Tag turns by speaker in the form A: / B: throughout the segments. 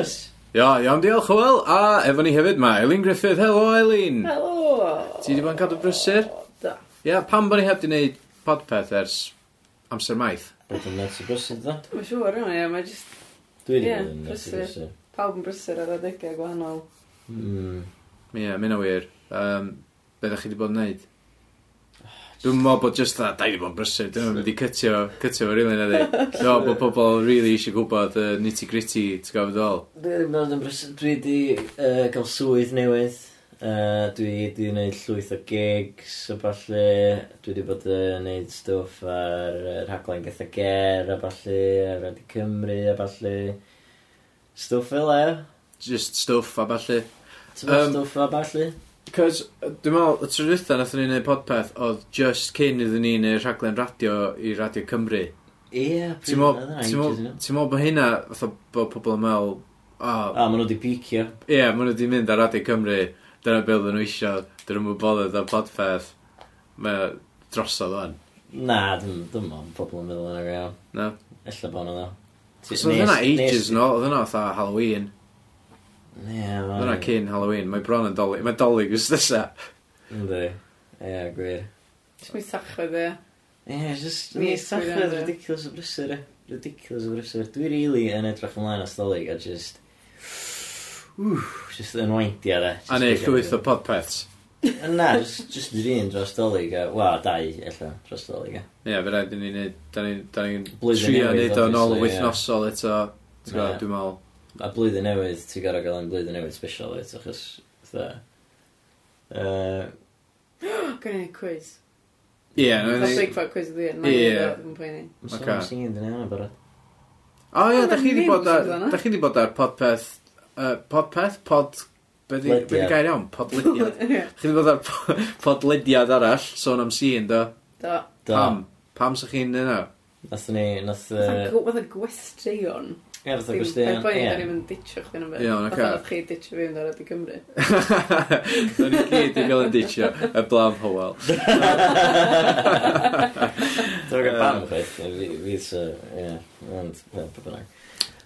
A: Ia, iawn diolch Hywel, a efo ni hefyd ma Elin Griffith, helo Elin!
B: Helo!
A: Ti di bod yn cadw brysur?
B: Da.
A: Ia, pam bod ni heb di wneud podpeth ers amser maith?
C: Bod yn nuts i brysur, da?
B: Dwi'n siŵr iawn, ie, mae jyst
C: Dwi wedi
B: Ie,
C: bod yn nuts i
B: brysur.
C: brysur.
B: pawb yn brysur ar adegau gwahanol.
C: Mm.
A: Ie, yeah, mynd o wir. Um, be ddech chi di bod yn wneud? Dwi'n meddwl bod jyst dda, da i di bod yn brysur, dwi'n meddwl wedi cytio, cytio fo rili na di. Dwi'n meddwl bod pobl rili eisiau gwybod y nitty gritty, ti'n gofod ddol.
C: Dwi wedi bod yn brysur. Dwi wedi yy, cael swydd newydd. Uh, dwi wedi gwneud llwyth o gigs a balli. Dwi wedi bod yn gwneud stwff ar yy, rhaglen gyda ger a balli, ar Radio Cymru a balli. Stwff fel e.
A: Just stuff a balli.
C: Ti'n um,
A: Yym.
C: stwff a balli?
A: Cos, yy, dwi'n meddwl, y tro dwytha nath ni'n neud podpeth oedd just cyn iddyn ni neud rhaglen radio i Radio Cymru.
C: Ie,
A: Ti'n meddwl- ti'n meddwl ti'n meddwl bod hynna, fatha bod pobl yn meddwl, o,
C: A, maen nhw wedi picio.
A: ie, maen nhw wedi mynd ar Radio Cymru, dyna be oedden nhw isio, dyna nhw'n bothered am podpeth, mae o drosodd o'n.
C: Na, dim dim ond pobl yn meddwl yn ag iawn.
A: No.
C: Ella bod nhw dda. Ti-
A: So oedd
C: nes-
A: hynna
C: nes-
A: ages yn ôl, oedd hynna fatha Halloween,
C: Ie,
A: oedd hynna cyn Halloween, mae bron yn dolyg, mae dolyg ys nesa.
C: Ynddi. Ie, gwir.
B: Jyst mi sachwyd, ie.
C: Ie, just...
B: Mi
C: Mi
B: ysgrifennu.
C: sachwedd ridiculous o brysur, e. Ridiculous o brysur. Dwi really yn edrych ymlaen o stolig a just... Wff, just yn weindio, e.
A: A neu llwyth o podpeths.
C: Na, just, just yr un dros stolig, a... Wa, dau, ella, dros stolig, e.
A: Ie, fe rhaid i ni neud, da ni'n da ni'n
C: Blwyddyn
A: trio
C: newydd,
A: neud o'n ôl y
C: obviously, ie.
A: wythnosol eto, ti'n gwybod,
C: Ie.
A: dwi'n meddwl.
C: A blwyddyn newydd, ti'n gorau gael yn blwyddyn newydd special, e, achos... Tha... Uh,
B: Gwneud ni quiz.
A: Ie, no,
B: That's
A: ni...
B: big fat quiz ydi.
A: Ie.
B: Ie. Dwi'n poeni.
C: Mae'n
A: Ocê.
C: okay. sy'n dyn nhw'n barod.
A: O ie,
B: Wel,
A: da chi di
B: ddim
A: bod ar,
B: amdano.
A: da chi di bod ar podpeth, yy, podpeth, pod, be di, be di
C: Lediad.
A: gair iawn, podlediad. Chi di bod ar po- podlediad arall, sôn am sîn, do?
B: Da.
A: Pam? Pam sa chi'n yna?
C: Nath ni, nath... yy,
B: Fydd yn gwestiwn.
C: Ie, fath o
B: Dim-
C: gwestiwn.
B: Mae'n poeni, da
C: Ie,
B: ni'n mynd ditio chdi yn ymwneud.
A: Iawn, ocê.
B: Fydd chi ditio fi yn dod i Gymru.
A: Da ni gyd i gael yn ditio, y blam hywel.
C: Dwi'n gwybod pam chweith, fydd sy, ie, ond, ie, pa bynnag.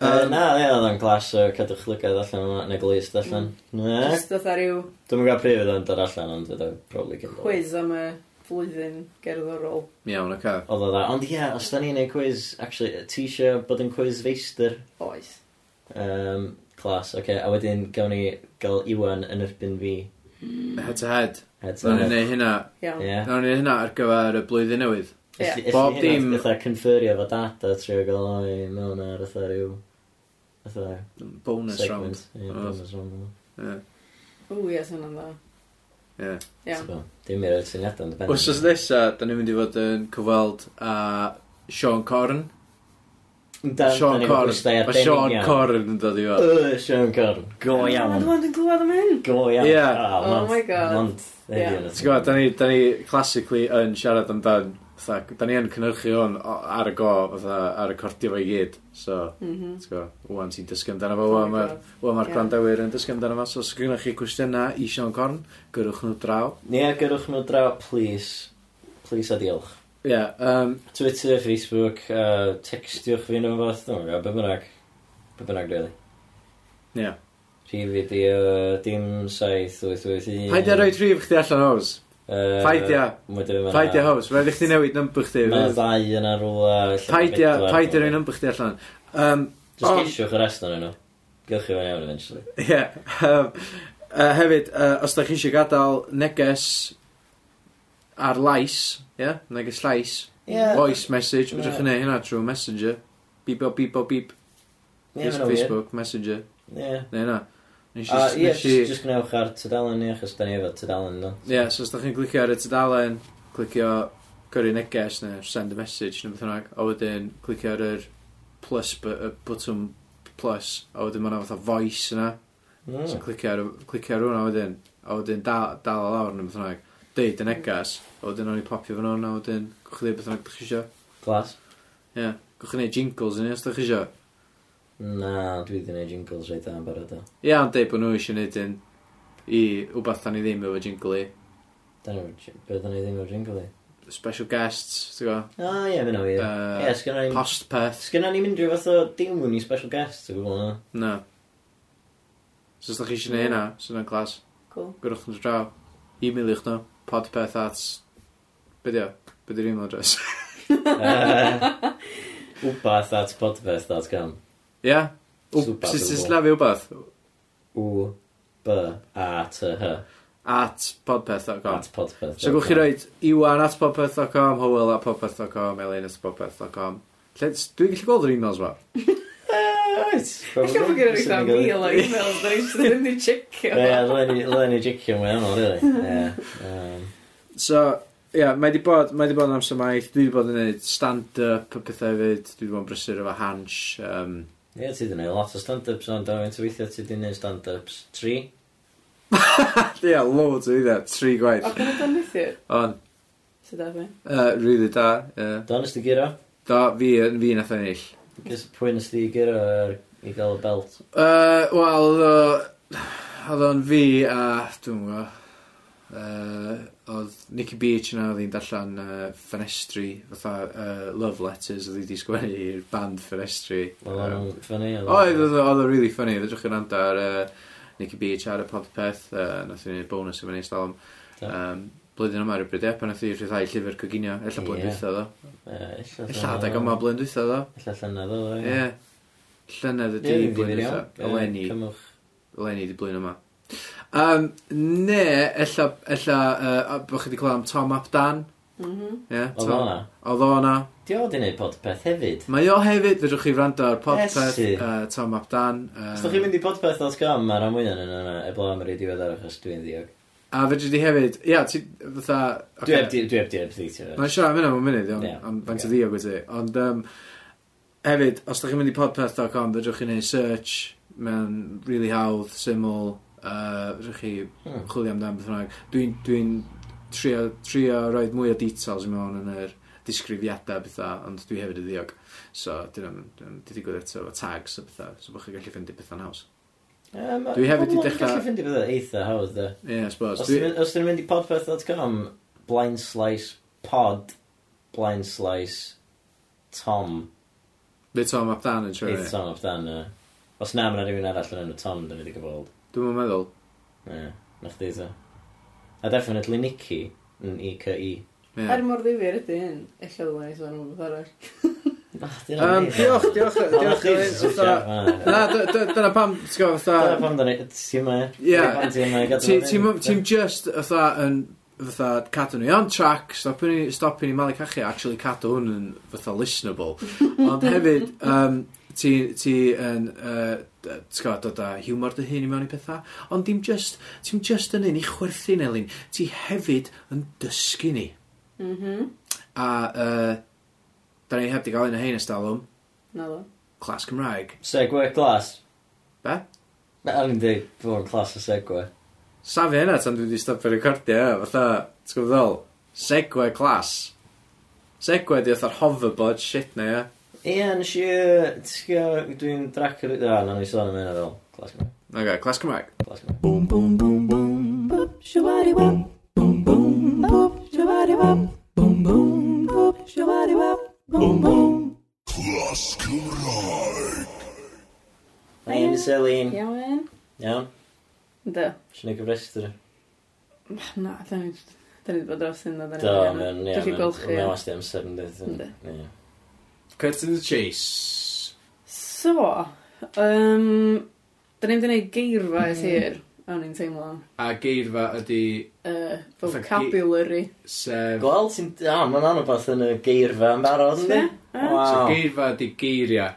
C: Yy, Na, ie, oedd o'n glas o cadwch llygad allan yma, neu glist allan.
A: Mm.
C: Ne,
B: Jyst oedd ar yw
C: dwi'n gwybod pryd oedd o'n dar allan, ond oedd o'n probably cyn bod.
B: quiz am y flwyddyn gerddorol.
A: Iawn, oce.
C: Oedd o'n dda, ond ie, os da ni'n neud quiz, actually, ti isio bod yn quiz feistr,
B: Oes.
C: um, clas, oce, a wedyn gawn ni gael Iwan yn erbyn fi.
A: Head to head.
C: Heads
A: Nawn
C: on.
A: ni neud hynna,
B: Iawn.
C: Ie.
A: nawn ni neud hynna ar gyfer y blwyddyn newydd.
B: Ie.
A: Bob
C: Bob
A: dim-
C: dim... Fytha conferio fo data trio gael o'i mewn ar ytha rhyw... Ytha...
A: Bonus round.
C: segment. Ie,
A: Oedd.
C: bonus round.
A: Ie,
B: Ww, ie, sy'n yna.
A: ie.
B: Iawn.
C: So, Dim i'r syniadau yn dibynnu.
A: Wsos nesa, da ni'n mynd i fod yn cyfweld a Sean Corn. Sean Corn. Mae Sean Corn yn dod i fod.
C: Yy, Sean Corn. Go
B: Ah,
C: iawn.
B: Dwi'n dwi'n glwad am hyn.
C: Go iawn.
A: Ie.
C: Ah,
B: Oh
C: mond-
B: my God.
C: Mond.
B: Ie.
A: Ti'n gwybod, da ni, da ni classically yn siarad amdan, fatha, da ni yn cynhyrchu hwn o- ar y go, fatha, ar y cordio fo i gyd. So,
B: Mhm.
A: ti'n gwybod, wwan ti'n dysgu amdano fo,
B: Oh
A: wwan
B: my
A: ma'r
B: God.
A: wwan ma'r
B: Ie.
A: grandawyr yn dysgu amdano fo. So, os gynnwch chi cwestiynau i Sean Corn, gyrwch nhw draw.
C: Ie, gyrwch nhw draw, please. Please a diolch.
A: Ie, yeah, um,
C: Twitter, Facebook, uh, textiwch fi nhw'n fath. Dwi'n gwybod, be bynnag. Be bynnag, really.
A: ie.
C: Rhif i di o dim saith, wyth, wyth, un.
A: Paid ia rhoi rhif chdi allan hos.
C: Yy,
A: Paid ia.
C: wedyn ma' 'na-
A: Paid ia hos. Rhaid i chdi newid nymber chdi.
C: Ma' 'na ddau yna rwla. ella
A: Paid ia,
C: pedwar.
A: paid ia rhoi nymber chdi allan. Um,
C: Jyst
A: Ond-
C: geisiwch y rest o'n nhw. Gylch chi fan iawn eventually.
A: Ie. yym, yy, Hefyd, yy, os da chi eisiau gadael neges ar lais, ie, neges llais,
C: Ie.
A: voice message,
C: Ie.
A: fydwch chi'n neud hynna trwy Messenger, bip o bip o bip,
C: Ie, ma'n weird.
A: Facebook, Messenger,
C: Ie.
A: neu hynna. Nes
C: A
A: i-
C: Ah, ie,
A: nes i-
C: jyst jyst gwnewch ar tudalen ni, achos da ni efo tudalen nhw.
A: Ie, so os da chi'n clicio ar y tudalen, clicio gyrru neges neu send a message neu beth bynnag, a wedyn clicio ar yr plus, bu- y button plus, a wedyn mae'n fatha voice yna,
C: Mm.
A: So clicio ar, y- clicio ar hwnna wedyn, a wedyn dal, dal o lawr neu beth bynnag. Deud y negas, a wedyn o'n i popio fan hwnna, a wedyn gwch chi ddeud beth bynnag ydych chi isio.
C: Glas?
A: Ie, yeah. gwch chi neud jingles yn ni os ydych chi isio.
C: Na, dwi wedi gwneud jingles reit da'n barod o.
A: Ie, ond deud bod nhw eisiau neud un i wbeth dan ni ddim efo jingle i.
C: Da ni, efo- be da ni ddim o'r jingle i?
A: Special guests, ti'n gwybod?
C: O ie, mynd o wir.
A: Yy,
C: Ie, sgynna ni...
A: Postpeth.
C: Sgynna ni mynd rhyw fath o diwn i special guests o gwbl na.
A: Na. So os da chi eisiau gwneud hynna, sy'n yna'n clas,
B: Cool.
A: gwrwch yn draw, e-mailwch nhw, podpeth at... Be di o? Be di'r email address?
C: Uh, wbath at podfest.com
A: Ia?
C: Super
A: Sut ti'n
C: doable.
A: slafu wbeth?
C: U B A T H
A: At podpeth.com
C: at podfest.
A: So gwch chi roed iwan at popeth.com, howell at popeth.com, elaine at popeth.com. Lle- s- Dwi'n gallu gweld yr emails ma.
B: Alla bod gyda ni sam fil o e-mails, da ni jyst ddim
C: Ie,
B: wedi checio.
C: le'n i jicio mwy aml, really. Ie. yym.
A: So, ie, yeah, mae di bod, mae di bod yn amser maith, dwi di bod yn gwneud stand-up a pethau hefyd, dwi di bod yn brysur efo hans. Um,
C: Ie, ti di neud lot o stand-ups ond am yn tyweithio ti di neud stand-ups tri.
A: ie, yeah, loads o iddo, tri
B: O,
A: gwaith.
B: gwna dan neithiwr?
A: Ond,
B: Sydd da fi?
A: uh, really da, ie. Yeah.
C: Do, nes di gyro?
A: Da, fi, yn- fi nath ennill.
C: Cys pwy nes di gyro ar i gael y belt?
A: Uh, Wel, oedd o- oedd o'n fi a, dwi'n gwybod, uh, oedd Nicky Beach yna, oedd hi'n darllen uh, Fenestri, fatha uh, Love Letters, oedd hi wedi sgwennu i'r band Fenestri.
C: Oedd
A: Yym,
C: o'n ffynnu?
A: Oedd, oedd o- oedd o'n really funny, fedrwch chi'n rand ar uh, Nicky Beach ar y podpeth, uh, nath i'n gwneud bonus efo ni stalwm.
C: Da.
A: Um, blwyddyn yma rhywbryd e, pan nath i rhyddhau llyfr coginio, ella blwyddyn
C: Ie.
A: yeah. dwytha ddo. Ella
C: Ella
A: adeg yma blwyddyn dwytha ddo.
C: Ella llynedd o.
A: Ie. Llynedd ydi blwyddyn dwytha. Eleni.
C: Cymwch.
A: Lenny di blwyddyn yma. Um, ne, ella, ella uh, bod chi wedi clywed am Tom Ap Dan.
B: Mhm.
A: Yeah,
C: Oedd o'na.
A: Oedd o'na.
C: Di o di neud podpeth hefyd?
A: Mae o hefyd, fedrwch chi wrando ar podpeth
C: Iesu.
A: uh, Tom Ap Dan. Uh,
C: Os da chi'n mynd i podpeth.com, mae'r amwynion yn yna eblaw am yr i diweddar achos dwi'n ddiog.
A: A fedrwch chi hefyd, ia, ti, fatha...
C: Dwi heb di- dwi heb di updateio. fe.
A: Mae'n siarad am hynna mewn munud, iawn,
C: Ie.
A: am faint
C: Ie.
A: o ddiog wyt ti. Ond um, hefyd, os da chi'n mynd i podpeth.com, fedrwch chi neud search mewn really hawdd, syml, uh, fedrwch chi
C: Hmm.
A: chwilio amdan beth bynnag. Dwi'n dwi trio, trio roi mwy o details i mewn yn yr disgrifiadau bethau, ond dwi hefyd y ddiog. So, dyn nhw'n digwydd eto efo tags a bethau, so bod chi'n gallu ffeindio bethau'n haws.
C: Ie, ma-
A: Dwi hefyd di
C: pobl yn
A: dechra-
C: gallu ffindio bethau eitha hawdd, de.
A: Ie, yeah, I suppose.
C: Os
A: Dwi-
C: ti'n mynd- os ti'n mynd i podpeth.com, blind slice pod, blind slice Tom,
A: Be Tom Ap Dan yn siarad?
C: eitha Tom off dan yna. Os na, mae'n rhywun arall yn enw Tom, dyn ni wedi gyfod.
A: Dwi'n meddwl.
C: Ie, na chdi ta. A definitely Nicky, yn E-K-E.
A: Ie.
B: Er mor ddifur ydy hyn, ella ddylen ni sôn am beth arall.
A: Yym, Diolch, diolch, diolch. fatha- Na,
C: Na,
A: dy- dy- dyna pam, ti'n gwybod,
C: Dyna
A: fatha...
C: pam da ni, ti'n ma,
A: Ie.
C: ti'n ma,
A: Ti- Ti'n ti'n just, fatha, yn, fatha, cadw ni on track, stopio ni, stopio ni malu cachu, actually cadw hwn yn, fatha, listenable. Ond hefyd, um, ti, ti yn, uh, ti'n gwybod, dod â humor dy hun i mewn i pethau, ond dim just, ti'n just yn un i chwerthu'n Elin, ti hefyd yn dysgu ni.
B: Mhm.
A: A, uh, da ni heb di gael un o hein ystalwm,
B: Na ddo.
A: clas Cymraeg.
C: Segwe glas.
A: Be?
C: Na, o'n i'n dweud bod yn clas o segwe.
A: Safi hynna tan dwi wedi stopio recordio, ie, fatha, ti'n gwybod ddol? Segwe clas. Segwe di fatha'r hoverboard shit na, ie.
C: Ie, nes i, yy, ti'n gwybod, dwi'n drac yr... Na, na, ni sôn am hynna fel. Glas Cymraeg.
A: Ok, clas Cymraeg.
C: Glas Cymraeg.
D: Boom, boom, boom, boom. Boop, shabadi wop. Boom, boom, boop, shabadi wop. Boom, boom, boop, shabadi wop. Boom, boom. Class Cymraeg.
C: Hei, Miss Elin.
B: Iawn.
C: Iawn.
B: Da.
C: Si'n ei gyfrestr.
B: Na, da ni... Da ni wedi bod dros hyn, da ni.
C: Do, mae'n... Ie,
B: Dwi'n gweld chi.
C: Mae'n wasti amser yn dweud.
B: Yndi.
C: Ie.
A: Cut to the chase.
B: So, um, da ni wedi gwneud geirfa mm. hir, a o'n i'n teimlo.
A: A geirfa ydi
B: Uh,
A: Fatha ge-
B: vocabulary.
A: sef...
C: Gweld ti'n... O, mae'n anodd beth yn y geirfa yn barod, ynddi?
B: Ie.
A: So
C: Waw.
A: geirfa ydi geiriau.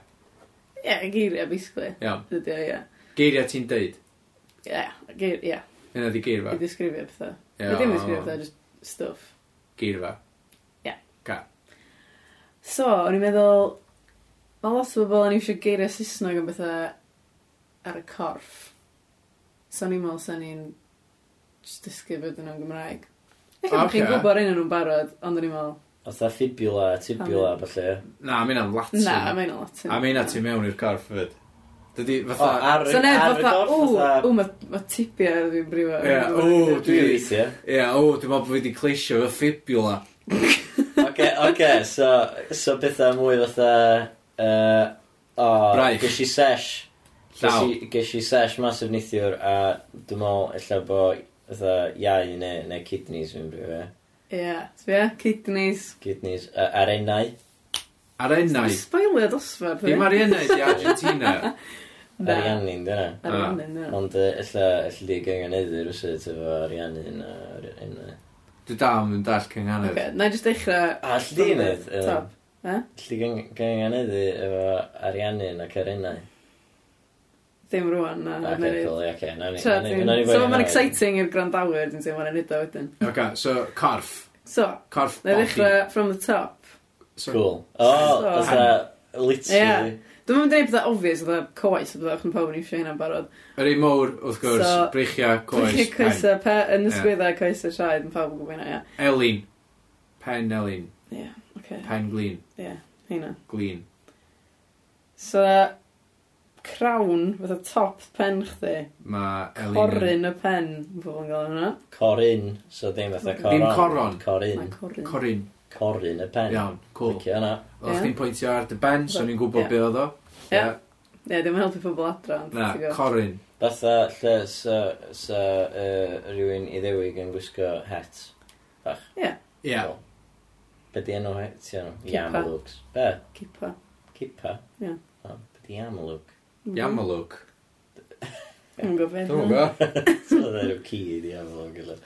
B: Ie, geiriau, basically.
A: Iawn.
B: Ydy o, ie.
A: Geiriau ti'n deud.
B: Ie, geir, ie.
A: Yna ydi
B: I
A: geirfa.
B: ddisgrifio pethau.
A: Ie,
B: I ddim ddisgrifio
A: o,
B: pethau, just stuff.
A: Geirfa.
B: Ie.
A: Ca.
B: So, o'n i'n meddwl, mae lot o bobl yn eisiau geiriau Saesnog yn bethau ar y corff. So, o'n i'n meddwl sa'n ni'n jyst dysgu bod yn o'n Gymraeg. Eich okay. chi'n
A: Ocê.
B: gwybod un o'n nhw'n barod, ond o'n i'n meddwl,
C: Oedd fibula, tibula, falle.
A: Na, mae'n am Latin.
B: na, mae'n o Latin.
A: A mae'n ti mewn i'r corff fyd. Dydi,
C: O,
A: fatha...
C: ar
B: So neb
C: ar y
B: fatha,
C: gorff,
B: ww,
C: fatha...
B: ww, mae ma tibia fi'n brifo.
A: Ie, ww,
C: Dwi weithio.
A: Ie, o, dwi'n meddwl bod fi wedi cleisio fy ffibula.
C: Oce, oce, so, so bethau mwy fatha... Uh, o,
A: Braich.
C: Gysi sesh.
A: Llaw.
C: Ges i- Ges i sesh masif neithiwr a dwi'n meddwl ella bo fatha iau neu, neu kidneys fi'n brifo. ie.
B: Ie. Sbia, kidneys.
C: Kidneys a- ar enau.
A: Ar ennau.
B: Spoilio dosbarth.
A: Dim ar ennau di Argentina.
B: Na.
C: Ariannin, dyna.
B: Ar
A: Ah.
B: iawn, ie.
C: Ond uh, illa, illa di gyngan edrych rwysyd efo ariannin a ar enau.
A: Dwi dal yn dall cynghanedd.
B: Oce, na i jyst dechrau...
C: A illa di wneud.
B: Top. He?
C: Illa di gyngan edrych efo ariannin ac ar enau.
B: Ddim rwan, na.
C: Ac
B: na i-
C: cool, ie, oce. nawn ni-
B: So,
C: nawn ni-
B: dwi'n-
C: nawn ni
B: so
C: boi'n
B: mae'n
C: hynna.
B: exciting i'r grandawyr, dwi'n teimlo, mae'n edo wedyn.
A: Oce, so corff.
B: So,
A: Corff
B: na i
A: body.
B: ddechrau from the top.
A: So-
C: Cool. O,
B: So-
C: fatha, literally.
B: Ie. Dwi'n mynd i wneud bydda obvious, bydda coes, bydda chyn pawb yn eisiau hynna'n barod.
A: Yr un mowr, wrth gwrs,
B: So-
A: breichia, coes, pen.
B: Coesau, pe- yn
A: Ie.
B: ysgwyddau coesau traed, yn pawb yn gwybod hynna,
A: Elin. Pen elin.
B: ie. Ie, oce,
A: Pen glin.
B: hynna.
A: Glin.
B: So, crawn, bydda top pen chdi,
A: Mae elin...
B: coryn y pen, yn pobl yn gael hwnna.
C: Corin, so ddim fatha coron.
A: Dim coron.
B: Mae
C: Corin.
B: coryn.
A: Corin.
C: Corin y pen.
A: Iawn, cool.
C: Licio yna.
A: Oedd
B: Ie.
A: chdi'n pwyntio ar dy ben, so ni'n gwybod
B: Ie.
A: be oedd o.
B: Ie.
A: Ie.
B: Ie, ddim yn helpu pobl adra, ond
A: Na,
B: ti'n gwbod.
A: Corin.
C: Fatha lle sa, sa uh, rhywun i ddewig yn gwisgo het.
A: Ie.
B: Mhm.
C: Cool. Be di enw het? Ti enw?
B: Kipa.
C: Yamalooks. Be?
B: Cipa.
C: Kipa?
B: Ie.
C: O, Be di Yamalook?
A: Iamalwg.
B: Dwi'n gwybod beth.
A: Dwi'n gwybod.
C: So dda rhyw ci i di Yamalook. illa.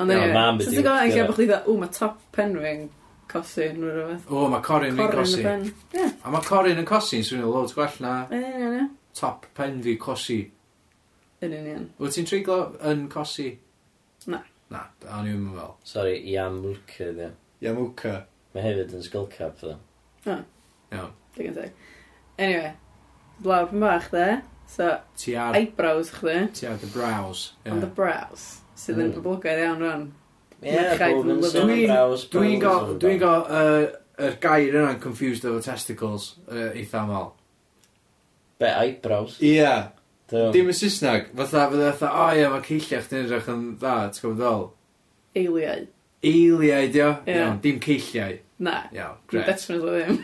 B: Ond
C: Iawn,
B: anyway,
C: mam
B: so
C: ydi
B: ti'n gwybod,
C: wrth
B: eich
C: gyfer.
B: bod chdi dda, ww, mae top pen fi'n cosi nw rhywbeth.
A: O, mae Corin yn
B: Coryn y
A: cosi.
B: pen. Ie,
A: A mae Corin yn cosi, yn swnio loads gwell na
B: yn union, ie.
A: top pen fi cosi.
B: Yn union.
A: Wyt ti'n triglo yn cosi?
B: Na.
A: Na, a ni'n mynd fel.
C: Sorry, Yamalook ydi. o.
A: Iamwca.
C: Mae hefyd yn skullcap dda.
A: Iawn.
B: Digon teg. Anyway, blawr pen bach de. So,
A: Ti ar,
B: eyebrows chdi,
A: ti ar dy brows. ie.
B: ond y brows, sydd yn
C: Mm.
B: boblogaidd iawn rhan.
C: Ie,
B: Merchaid
C: bob yn
B: yn
C: sôn am
A: lyfio.
C: braws.
A: Dwi'n
C: bob
A: gael,
C: yn sôn am
A: dwi'n
C: braws.
A: gael, yy, yr gair yna'n confused efo testicles, yy, eitha mal.
C: Be, eyebrows?
A: Ie.
C: Dwi'n-
A: Dim yn Saesneg, fatha, fatha, fatha, o ie, mae ceillio chdi'n edrych yn dda, ti'n gwybod ddol?
B: Eiliau.
A: Eiliau, dio?
B: Ie.
A: Iawn, dim ceilliau.
B: Na,
A: Iawn, gret.
B: definitely ddim.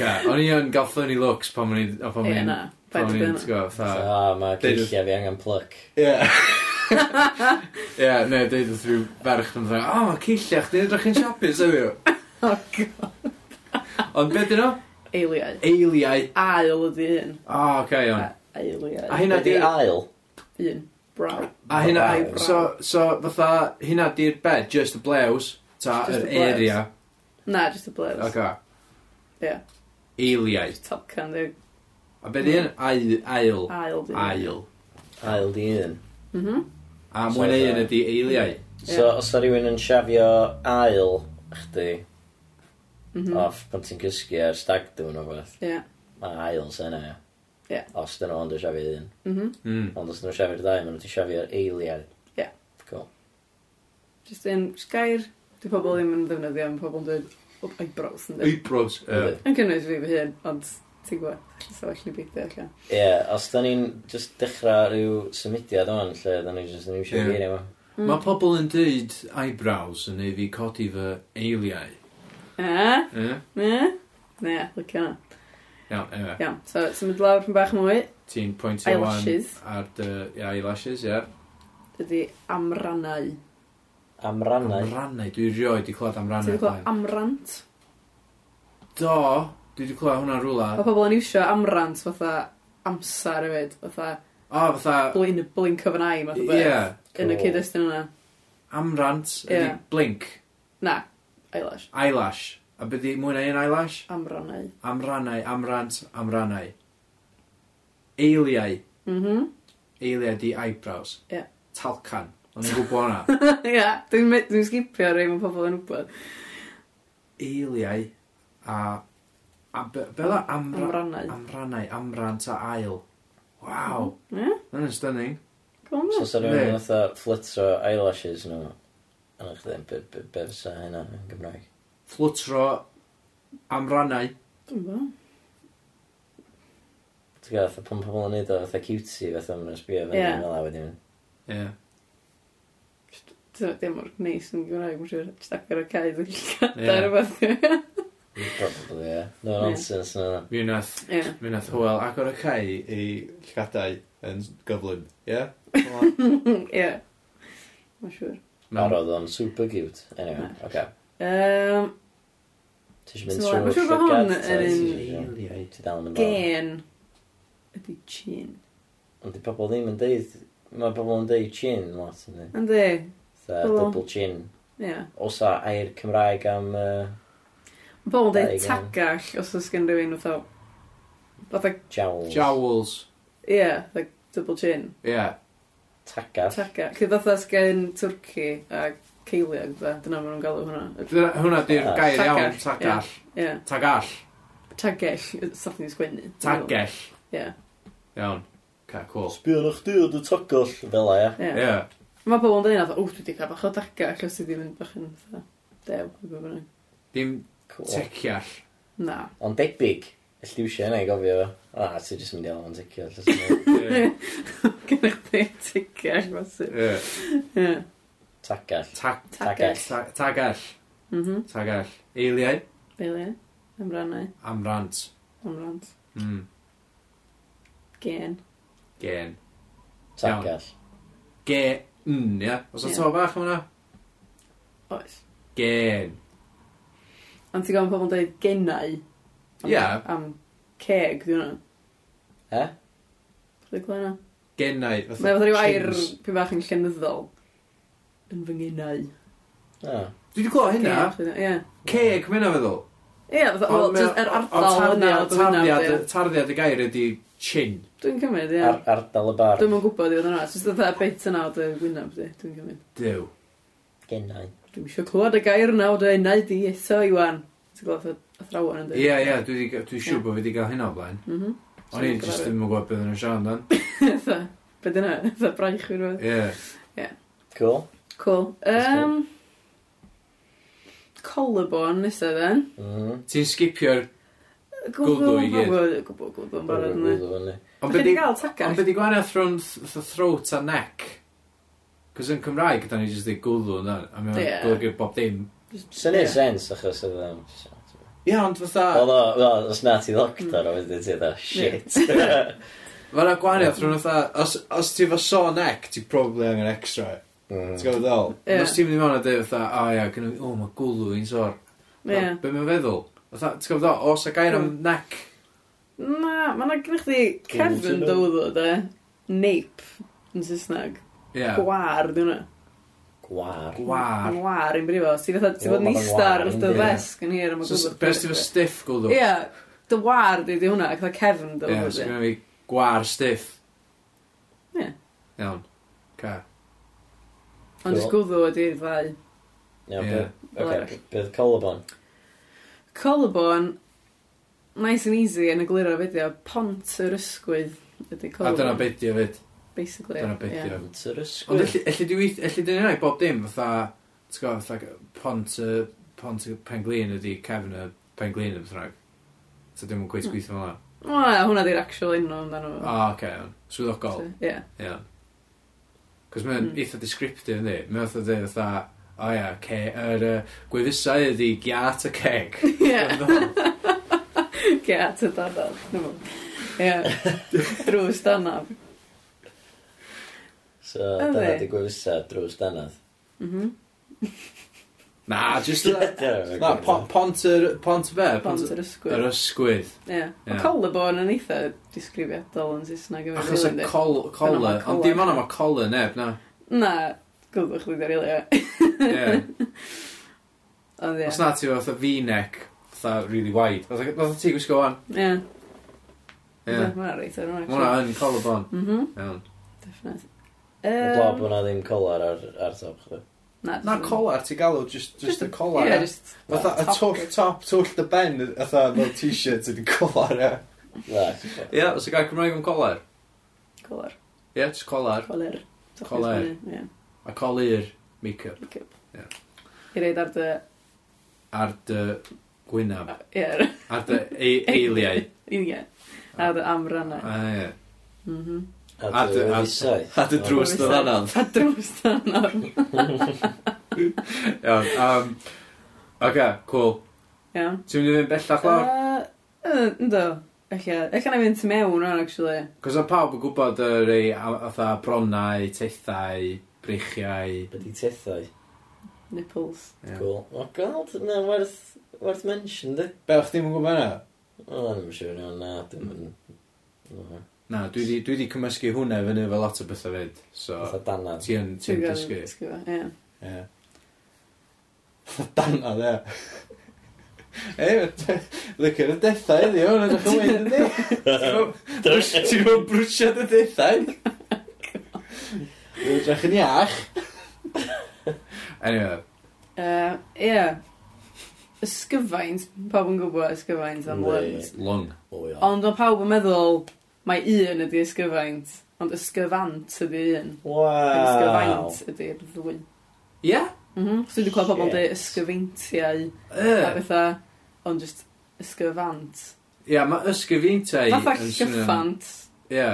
A: Ca, O'n i yn gael funny looks pan o'n i... o, Pan
B: Ie,
A: o'n
B: na.
A: i... Pan
B: Paid
A: o'n
B: i
A: i'n
B: ddim.
A: tgo, fatha...
C: Ah, mae
A: Deud wrth-
C: ceillia fi angen pluck.
A: Ie. Ie, ne, deud wrth rhyw ferch yn dda, o, mae ceillio chdi'n edrych yn siapus, efo.
B: Oh, God.
A: Ond be dyn nhw?
B: Eiliau.
A: Eiliau.
B: Ail ydi un.
A: O, oce, iawn.
B: A- Eiliau.
A: A hynna di...
C: Be' ail.
B: Un. Brow.
A: A hynna...
B: Eyebrow.
A: So, so, fatha, hynna di'r bed, just y blews, ta,
B: Just
A: yr
B: y blews.
A: area.
B: Na, just y blurs.
A: Oce.
B: Ie.
A: Eiliau.
B: Top can, dwi'n
A: A be dyn? Ai- Ail.
B: ail di.
A: Ail.
C: Ail di un.
B: Mhm.
A: A
C: So
A: mwyn
C: fatha-
A: un ydi eiliau.
C: So,
B: Ie.
C: os da rhywun yn siafio ail chdi
B: Mhm.
A: Oh.
C: off pan ti'n cysgu ar stag dwi'n o beth,
B: Ie.
C: mae ail sy'n e.
B: Ie.
C: Os dyn nhw ond yn siafio un.
B: Mhm.
A: Mm.
C: Ond os dyn nhw siafio'r ddau, maen nhw ti'n siafio'r eiliad.
B: Ie.
C: Cool.
B: Just un sgair. Dwi pobl ddim yn ddefnyddio, mae pobl yn dweud "Oh, eyebrows yn dweud.
A: Eyebrows. Ie.
C: Yndi.
B: Yn cynnwys fi fy hun, ond ti'n gwybod, allan sef allan i beidio allan.
C: Ie, os da ni'n just dechrau rhyw symudiad o'n lle da ni'n just
A: Ie.
C: yn siafio geiriau yma.
B: Hmm.
A: Mae pobl yn dweud eyebrows yn ei fi codi fy eiliau.
B: E?
A: Ie?
B: Ne? Ne, lycio na.
A: Iawn, ewe.
B: Iawn, so symud lawr yn bach mwy,
A: Ti'n pwyntio wan
B: Eyelashes.
A: ar dy ie, eyelashes, ie.
B: ydy amrannau.
C: Amrannau.
A: Amrannau, dwi rioed wedi clywed
B: Ti'n
A: amrannau.
B: gwybod
A: blaen.
B: amrant?
A: Do, dwi wedi clywed hwnna rwla.
B: Mae pobl yn iwsio amrant fatha amser hefyd, fatha
A: O, fatha,
B: blin, blink of an eye, math o
A: ie,
B: beth. Yn y
C: Cool.
B: cyd-destun yna.
A: amrant ydi
B: Ie.
A: blink,
B: Na, eyelash.
A: eyelash. A byddi mwy na un eyelash?
B: Amrannau.
A: Amrannau, amrant, amrannau. Eiliau,
B: Mhm.
A: eiliau di eyebrows.
B: Ie.
A: Talcan, o'n i'n gwybod hwnna.
B: Ie, dwi'n me- dwi'n sgipio rei mae pobl yn wybod.
A: eiliau a... a be, be dda amra,
B: Amrannau.
A: amrannau, amrant a ail. Waw,
B: Ie?
A: mm. yn stunning.
B: Go on,
C: So, os da rhywun
A: Ie.
C: yn fatha fflitro eyelashes nhw yn eich dweud, be- be- be fysa hynna yn Gymraeg?
A: Flwtro amrannau.
B: Dwi'n gwybod.
C: Ti'n gael, fatha pan pobl yn neud o, fatha cutie, fatha maen nhw'n sbio fe,
B: Ie.
C: yeah. fel a wedyn.
A: Ie. Yeah.
B: Dim mor neis yn Gymraeg, mae'n siŵr. Just agor y cae, dwi'n gallu
A: Ie.
B: gadael rhywbeth.
C: Probably, ie. No, nonsense, no.
A: Mi wnaeth,
B: Ie.
A: mi wnaeth Hwyl agor y cae i llygadau yn gyflym, ie?
B: Ie. Mae'n siŵr.
C: no. Ar oedd o'n super cute. Anyway, oce. Okay.
B: Um,
C: Ti eisiau mynd
B: So,
C: trwy
B: I'm sure bod hwn yn
C: llygad? Ti dal yn y bar.
B: gen ydy chin.
C: Ond di pobl ddim yn deud... Mae pobl yn deud chin lot, ynddi.
B: Ynddi,
C: Tha
B: Pobl.
C: double chin.
B: ie.
C: Os a air Cymraeg am... Uh,
B: Bobl
C: Dau
B: dweud
C: gen.
B: tagall os oes gen rhywun wrth o. Fatha,
C: jowls.
A: Jowls,
B: ie, fatha double chin.
A: ie.
C: Tagall.
B: Tagall. Cyd fatha sgen Twrci a ceiliog, dda. Dyna maen nhw'n galw hwnna.
A: Dyna- Hwnna di'r
C: Ah.
A: gair iawn,
B: Tagall, ie.
A: tagall.
B: Ie.
A: Tagall,
B: Tagell, sath ni'n sgwennu.
A: tagell.
B: Ie.
A: Iawn. Ca, cool.
C: Sbio na chdi oedd y tagall. Fel a, ia.
B: Ie.
A: Ie.
B: Mae pobl yn dweud, fatha, o, dwi wedi cael bach o dagall os dwi ddim yn bach yn fatha dew. neu be bynnag."
A: Dim
C: Cool.
A: teciall.
B: Na.
C: Ond debyg. Elli wsio yna i gofio fo. A, ti jyst mynd i alw yn ticio. allas i-
A: Ie.
B: Gennych chi tigell, masif.
A: Ie.
B: Ie.
C: Tagall.
A: Ta-
C: Tagall.
A: ta- Tagall,
B: Mhm.
A: tagall. Eiliau,
B: Beile. Amrannau.
A: amrant.
B: Amrant.
A: Mm.
B: Gen.
A: Gen.
C: Tagall.
A: Gen, ie. Os o
B: Ie.
A: to bach am hwnna?
B: Oes.
A: Gen.
B: Ond ti'n gofyn pobl yn dweud genau. Am-
A: Ie.
B: Am keg, dwi'n hwnna.
C: He?
B: Dwi'n gweld hwnna.
A: Genau. fatha
B: Mae fath rhyw air
A: chins.
B: pwy bach yn llenyddol. Yn fy ngenau.
C: O.
A: Dwi wedi clywed hynna.
B: Ceg, Ie.
A: Ceg, mae'n feddwl.
B: Ie, fatha, wel, jyst yr ardal yna.
A: yna.
B: oedd hwnna,
A: Tarddiad,
B: ie.
A: tarddiad y gair ydi chin.
B: Dwi'n cymryd, ie.
C: Ar- Ardal y bar.
B: Dwi'n yn gwybod i fod yna. Jyst oedd bit yna o dy wynaf di, dwi'n cymryd.
A: Dyw.
C: Genau.
B: Dwi'n eisiau clywed y gair yna o dy enau di eto, Iwan. Ti'n gweld y thrawn yn
A: Ie, ie, dwi 'di ga- dwi'n siŵr
B: Ie.
A: bod fi wedi cael hynna o blaen.
B: Mhm.
A: O'n i'n just ddim yn gwybod beth yn y siarad amdan.
B: Fatha, be dyna? Fatha braich fi rhywbeth.
A: Ie.
C: Cool.
B: Cool.
C: That's good.
B: Um, collarbone nesa then.
C: Mhm.
A: Ti'n skipio'r... Gwddw i gyd.
B: Gwddw, gwddw, gwddw, yn barod
C: Gwddw,
B: yna.
C: gwddw, fyny.
A: Ond
B: Ond
A: be
B: beth i
A: di-
B: gael
A: Ond
B: tagall?
A: beth i gwanaeth rhwng th- th- throat a neck? Cos yn Cymraeg, da ni jyst i gwddw yna, a mi'n
B: Ie.
A: yeah. golygu bob dim.
C: Sy'n
B: Ie.
C: neud sens achos oedd yym...
A: Ie, ond fatha,
C: Oedd o, wel, os na ti ddoctor o
B: Mm.
C: wedi ti dda, shit.
A: mae yna gwanaeth rhwng fatha, os, os ti fo so neck, ti probably angen extra. Ti'n
C: Mm.
A: gwybod ddol?
B: Ie.
A: Os ti'n mynd i mewn a dweud fatha, o ia, gynnu, o, mae gwddw i'n sor.
B: Ie.
A: Be mae'n feddwl? Fatha, ti'n gwybod ddol, os a gair am neck.
B: Na, mae yna gyda chdi
C: Gwddw
B: cefn
C: sy'n
B: dywddo, de. Nape, yn Saesneg.
A: Ie.
B: Gwar, dwi'n hwnna.
C: Gwar.
A: Gwar.
B: Gwar, i'n brifo. Ti'n fatha, ti'n
C: Wel,
B: bod
C: ma'
B: yn
C: fe'n
B: ista
C: war,
B: ar ystod
C: yndi.
B: fesg yn hir am y
A: So,
B: gwddw.
A: beth ti'n fo stiff gwddw?
B: Ie, dy war di di hwnna, gyda cefn
A: Ie,
B: dywddo
A: so
B: di.
A: gynnu fi gwar stiff.
B: Ie.
A: Iawn. Ca.
B: Ond jyst gwddw ydi'r ddau.
C: Iawn,
A: Ie.
C: be- oce, beth colobon?
B: Collarbone, nice and easy yn y glirio fideo, pont yr ysgwydd ydy
A: A
B: collarbone.
A: dyna beth ti'n fyd.
B: Basically.
A: Dyna beth
B: ie.
A: ti'n
C: Tyr
A: Ond
C: ysgwyl.
A: elli elli di weith, elli di wneud bob dim, fatha, ti'n gwybod, fatha pont y, pont y penglin ydi cefn y penglin yn ffrag. So dim yn gweith
B: Hmm.
A: gweithio fel yna.
B: Wel, hwnna di'r actual enw amdano
A: O,
B: fo.
A: oh, oce, iawn. Swyddogol,
B: So, Hmm. Ie.
A: iawn. Cos mae'n
B: Mm.
A: eitha descriptive, ynddi? Mae'n fatha dweud fatha, o ia, ce, yr yy, gwefusau ydi giat y ceg.
B: Ie. Ie, at y dadal. Dwi'n meddwl. Ie. Drws danaf.
C: So,
B: Yndi.
C: dyna di gwyfusa drws danad.
B: Mhm.
A: Na, just y... Na, po-
C: pop.
A: pont yr, pont y fe,
B: Pont
A: pont
B: yr
A: yr
B: ysgwydd.
A: ysgwydd.
B: Ie.
A: Ie.
B: Mae collarbone yn eitha disgrifiadol yn Saesneg. efo
A: Achos y
B: rili, yndi?
A: col, cola,
B: ma'
A: ond
B: cola.
A: dim ond am y cola neb, na.
B: Na, gwddwch chi ddim rili. ie.
A: Ie.
B: Ond
A: Os
B: ie.
A: na ti fatha V-neck, fatha really wide. Fatha fatha ti gwisgo wan.
B: Ie.
A: Ie.
B: Ie. Mae'n reit ar
A: Ma' hwnna yn collarbone.
B: Mhm.
A: Iawn.
B: Definite.
C: Y
B: Yym,
C: blob hwnna ddim colar ar, ar top chdi.
B: Na,
A: Na colar, ti galw, just, just y colar.
B: Ie,
A: ie.
B: just...
A: Fatha y
B: top.
A: twll top, twll dy ben, fatha fel t-shirt ydi colar, ie.
C: Na, ti'n
A: Ie, os y gael Cymraeg yn colar.
B: Colar.
A: Ie, just colar.
B: Colar. Top
A: Colar.
B: is my- Ie.
A: A colir make-up
B: Makeup.
A: Ie.
B: I reid ar dy...
A: ar dy gwynab,
B: Ie. ar-
A: ar dy ei- eiliau.
B: Ie. Ar dy amrannau.
A: A ie.
B: Mhm.
C: gwbod.
A: A dy- a- a dy drws dy ddanad.
B: A drws dan ar.
A: Iawn. um, Oce, cool.
B: Iawn.
A: Ti'n mynd i fynd bellach lawr?
B: Yy, yy, Ynddo. Ella, ella na i fynd tu mewn o'n, actually.
A: Cos o pawb yn gwybod y rei a- fatha bronnau, tethau, breichiau.
C: Byddi tethau.
B: Nipples.
A: Ie.
C: Cool. O, god, na, werth, werth mention, di.
E: Be, o'ch ddim yn gwybod hynna?
C: O, ddim yn siŵr iawn, na, dim yn... Na.
A: Na, dwi di, dwi di cymysgu hwnna fyny fel lot o bethau fyd. So,
C: Fatha danad.
A: ti yn ti'n dysgu.
B: Ie.
E: Ie. Dana, dde. Ei, lycio'r dethau iddi, o'n edrych yn weid ydi. Brws- Ti'n gwybod brwsio dy dethau? Dwi'n edrych yn iach.
A: Anyway,
B: Yy, Ie. Ysgyfaint, pawb yn gwybod ysgyfaint am
C: Yndi.
B: lyfd.
A: long.
C: O, ia.
B: Ond o pawb yn meddwl, mae un ydi ysgyfaint, ond ysgyfant ydi un. Ac
C: Waw.
B: Ysgyfaint ydi'r ddwy.
A: Ie? Yeah?
B: Mhm. So dwi wedi clywed pobl
C: Shit.
B: dweud ysgyfeintiau a
A: Ie,
B: bethau, ond just ysgyfant.
A: yeah, mae ysgyfintau
B: Fatha
A: yn swnio'n-
B: llyffant.
A: Ie.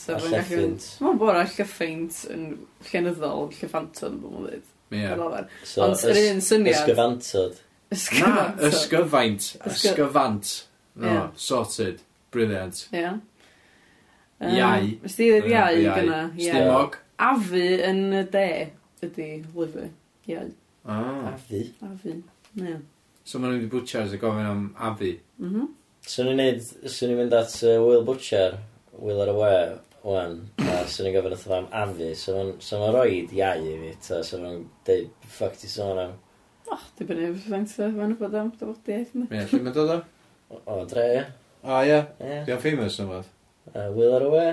B: So
C: A
B: fe'n gallu fynd...
C: lleffynt.
B: Mae'n bod a llyffeint yn llenyddol, llyffanton, bwm o'n dweud.
A: Ie.
B: Yeah.
C: So,
B: Ond yr
C: ys-
B: un syniad...
C: Ysgyfantod.
A: Na,
B: Ysgyfant.
A: ysgyfaint.
B: Ysgy-
A: Ysgyfant. No,
B: Ie.
A: sorted. Brilliant.
B: Ie. Yym,
A: Iau.
B: Ys di iau
A: Yy, iau.
B: gyna? Ie.
A: Stumog.
B: Afu yn y de ydi lyfu. Iau.
A: Ah.
C: Afi.
B: Afu. Ie.
A: So maen nhw wedi bwtsias a gofyn am afu.
B: Mhm.
C: Swn i'n neud, swn i'n mynd at uh, Will Butcher, Will ar y we, wan, a swn i'n gofyn wrtho fe am afu, so ma'n so ma roed iau i fi, ta, so ma'n deud, ffac ti sôn am,
B: Och, di bynnu fysa'n sef yn y bod am dyfodiaeth yna.
A: Ie, lle mae'n dod o? Ah,
C: o, o dre, ie,
E: O, ie.
C: ie,
A: Di o'n famous neu fath?
C: uh, Will ar y we,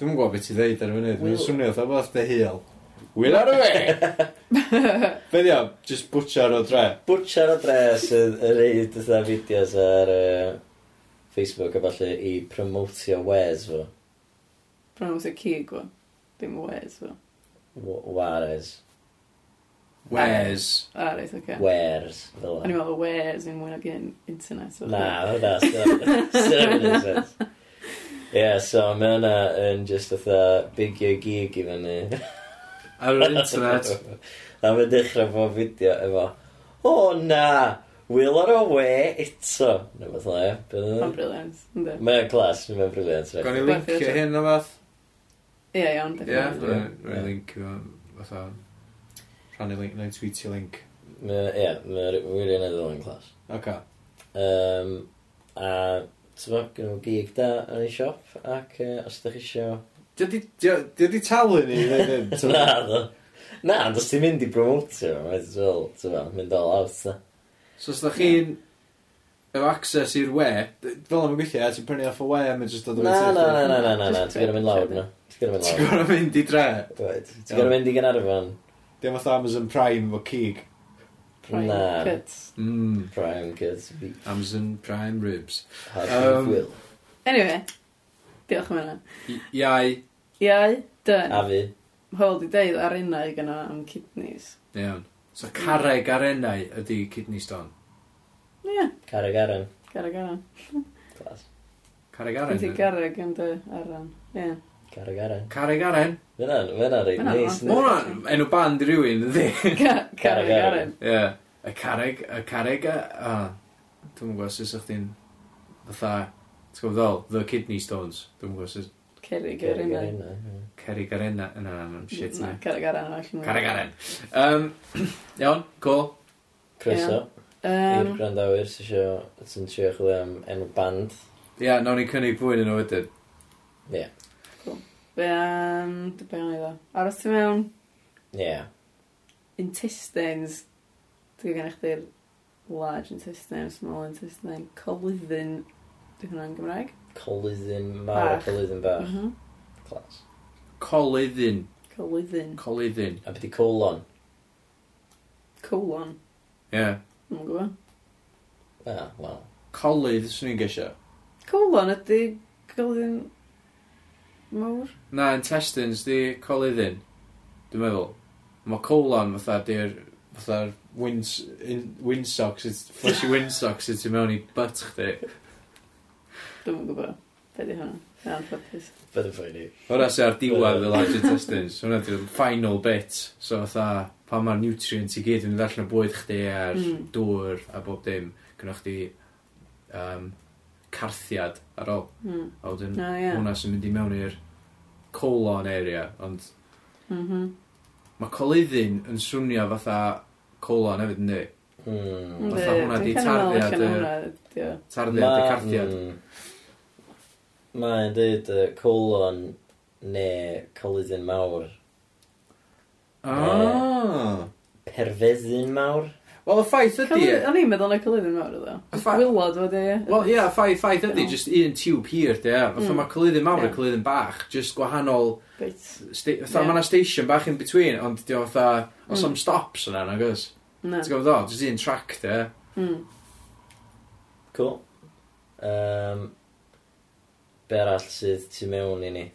E: Dwi'n gwybod beth i ddeud ar y funud. Dwi'n
C: Wil-
E: swnio oedd beth dy hil. Wil ar y we! Be di o? Just butcher o dre.
C: Butcher o dre sydd yn reid ytha fideos ar uh, Facebook a falle i promotio wares fo,
B: Bron o'n cig fo. Dim wes fo.
C: W- wares,
A: Wes.
B: A reit, oce.
C: wares, fel
B: O'n i'n
C: yna.
B: meddwl wes yn mwy na gen internet. oedd
C: Na,
B: e?
C: hwnna, sy'n Ie, so mae hwnna yn just fatha bigio gig i fyny.
A: Ar yr internet.
C: A mae'n dechrau fo fideo efo, o na, Will ar o we eto. Neu beth le,
B: Mae'n
C: beth
B: briliant. Ynddi.
C: Mae'n glas, mae'n briliant.
A: Gawn ni
B: Gwaith
A: linkio
B: edrych.
A: hyn o fath?
B: Ie, iawn,
A: Ie,
B: definitely.
A: gawn ni linkio fatha. Rhannu link, neu tweetio link.
C: Ie, mae'n wirio'n edrych yn glas.
E: Oce.
C: Um, a, ti'n fawr, gyda nhw gig da yn ei siop, ac yy, os ydych eisiau
E: Dydi dio di talu ni i ddeud hyn? t'mo'?
C: Na, do. Na, ond os ti'n mynd i promotio, mae'n fel, ti'n fel, mynd all out, ta.
E: So os da chi'n efo access i'r we, d- fel yma'n gweithio, ti'n prynu off y we, mae'n just dod o
C: Na, na, na, na, na, na, na,
B: Just
C: ti'n gorau mynd lawr, na. Ti'n gorau mynd
E: Ti'n
C: lawr.
E: gwrdd mynd i dre?
C: Right. Ti'n gorau mynd i Gynarfon.
E: Dim oedd Amazon Prime fo cig.
B: Prime
C: Na.
B: cuts.
A: Mm.
C: Prime Kids Beat.
A: Amazon Prime Ribs.
C: Harry
A: Um,
C: Will.
B: Anyway, diolch am hynna.
A: I- Iau.
B: Iau, dyn.
C: A fi.
B: Hwyl di deud ar unna gyna am kidneys.
A: Iawn. So carreg ar enau ydi kidney stone.
B: Ie,
C: Carag Aran.
B: garag aran.
C: Clas.
A: Carreg
B: Dwi'n ti
A: aren.
B: garag yn dy aran. Ie.
C: Carag Aran.
A: Carreg aren.
C: Fyna, fyna reit
B: Fyna'n
C: neis.
B: lot.
A: Mae hwnna'n enw band i rywun, ydi?
B: Ga-
C: Garag
B: Garag
C: aran.
B: aran.
A: Ie. Y carreg, y carreg, a... a Dwi'n gwybod sut ydych chi'n fatha, ti'n gwybod ddol, the kidney stones. Dwi'n gwybod sut
B: Cerig ar
C: Carag
B: unna.
C: Aran.
A: carreg ar enau. Na, na, na, shit
B: Na,
A: na.
B: garag aran. all yn-
A: Carreg aren. Um, iawn, cool.
C: Croeso. I'r
B: Yym,
C: grandawyr sy'n sio, sy'n trio chwilio am enw band.
A: Ie, yeah, nawn ni cynnig fwy yn o wedyn.
C: Ie.
B: be am... Dwi'n bewn i ddo. Aros ti mewn
C: Ie.
B: intestines. Dwi'n gan chdi'r large intestine, small intestine, colyddin. Dwi'n hwnna'n Gymraeg.
C: Colyddin mawr a
B: Bach.
C: colyddin bach.
B: Mhm.
C: Clas.
A: Colyddin.
B: Colyddin.
A: Colyddin.
C: A beth i colon?
B: Colon.
A: Ie. Yeah.
B: Dwi'n gwybod.
C: Ah, wel.
A: Colydd, swn i'n gesio.
B: Colon ydy golden mawr?
A: Na, intestines di colyddin. Dwi'n meddwl. Mae colon fatha di'r... Fatha'r wins, in, winsocks, it's fleshy winsocks sydd tu mewn i butt chdi.
B: Dwi'n yn gwybod. Be di hwnna? Na, ffodus.
C: Bydd yn ffynnu.
A: Hwna sy'n ar diwedd y large intestines, hwnna di'r final bit, so fatha, pa mae'r nutrients i gyd yn mynd allan o bwyd chdi a'r
B: Mm.
A: dŵr a bob dim, gynnwch chdi um, carthiad ar ôl,
B: Mm.
A: a wedyn
B: O, ie.
A: Hmm. hwnna sy'n mynd i mewn i'r colon area, ond
B: Mhm.
A: mae colyddin yn swnio fatha colon hefyd yn di,
C: Hmm.
A: Fatha
B: Yndi,
A: hwnna
B: dwi'n
A: di
B: kind of meddwl
A: tarddiad,
B: allan o
A: yy,
B: hwnna, ydi o.
A: tarddiad y carthiad.
C: hmm. Mae'n dweud uh, colon neu colyddin mawr.
A: Ah!
C: Perfeddin mawr?
A: Wel, y ffaith ydi...
B: Cylydd- O'n i'n meddwl na colyddyn mawr ydw.
A: Y ffa-
B: Wilod wedi.
A: Wel, ie, yeah, ffaith, ffaith ydi,
B: Iawn.
A: just un tube hir, de, fatha
B: Mm.
A: mae colyddin mawr a
B: Ie.
A: colyddin bach, just gwahanol
B: Bit.
A: Sti- Fatha
B: Ie.
A: yeah. Hmm. ma'na station bach in between Ond di o fatha O
B: Mm.
A: some stops yna na gos
B: Na.
A: Ti'n gofod o? Just un track de
B: Mm.
C: Cool. Um, be arall sydd tu mewn i ni?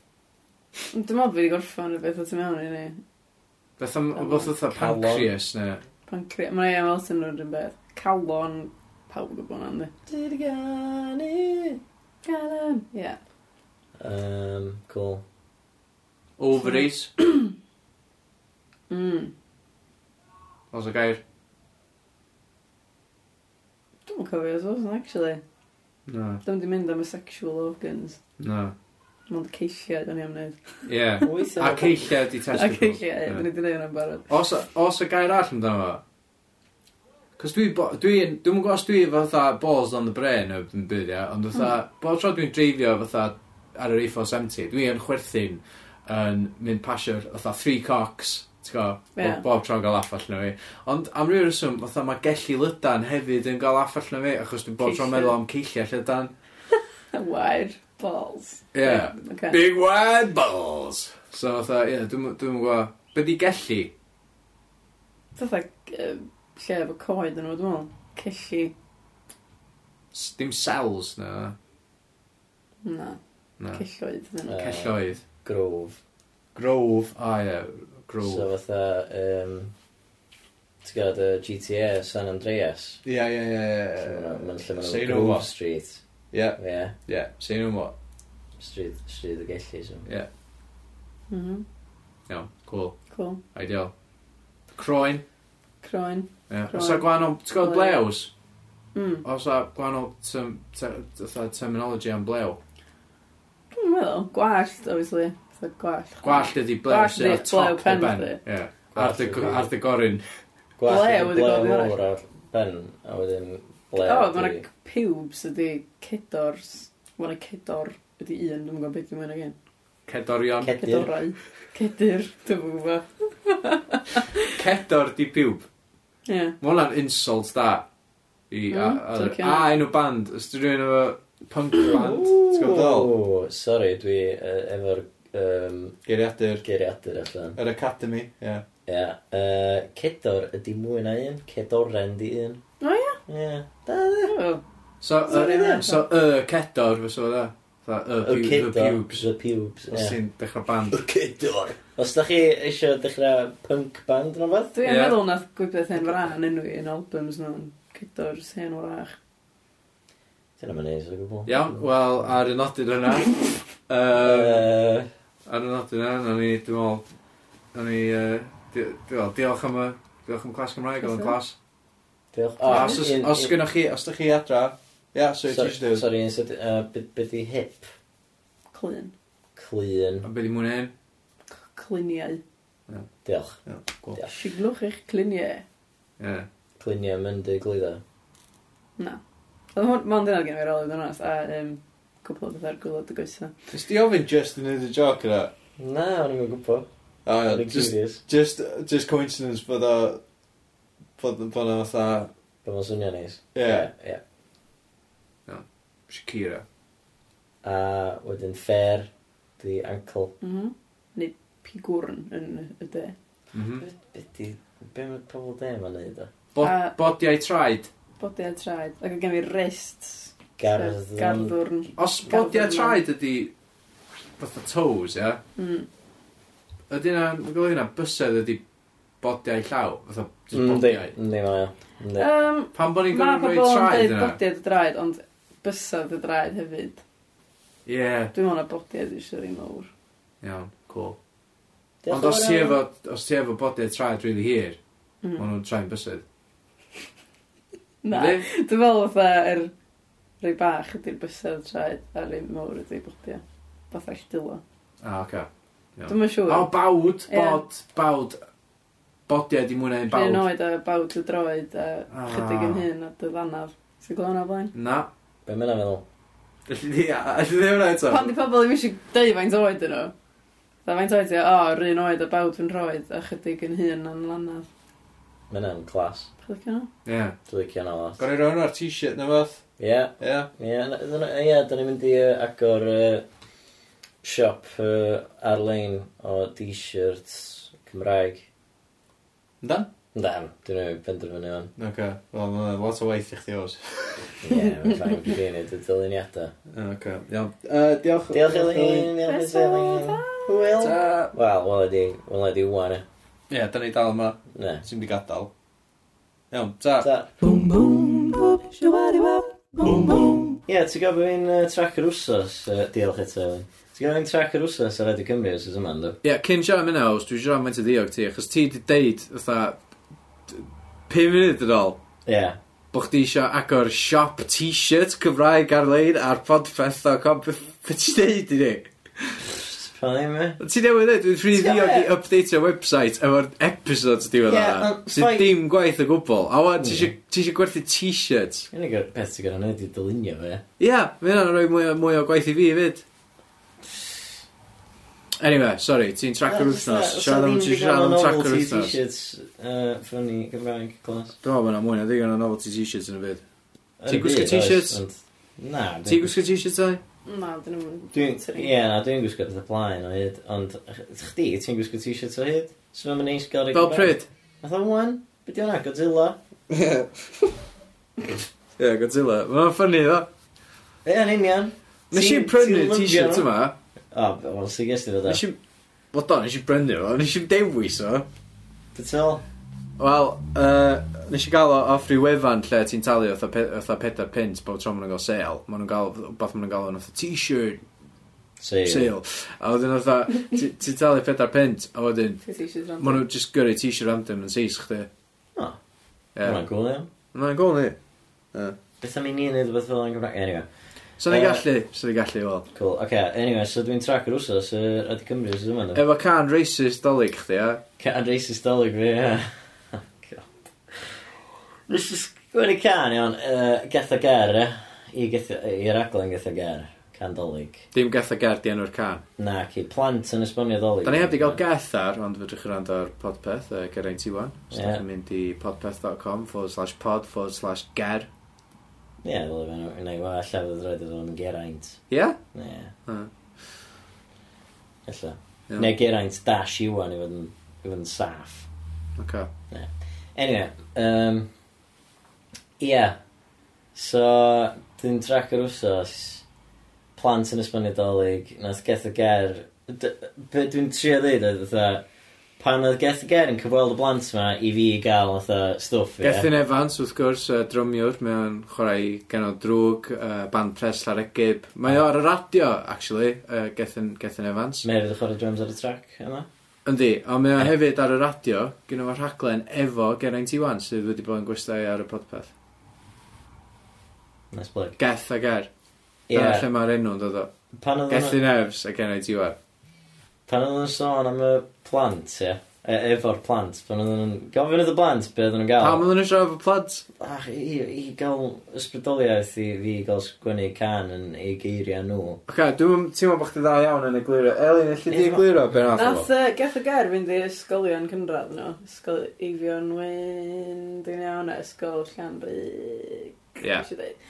B: Dwi'n meddwl bod wedi gorffan rhywbeth o tu mewn i ni.
A: Fatha
B: Calon.
A: Fatha fatha
C: Calon.
A: pancreas ne
B: Pancre... Mae'n ei aml sy'n rhywun beth. Calon. Pawb o bod yna,
C: Did I got it?
B: Calon. Ie.
C: Um, cool.
A: Ovaries
B: Mm.
A: Os o gair
B: Dwi'n meddwl cofio os oes, actually.
A: Na
B: Dwi'n di mynd am y sexual organs.
A: Na
B: Mond ceilliad o'n i am wneud.
A: Ie A
C: Weithio.
A: ceillia di
B: A
A: testicle
B: ceilliad, dwi'n i di wneud hwnna'n barod.
A: Os os o gair all amdano fo Cos dwi, bo- dwi'n, dwi'n gwybod os dwi fatha balls on the brain o ddim byd, ia, ond fatha,
B: Hmm.
A: mm. bod tro dwi'n dreifio fatha ar yr A470, dwi yn chwerthin yn mynd pasio fatha three cocks, ti'n go,
B: Ie.
A: yeah. bob tro'n gael laff allan o fi. Ond am ryw reswm, fatha mae gellu lydan hefyd yn gael laff allan o fi, achos dwi'n bob tro'n
B: Ceisio.
A: meddwl am ceilliau lydan.
B: Wide balls.
A: Ie.
B: Ocê.
A: Big wide balls! So fatha, ie, yeah, dwi'n dwi gwybod, be di gellu?
B: Fatha yy, lle efo coed yn nhw, dwi'n meddwl. Celli.
A: S- Dim cells, na.
B: Na.
A: na.
B: Celloedd yn nhw.
C: Yy.
A: Celloedd.
C: Grove.
A: Grove. Ah, ie. Grove.
C: So fatha, um, ti'n gwybod uh, GTA San Andreas?
A: Ie, ie, ie,
C: Lle ma' nhw- lle ma' nhw'n
A: Say no
C: Grove
A: more.
C: Street.
A: Ie,
C: Ie, yeah,
A: ie. Say no more.
C: Street, Street y Gellu. So.
A: Ie.
B: Mhm.
A: Iawn, cool.
B: Cool.
A: Ideal. Croen.
B: Croen.
A: Ie.
B: Croen.
A: Os a gwahanol... Ti'n gwybod
B: Croen.
A: blews?
B: Mm.
A: Os a gwahanol term- ter- fatha terminology am blew.
B: Dwi'n meddwl. Gwallt, obviously. Fatha gwallt.
A: Gwallt ydi blew
B: Gwallt
A: sy'n
B: ydi
A: ar top
B: blew
A: dy
B: pen
A: ben.
B: chdi.
A: Ie. Ar
C: Gwallt
A: dy
C: ydi-
A: ar dy gorin.
C: Gwallt
B: Ble
C: yn
B: wedi
C: ble
B: gofyn arall?
C: mowr ar ben, a wedyn ble
B: O,
C: ydi-
B: mae'n pubes ydi cedors. Mae'n cedor ydi un, dwi'n gwybod beth dwi'n mynd again.
A: Cedorion.
C: Cedir.
B: Cedorau. Cedir, dwi'n gwybod.
A: Cedor di piwb.
B: Ie.
A: Mae hwnna'n insult da. I, a,
B: Mm,
A: a,
B: dwi'n
A: a,
B: licio.
A: enw band. Os dwi'n rhywun efo punk band. Ti'n gwybod ddol?
C: O, Sorry, dwi uh, efo'r um,
E: Geiriadur.
C: geiriadur allan.
E: Yr Academy, ie.
C: Ie. Yeah. Uh, cedor ydi mwy na un, cedoren di un.
B: O, ie?
C: Ie.
B: O,
A: So,
B: Sorry,
A: y,
B: na.
A: so, y cedor, fysa fo dda. Fatha,
C: Y
A: y pu- the
C: cedor,
A: pubes.
C: the pubes.
A: Os
C: ie.
A: ti'n dechrau band.
C: Y cedor. Os da chi eisiau dechrau punk band yn fath?
B: Dwi'n
A: Ie.
B: meddwl nath gwybod hen fran enw i yn albums nhw'n cedors hen wrach.
C: Dyna ma'n neis o gwbl.
A: Iawn, wel, ar y nodyn yna, yym,
C: Uh,
A: ar y nodyn yna, na ni, dwi'n meddwl, na ni, yy, di- dwi'n meddwl, diolch am y, diolch am clas Cymraeg, oedd yn clas.
C: diolch.
A: A
C: Ah,
A: Os,
C: un-
A: os
C: un-
A: gynnwch chi, os
E: Os da chi adra, ie, so
C: Sorry,
E: ti'n siŵr.
C: sorry, un sydd- yy, be- be di hip?
B: Clyn.
C: Clun.
A: am beth i mwyn hyn,
B: C- Cliniau.
C: Diolch.
B: Siglwch eich cliniau.
A: ie.
C: Clunia myndi gliddo.
B: Na. Oedd hwn, mae'n dyna gen i'r olwyd yn oes, a um, cwpl o beth ar gwylod y goesa.
E: Ys di ofyn just yn neud y joc yna?
C: Na, o'n i'n gwybod.
E: O,
C: O'n
E: ie,
C: i'n
E: just,
C: curious.
E: just, just coincidence bod o, bod bod o fatha,
C: Be ma'n swnio neis.
E: ie.
C: Ie, ie.
A: Shakira.
C: A wedyn fair, di ankle.
B: Mhm. Neu pigwrn yn y de.
A: Mhm.
C: Be di, be mae pobl de ma'n neud o?
A: Bo-
B: A-
A: Bodiau traed.
B: Bodiau traed. Ac oedd gen i wrists.
C: Gardd.
B: Garddwrn.
A: Os
B: Garddwrn.
A: bodiau traed ydi, fatha toes, ie,
B: Mm.
A: ydy na, mae'n golygu na, bysedd ydi bodiau llaw, fatha, just
C: Mm, Yndi,
A: bodiau.
C: yndi mae o. Yndi.
B: Um,
A: Pan bod ni'n
B: Mae
A: gorfod rhoi
B: pobl yn
A: traed
B: dweud
A: yna?
B: bodiau dy draed, ond bysedd dy draed hefyd.
A: Ie,
B: Dwi'n meddwl na bodi edrych sy'n rhi mawr.
A: iawn, cool. Ond os ti efo, os ti efo body traed really hir, mm.
B: Mm.
A: maen nhw'n traen bysedd.
B: Na,
A: Yndi?
B: dwi'n meddwl fatha yr rhai bach ydy'r bysedd traed a rhai mawr ydy'r bodi. Fatha eich dilo.
A: Ah, oce. Iawn.
B: Dwi'n meddwl
A: O,
B: siŵr.
A: bawd,
B: Ie.
A: bod, bawd. Bodiau di mwynhau'n
B: Rha'n
A: bawd.
B: oed a bawd y droed a
A: Ah.
B: chydig yn hyn a dy ddanaf. Ti'n glwyn o blaen?
A: Na.
C: Be mae'n meddwl?
A: Alli di, alli di hwnna eto?
B: Pan di pobl ddim eisiau dweud faint oed yn nhw. Da faint oed ti, o, rhan oed a bawd yn droed a chydig yn hyn a'n lanaf.
C: Mae'n clas.
B: Chydig yna?
A: Ie.
C: Dwi'n licio yna lot.
E: Gorau rown o'r t-shirt na fath.
C: Ie,
E: Ie.
C: ie. na- na- Ie, da ni'n mynd i yy, agor yy, siop yy, ar-lein o t-shirts Cymraeg.
E: Dan?
C: Dan, dwi'n ei benderfynu fan.
E: Oce. Wel, mae'n lot o waith i chdi os.
C: Ie, mae'n ffain i fi wneud y dyluniadau.
E: Oce. Iawn. Yy, Diolch.
C: Diolch Elin, diolch
B: Croeso,
C: Elin. Hwyl.
E: Ta.
C: Wel, wel ydi, wel ydi wwan e.
E: Ie, da ni dal yma.
C: Ne.
E: Ti'n di gadael. Iawn, ta.
C: Ta.
D: Boom boom boop shawadibop boom boom
C: Ie, ti'n gael bod fi'n uh, trac yr wsos, uh, diolch eto Elin. Ti'n gael fi'n trac yr wsos ar Radio Cymru os ys yma, ynddo?
A: Ie, cyn siarad mynd aws, dwi'n siarad mynd i ddiog ti, achos ti di deud, fatha, 5 munud yn ôl,
C: Ie.
A: bo chdi isio agor siop t-shirt Cymraeg ar-lein ar podfeth.com. Be be ti'n deud i ni?
C: Pa ddim e?
A: Ti'n newid dweud, dwi'n rhi
B: Ti'n
A: ddiog i
B: gwbod
A: update o website efo'r episodes diwedd
C: Ie,
A: yeah,
C: ond
A: yna. Sy'n
C: fine.
A: dim gwaith o gwbl. A
E: Mm.
A: wan, ti
C: Ie.
A: isio- ti isio gwerthu t-shirts.
C: Unig o'r peth ti'n gael wneud i dylunio fe.
A: Ie, yeah, mae hynna'n rhoi mwy, o- mwy o gwaith i fi fyd. Anyway, sorry, ti'n trac yr wythnos. Siarad am ti'n siarad am trac yr wythnos. Dwi'n
C: T-shirts uh, ffynnu Gymraeg clas.
A: meddwl bod yna mwy na ddigon o novelty t-shirts yn y fyd. Ti'n gwisgo t-shirts?
C: Na.
A: Ti'n gwisgo t-shirts ai?
B: Na, dyn
C: Dwi'n,
B: nhw'n
C: ie, na, dwi'n gwisgo pethau plaen o hyd, ond ch- chdi, ti'n gwisgo t-shirts o hyd? So mae'n neis gael
A: Fel pryd?
C: Nath o'n wan, beth yna, Godzilla?
A: Ie, yeah, Godzilla. Mae'n ffynnu ddo.
C: Ie, yn union.
A: Nes i
C: Ti'n-
A: prynu
C: ti'n lyfio
A: t-shirt
C: nhw?
A: yma.
C: O, be- wel, sy'n gesti fod o.
A: Nes i... Wel, do, nes i brynu fo. Nes i dewis o.
C: Beth ol?
A: Wel, uh, nes i gael o off rhyw wefan lle ti'n talu otha pe- otha pedair pint bob tro maen nhw'n gael sale. Maen nhw'n gael, beth maen nhw'n gael o'n otha t-shirt
C: Seil.
A: sale. A wedyn otha, ti- ti'n talu pedair pint, a wedyn, maen nhw'n just gyrru t-shirt random yn seis chdi.
C: O,
A: Ie.
C: mae'n gwyl iawn.
A: Mae'n gol ni.
C: Beth am i ni wneud beth fel yn Gymraeg? Anyway,
A: So ni'n
C: Yy.
A: gallu, so ni'n gallu, wel.
C: cool. Oce, anyway, so dwi'n trac yr wsos, yy, Radio Cymru, sy'n yma.
A: Efo can racist dolyg chdi, a?
C: Can racist dolyg fi, ie. God. Nes i sgwini can, iawn, uh, gatha ger, e. I gatha, i'r aglen gatha ger. Can dolyg.
A: Dim geth a gerd i enw'r can.
C: Na, ci, plant yn esbonio dolyg.
A: Da ni heb di gael geth ar, ond fydrych chi rand o'r podpeth, uh, geraint i wan. So
C: Ie.
A: yeah. mynd i podpeth.com forward slash pod forward slash ger.
C: Ie, fel yw'n gwneud, wel, allaf fydd roed oedd o'n geraint.
A: Ie? Yeah?
C: Ie.
A: Hmm.
C: Alla.
A: Ie.
C: Neu geraint dash iwan i fod yn, i fod yn saff.
A: Okay.
C: Anyway, um, ie. Yeah. So, dwi'n trac yr wsos, plant yn esbonio dolyg, nath geth y ger, d- be dwi'n trio ddeud oedd fatha, pan oedd geth y ger yn cyfweld y blant ma i fi gael fatha stwff, ie.
A: Gethin Evans, wrth gwrs, uh, drymiwr, mae o'n chwarae i ganol drwg, uh, band pres ar egyb. Mae o ar y radio, actually, uh, Gethin, Gethin Evans.
C: Merydd y chwarae drums ar y trac yma.
A: Yndi, ond mae o hefyd ar y radio, gyda fo'r rhaglen efo Geraint Iwan, sydd wedi bod yn gwestau ar y podpeth.
C: Nice plug.
A: Geth a Ger.
C: Ie,
A: Dyna lle mae'r enw'n dod o.
C: pan oedd hwnna-
A: Gethin Evans a Geraint Iwan.
C: Pan oedden nhw'n sôn am y plant, ie, e, efo'r plant, pan oedden nhw'n gofyn wrth y plant be oedden nhw'n gael.
A: Pam oedden nhw'n siarad fo plant?
C: Ach, i, i gael ysbrydoliaeth i fi gael sgwennu can yn ei geiriau nhw.
A: Ok, dwi'n teimlo bod chdi dda iawn yn egluro. Elin, allu di egluro be nath
B: Nath
A: o?
B: uh, gath y ger fynd i ysgolion cynradd nhw. Ysgol Eifion Wyn, dwi'n iawn, a ysgol Llanrig.
A: Ie.
B: Nes i ddeud.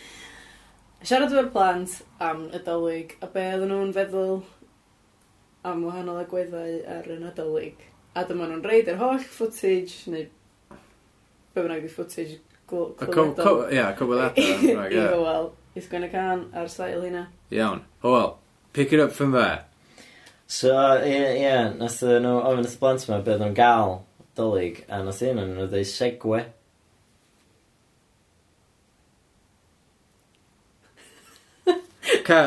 B: Siarad efo'r plant am y dolyg, a be oedden nhw'n feddwl am wahanol agweddau ar y nadolig. A dyma nhw'n reid yr holl footage, neu be bynnag di footage gl-
A: Y co-
B: clywedol.
A: co- Ie, cwbl
B: I
A: eto.
B: fywel, i sgwyn y can ar sail hynna.
A: Iawn. Hwyl, pick it up from there.
C: So, ie, ie, nath nhw ofyn wrth y blant yma be oedden nhw'n gael dolyg, a nath un o'n nhw dweud segwe.
A: Ca...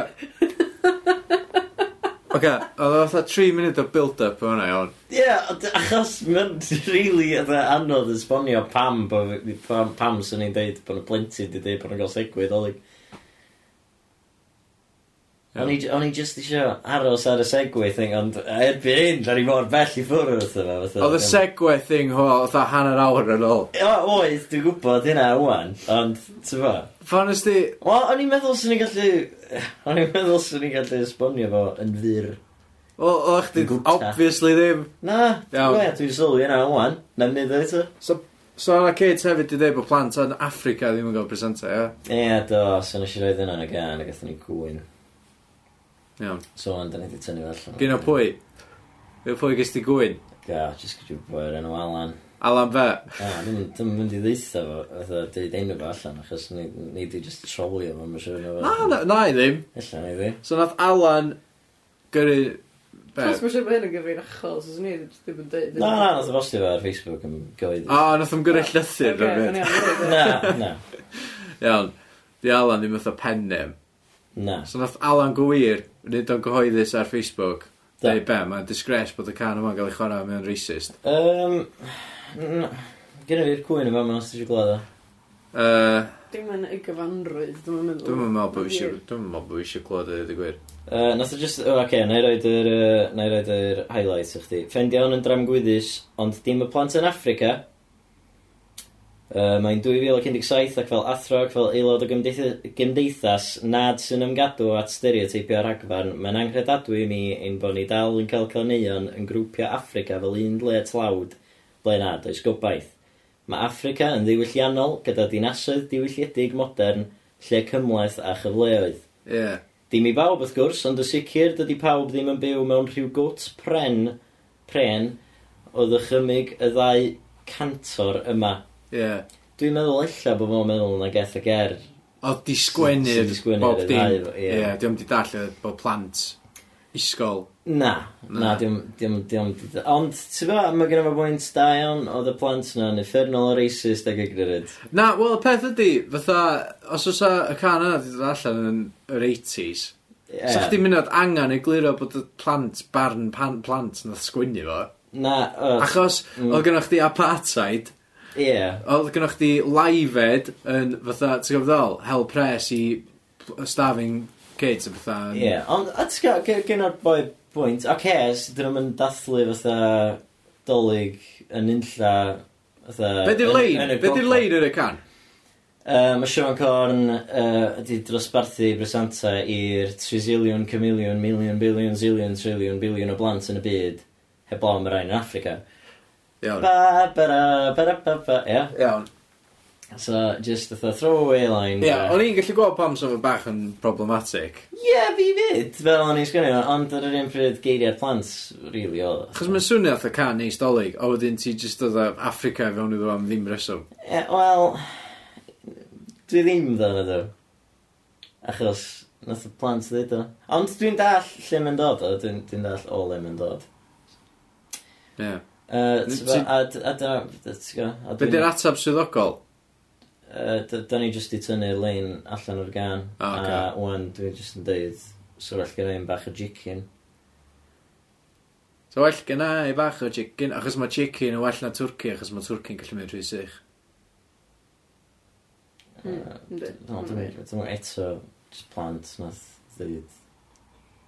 A: Oce, oedd o fatha 3 munud o build-up o hwnna iawn.
C: Ie, ond achos mae'n rili really anodd esbonio pam, bo, fi- pam, pam sy'n ei dweud bod y blentyn di dweud bod nhw'n cael segwyd. Oedd i- O'n i j- o'n i just isio aros ar y segwyd thing, ond erbyn hyn, da ni mor bell i ffwrdd wrth yma. fatha.
A: Oedd y segwe thing ho, oedd a hanner awr yn ôl.
C: O, oedd, dwi'n gwybod hynna rwan, ond, ti'n fa?
A: Fan ys di...
C: Wel, o'n i'n meddwl swn i'n gallu... O'n i'n meddwl swn i'n gallu esbonio fo yn fyr.
A: Wel, oedd chdi
C: Gwta.
A: obviously ddim.
C: Na,
A: Iawn.
C: dwi'n dwi sylwi yna o'n na mi ddweud eto.
A: So, so ar y kids hefyd i dweud bod plant yn Africa ddim yn cael presenta, ia?
C: Ie, do, so nes i roed yna yn y gan, a gathen ni gwyn.
A: Iawn.
C: So, ond, da ni wedi tynnu fe allan.
A: Gyn o pwy? Fe pwy gys di gwyn?
C: Ga, jyst gyda boi'r enw Alan.
A: Alan fe.
C: A, dwi'n dwi'n mynd i ddeitha fo, fatha, deud enw fo allan, achos ni ni di just trolio fo, mae'n siwr
A: Na, na, na i ddim.
C: Ella, ni di.
A: So nath Alan gyrru... Be?
B: Plus, mae'n siŵr bod hyn yn gyfrin achol, so swn i ddim yn dweud.
C: Na, na, nath o bostio fo ar Facebook yn
A: O,
C: goedd.
A: nath o'n gyrru llythyr rhywbeth.
C: Na, na,
A: Iawn. Di Alan ddim fatha pen name.
C: na.
A: So nath Alan Gwir, nid o'n gyhoeddus ar Facebook,
C: Da.
A: dweud be, mae'n disgres bod y can yma'n cael ei chwarae mewn racist.
C: Yym, n- Gynna fi'r cwyn yma, mae'n os ti eisiau glada.
A: Uh,
B: Dim yn y gyfanrwydd, dwi'n meddwl.
A: Dwi'n meddwl bod fi eisiau, dwi'n meddwl bod fi eisiau clywed y gwir.
C: Uh, nath o just, o, oh, okay, na i roed yr, uh, na i roed yr highlights i chdi. Ffendion yn dram gwyddus, ond dim y plant yn Africa. Uh, Mae'n 2017 ac fel athro ac fel aelod o gymdeitha- gymdeithas nad sy'n ymgadw at stereoteipio ar agfarn, mae'n anghredadwy i mi ein bod ni dal yn cael caneuon yn grwpio Africa fel un le tlawd, ble nad oes gobaith. Mae Africa yn ddiwylliannol gyda dinasoedd diwylliedig modern, lle cymleth a chyfleoedd.
A: Ie.
C: Dim i bawb wrth gwrs, ond y sicr dydy pawb ddim yn byw mewn rhyw gwt pren, pren o ddychymyg y ddau cantor yma.
A: Ie.
C: Dwi'n meddwl ella bod fo'n meddwl na geth Er. y ger.
A: Oedd di
C: Sy-
A: sgwennu'r
C: sy 'di sgwennu'r
A: bob
C: y
A: dim.
C: ddau, ie.
A: Ie, diwm di darllen bod plant isgol.
C: Na, na,
A: Na.
C: dim, dim, dim, dim, ond ti'n fa, mae gen i fo bwynt da iawn oedd y plant na'n effernol o racist ag ignorant.
A: Na, wel, y peth ydi, fatha, os oes y can yna wedi dod allan yn yr 80s,
C: Ie.
A: yeah. sa'ch di mynd angen egluro bod y plant, barn pan, plant nath sgwynnu fo.
C: Na, o,
A: Achos,
C: Mm.
A: oedd gynnwch di apartheid,
C: ie.
A: Oedd gynnwch chdi laifed yn fatha, ti'n gwybod ddol, hel pres i starving kids yn fatha. yn-
C: Ie, ond atgo, gen o'r boi bwynt, ac es, dyn nhw'n mynd dathlu fatha dolyg yn unlla fatha...
A: Be di'r
C: yn-
A: lein?
C: yn y
A: Be di'r
C: gogledd.
A: lein yn y can?
C: Yy, Mae Sean Corn uh, wedi drosbarthu bresanta i'r trisiliwn, camiliwn, miliwn, biliwn, ziliwn, triliwn, biliwn o blant yn y byd heblaw am y rai yn Africa.
A: Iawn.
C: Ba, ba, ba, ba, ba, ia.
A: Iawn.
C: So, just fatha throwaway line.
A: Ie,
C: bach.
A: o'n i'n gallu gweld pam sy'n bach yn problematic.
C: Ie, fi fyd, fel o'n i'n sgwini, ond ar yr un pryd geiriau'r plant, rili, oedd.
A: Chos mae'n swnio fatha can neis dolyg, a wedyn ti jyst oedd o Africa i fewn iddo fo am ddim reswm.
C: E, Wel, dwi ddim ddyn nhw. Achos, nath y plant ddweud o. Ond dwi'n dall lle mae'n dod o, dwi'n dwi dall o le mae'n dod.
A: Ie.
C: Uh,
A: Ti-
C: a d- a dyna, ti'n gwybod?
A: Be di'r atab swyddogol?
C: Da ni jyst i tynnu'r lein allan o'r gan.
A: O, ocê.
C: A wan, dwi'n jyst yn dweud, sgwrall gen i'n bach o jicin.
A: So well gen i bach o chicken, achos mae chicken yn well na twrci, achos mae twrci'n gallu mynd rhy sych.
C: Hmm, No, dwi'n dwi'n eto, jyst plant, nath ddweud,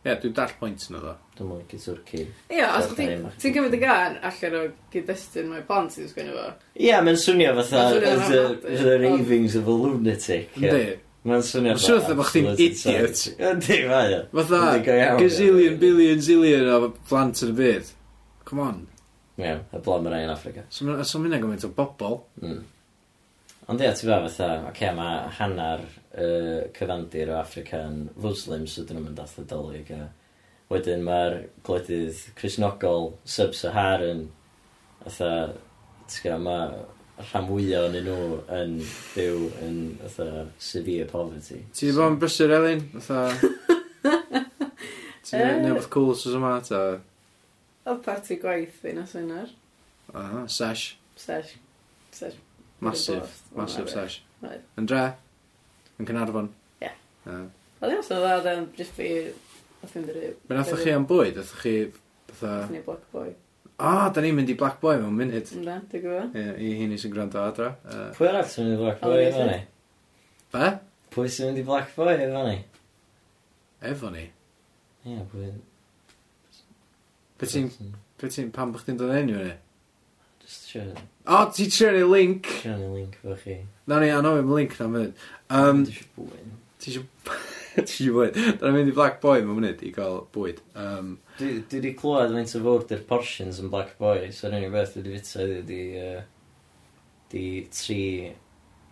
A: Ie, dwi'n dall pwynt yn oedd o.
C: dwi'n mwyn gyda'r cyn.
B: Ie, os chdi- ti'n cymryd y gan allan o gyd-destun mae plant sy'n sgwini fo.
C: Ie, mae'n swnio fatha
B: Ma'n swnio
C: the,
B: fatha-
C: the ravings of a lunatic. ie.
A: Yndi.
C: Mae'n swnio
A: Ma'n siŵr fatha bo' chdi'n
C: absolute
A: idiot.
C: insanity. Yndi, mae o.
A: Fatha,
C: Yndi, go iawn,
A: gazillion,
C: ie.
A: billion, zillion o plant yn y byd. Come on.
C: Ie, y blom yn ein Africa.
A: So ma- so ma' hynna'n gymaint o bobl.
C: Mm. Ond ie, ti fa fatha, oce, mae hanner uh, cyfandir o Africa yn Muslim, so dyn nhw'n dathlu dolyg. A wedyn mae'r gwledydd Cresnogol, Sub-Saharan, fatha, ti'n gwybod, mae rhan fwyaf o'n nhw yn byw yn fatha severe poverty.
A: Ti wedi bod yn brysur, Elin? Fatha... Ti
B: Yy.
A: wedi bod cool sy'n yma, ta...
B: Oedd parti gwaith fi na synar.
A: Aha, sesh.
B: Sesh. Sesh.
A: Massive.
B: Bost.
A: Massive
B: Wel,
A: sesh.
B: Oedd.
A: Yn dre? Yn Cynarfon?
B: Ie.
A: Ie.
B: Oedd iawn sy'n dda, dda, jyst fi Oedd yn dweud...
A: Mae'n athoch chi am bwyd, athoch chi... Fatha...
B: Oedd yn black boy.
A: Ah, da ni'n mynd i Black Boy mewn munud.
B: Ynda, dwi'n gwybod.
A: Ie, I hyn i sy'n gwrando adra. Yy,
C: Pwy arall sy'n mynd i Black Boy
B: Olivia
C: efo ni?
A: Be?
C: Pwy sy'n mynd i Black Boy efo ni?
A: Efo ni.
C: Ie, pwy...
A: Be ti'n... Be ti'n... Pan bych ti'n dod enw ni?
C: Just siarad
A: O, oh, ti'n trio ni link!
C: siarad ni link efo chi.
A: Na ni, anofim link na mynd. Um,
C: Dwi isio bwyd.
A: ti isio... ti isio bwyd. Da ni'n mynd i Black Boy mewn munud i gael bwyd. Um,
C: Dwi dwi wedi clywed faint o fod yr portions yn Black Boy, so'r unig beth dwi wedi fita ydi di, uh, di tri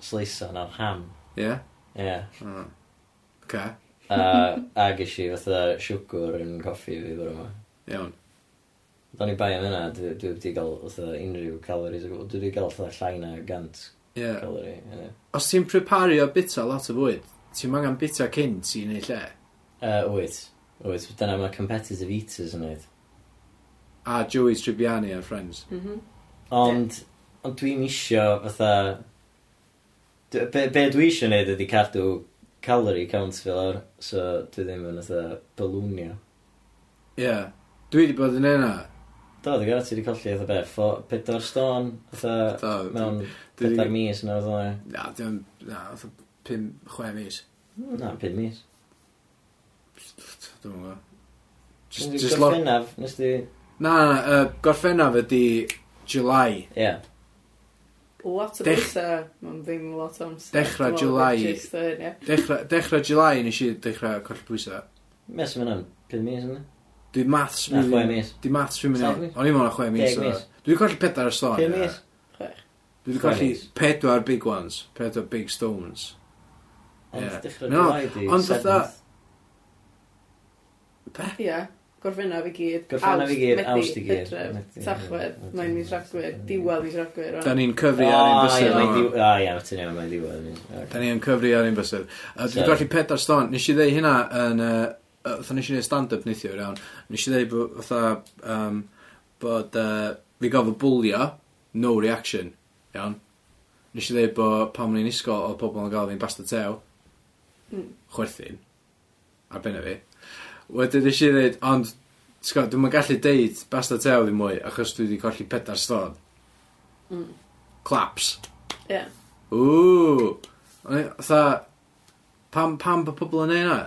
C: sleisan ar ham.
A: Ie?
C: Ie. Yeah.
A: Mm. Ca.
C: A, a ges i fatha siwgr yn coffi fi bore yma.
A: Iawn.
C: Do'n i bai am hynna, dwi dwi wedi cael fatha unrhyw calories. o gwbl. Dwi wedi cael fatha llai na gant
A: Ie.
C: calori. ie.
A: Os ti'n prepario bita lot o bwyd, ti'n mangan bita cynt i neu lle.
C: Yy, Wyt. Wyt, dyna mae competitive eaters yn neud.
A: A Joey's Tribbiani a Friends.
B: Mhm.
C: Ond, ond dwi'n isio fatha... d- Be, be dwi isio neud ydi cadw calorie count fel ar, so dwi ddim yn fatha balwnio.
A: Ie. Yeah. Dwi wedi bod yn enna.
C: Do, dwi'n gwybod ti wedi colli fatha be, ffo- pedwar stôn, fatha,
A: Do,
C: mewn
A: dwi-
C: pedwar mis na fatha.
A: Na, dwi'n... Na, oedd 5-6 mis.
C: Na, pum mis.
A: Dwi'n gwybod. Just,
C: Just
A: just lot... Na,
C: gorffennaf, nes di...
A: na, na, uh, gorffennaf ydi July.
C: Ie.
B: Lot o
A: Dech-
B: bwysa, mae'n ddim lot o amser.
A: Dechra
B: Dwi'n
A: July.
B: meddwl bod jyst o hyn, ie.
A: Dechra, dechra July nes i dechrau colli pwysau.
C: Mes yma na'n pum mis yna.
A: Dwi maths
C: Na,
A: rili-
C: chwe mis.
A: Dwi maths rhywun yn
C: Saith
A: iawn.
C: mis?
A: O'n i'n mwyn o 6 mis.
C: Deg
A: oedd o.
C: mis.
A: Dwi wedi colli pedwar o stôn.
C: Pum
A: ie.
C: mis.
B: Chwech.
A: Dwi wedi
C: Chwe
A: colli
C: mis.
A: pedwar big ones. Pedwar big stones.
C: Ond
A: Ie.
C: dechrau
A: No,
C: July di,
A: ond
C: seventh.
A: fatha- Be?
B: Ie, gorffennaf i gyd.
C: Gorffennaf i gyd,
B: Medi,
C: Awst i gyd.
B: Hydref,
C: Medi,
B: Tachwedd,
C: Medi,
B: mae'n mis Rhagfyr, diwedd mis Rhagfyr.
A: Da ni'n cyfri ar un
C: O, Oh, ie,
A: bysedd.
C: mae'n
A: yma.
C: diw- o, ie, ti'n iawn, mae'n diwedd. mis. Ocê.
A: Da ni yn cyfri ar un bysedd. A Dwi'n
C: Sorry.
A: golli pedar stôn. Nes i ddeu hynna yn... Uh, Fytha nes i ddeu stand-up neithio iawn. Nes i ddeu fatha... Um, bod uh, fi gael fy bwlio, no reaction, iawn. Nes i ddeu bod pan o'n i'n isgol o pobl yn gael fi'n basta tew,
B: Mm.
A: chwerthin, ar benna fi. Wedyn nes i ddweud, ond, sgol, dwi'n ma'n gallu deud basta tew ddim mwy, achos dwi wedi colli pedar stôn.
B: Mm.
A: Claps.
B: Ie.
A: Ww. Tha, pam, pam bod pobl yn neud na?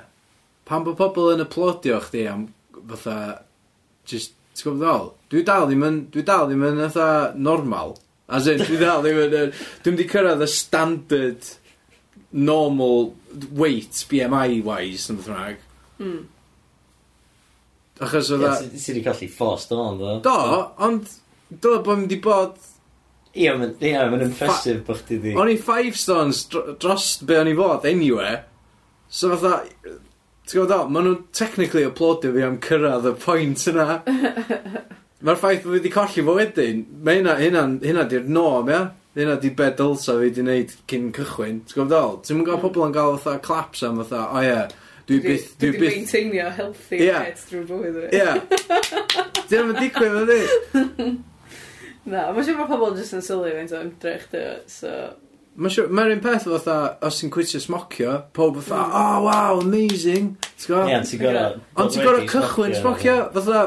A: Pam bod pobl yn aplodio chdi am fatha, just, ti'n gwybod ddol? Dwi dal ddim yn, dwi dal ddim yn fatha normal. As in, dwi dal ddim yn, yn- dwi'n di cyrraedd y standard normal weight BMI wise yn ddrag.
B: Mm.
A: Achos
C: Ie,
A: oedd
C: ti- Ti wedi colli four stone, ddo.
A: Do, ond, dyle bod mynd i bod,
C: Ie, ma'n- ie, mae'n impressive bod chdi di...
A: o'n i five stones dro- dros be o'n i fod, anyway. So fatha, ti'n gwybod o, maen nhw'n technically aplodio fi am cyrraedd y pwynt yna. Mae'r ffaith bod fi wedi colli fo wedyn, mae hynna, hynna, hynna di'r norm, ia? Hynna di be dylsa fi wedi wneud cyn cychwyn, ti'n gwybod o? Ti'n mynd gael pobl yn gael fatha claps am fatha, o ie, Mm. dwi byth, dwi
B: Dwi
A: byth,
B: maintainio healthy
A: Ie.
B: weight drwy bywyd fi.
A: ie. Dyna mae'n digwydd ydy.
B: Na, mae'n siŵr bod pobl jyst yn sylwi fe'n so ymdrech dy, so...
A: Mae'n siŵr, mae'n un peth fatha, os ti'n cwitio smocio, pob fatha, oh wow, amazing, ti'n gwybod?
C: Ie, ti'n gorau...
A: Ond ti'n gorau cychwyn smocio, fatha,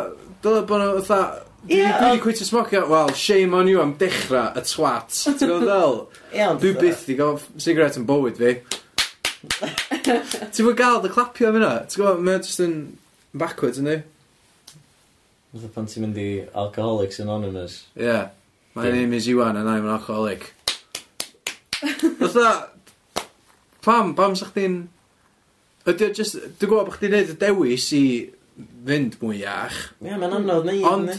A: dyle bod nhw fatha, dwi
C: Ie,
A: wedi
C: ond-
A: cwytio smocio, wel, shame on you am dechrau y twat, ti'n gwybod fel?
C: Ie, ond...
A: Dwi byth i gael cigarette yn bywyd fi. Ti'n fwy gael dy clapio am hynna, ti'n gwybod, mae'n just yn backwards, ynddi?
C: Fatha pan ti'n mynd i Alcoholics Anonymous.
A: Ie. Yeah. My name is Iwan and I'm an alcoholic. Fatha, pam, pam sa chdi'n... Ydy o just, dwi'n gwybod bod chdi'n neud y dewis i fynd mwy iach,
C: Ie, mae'n anodd neud,
A: Ond-
C: yndi?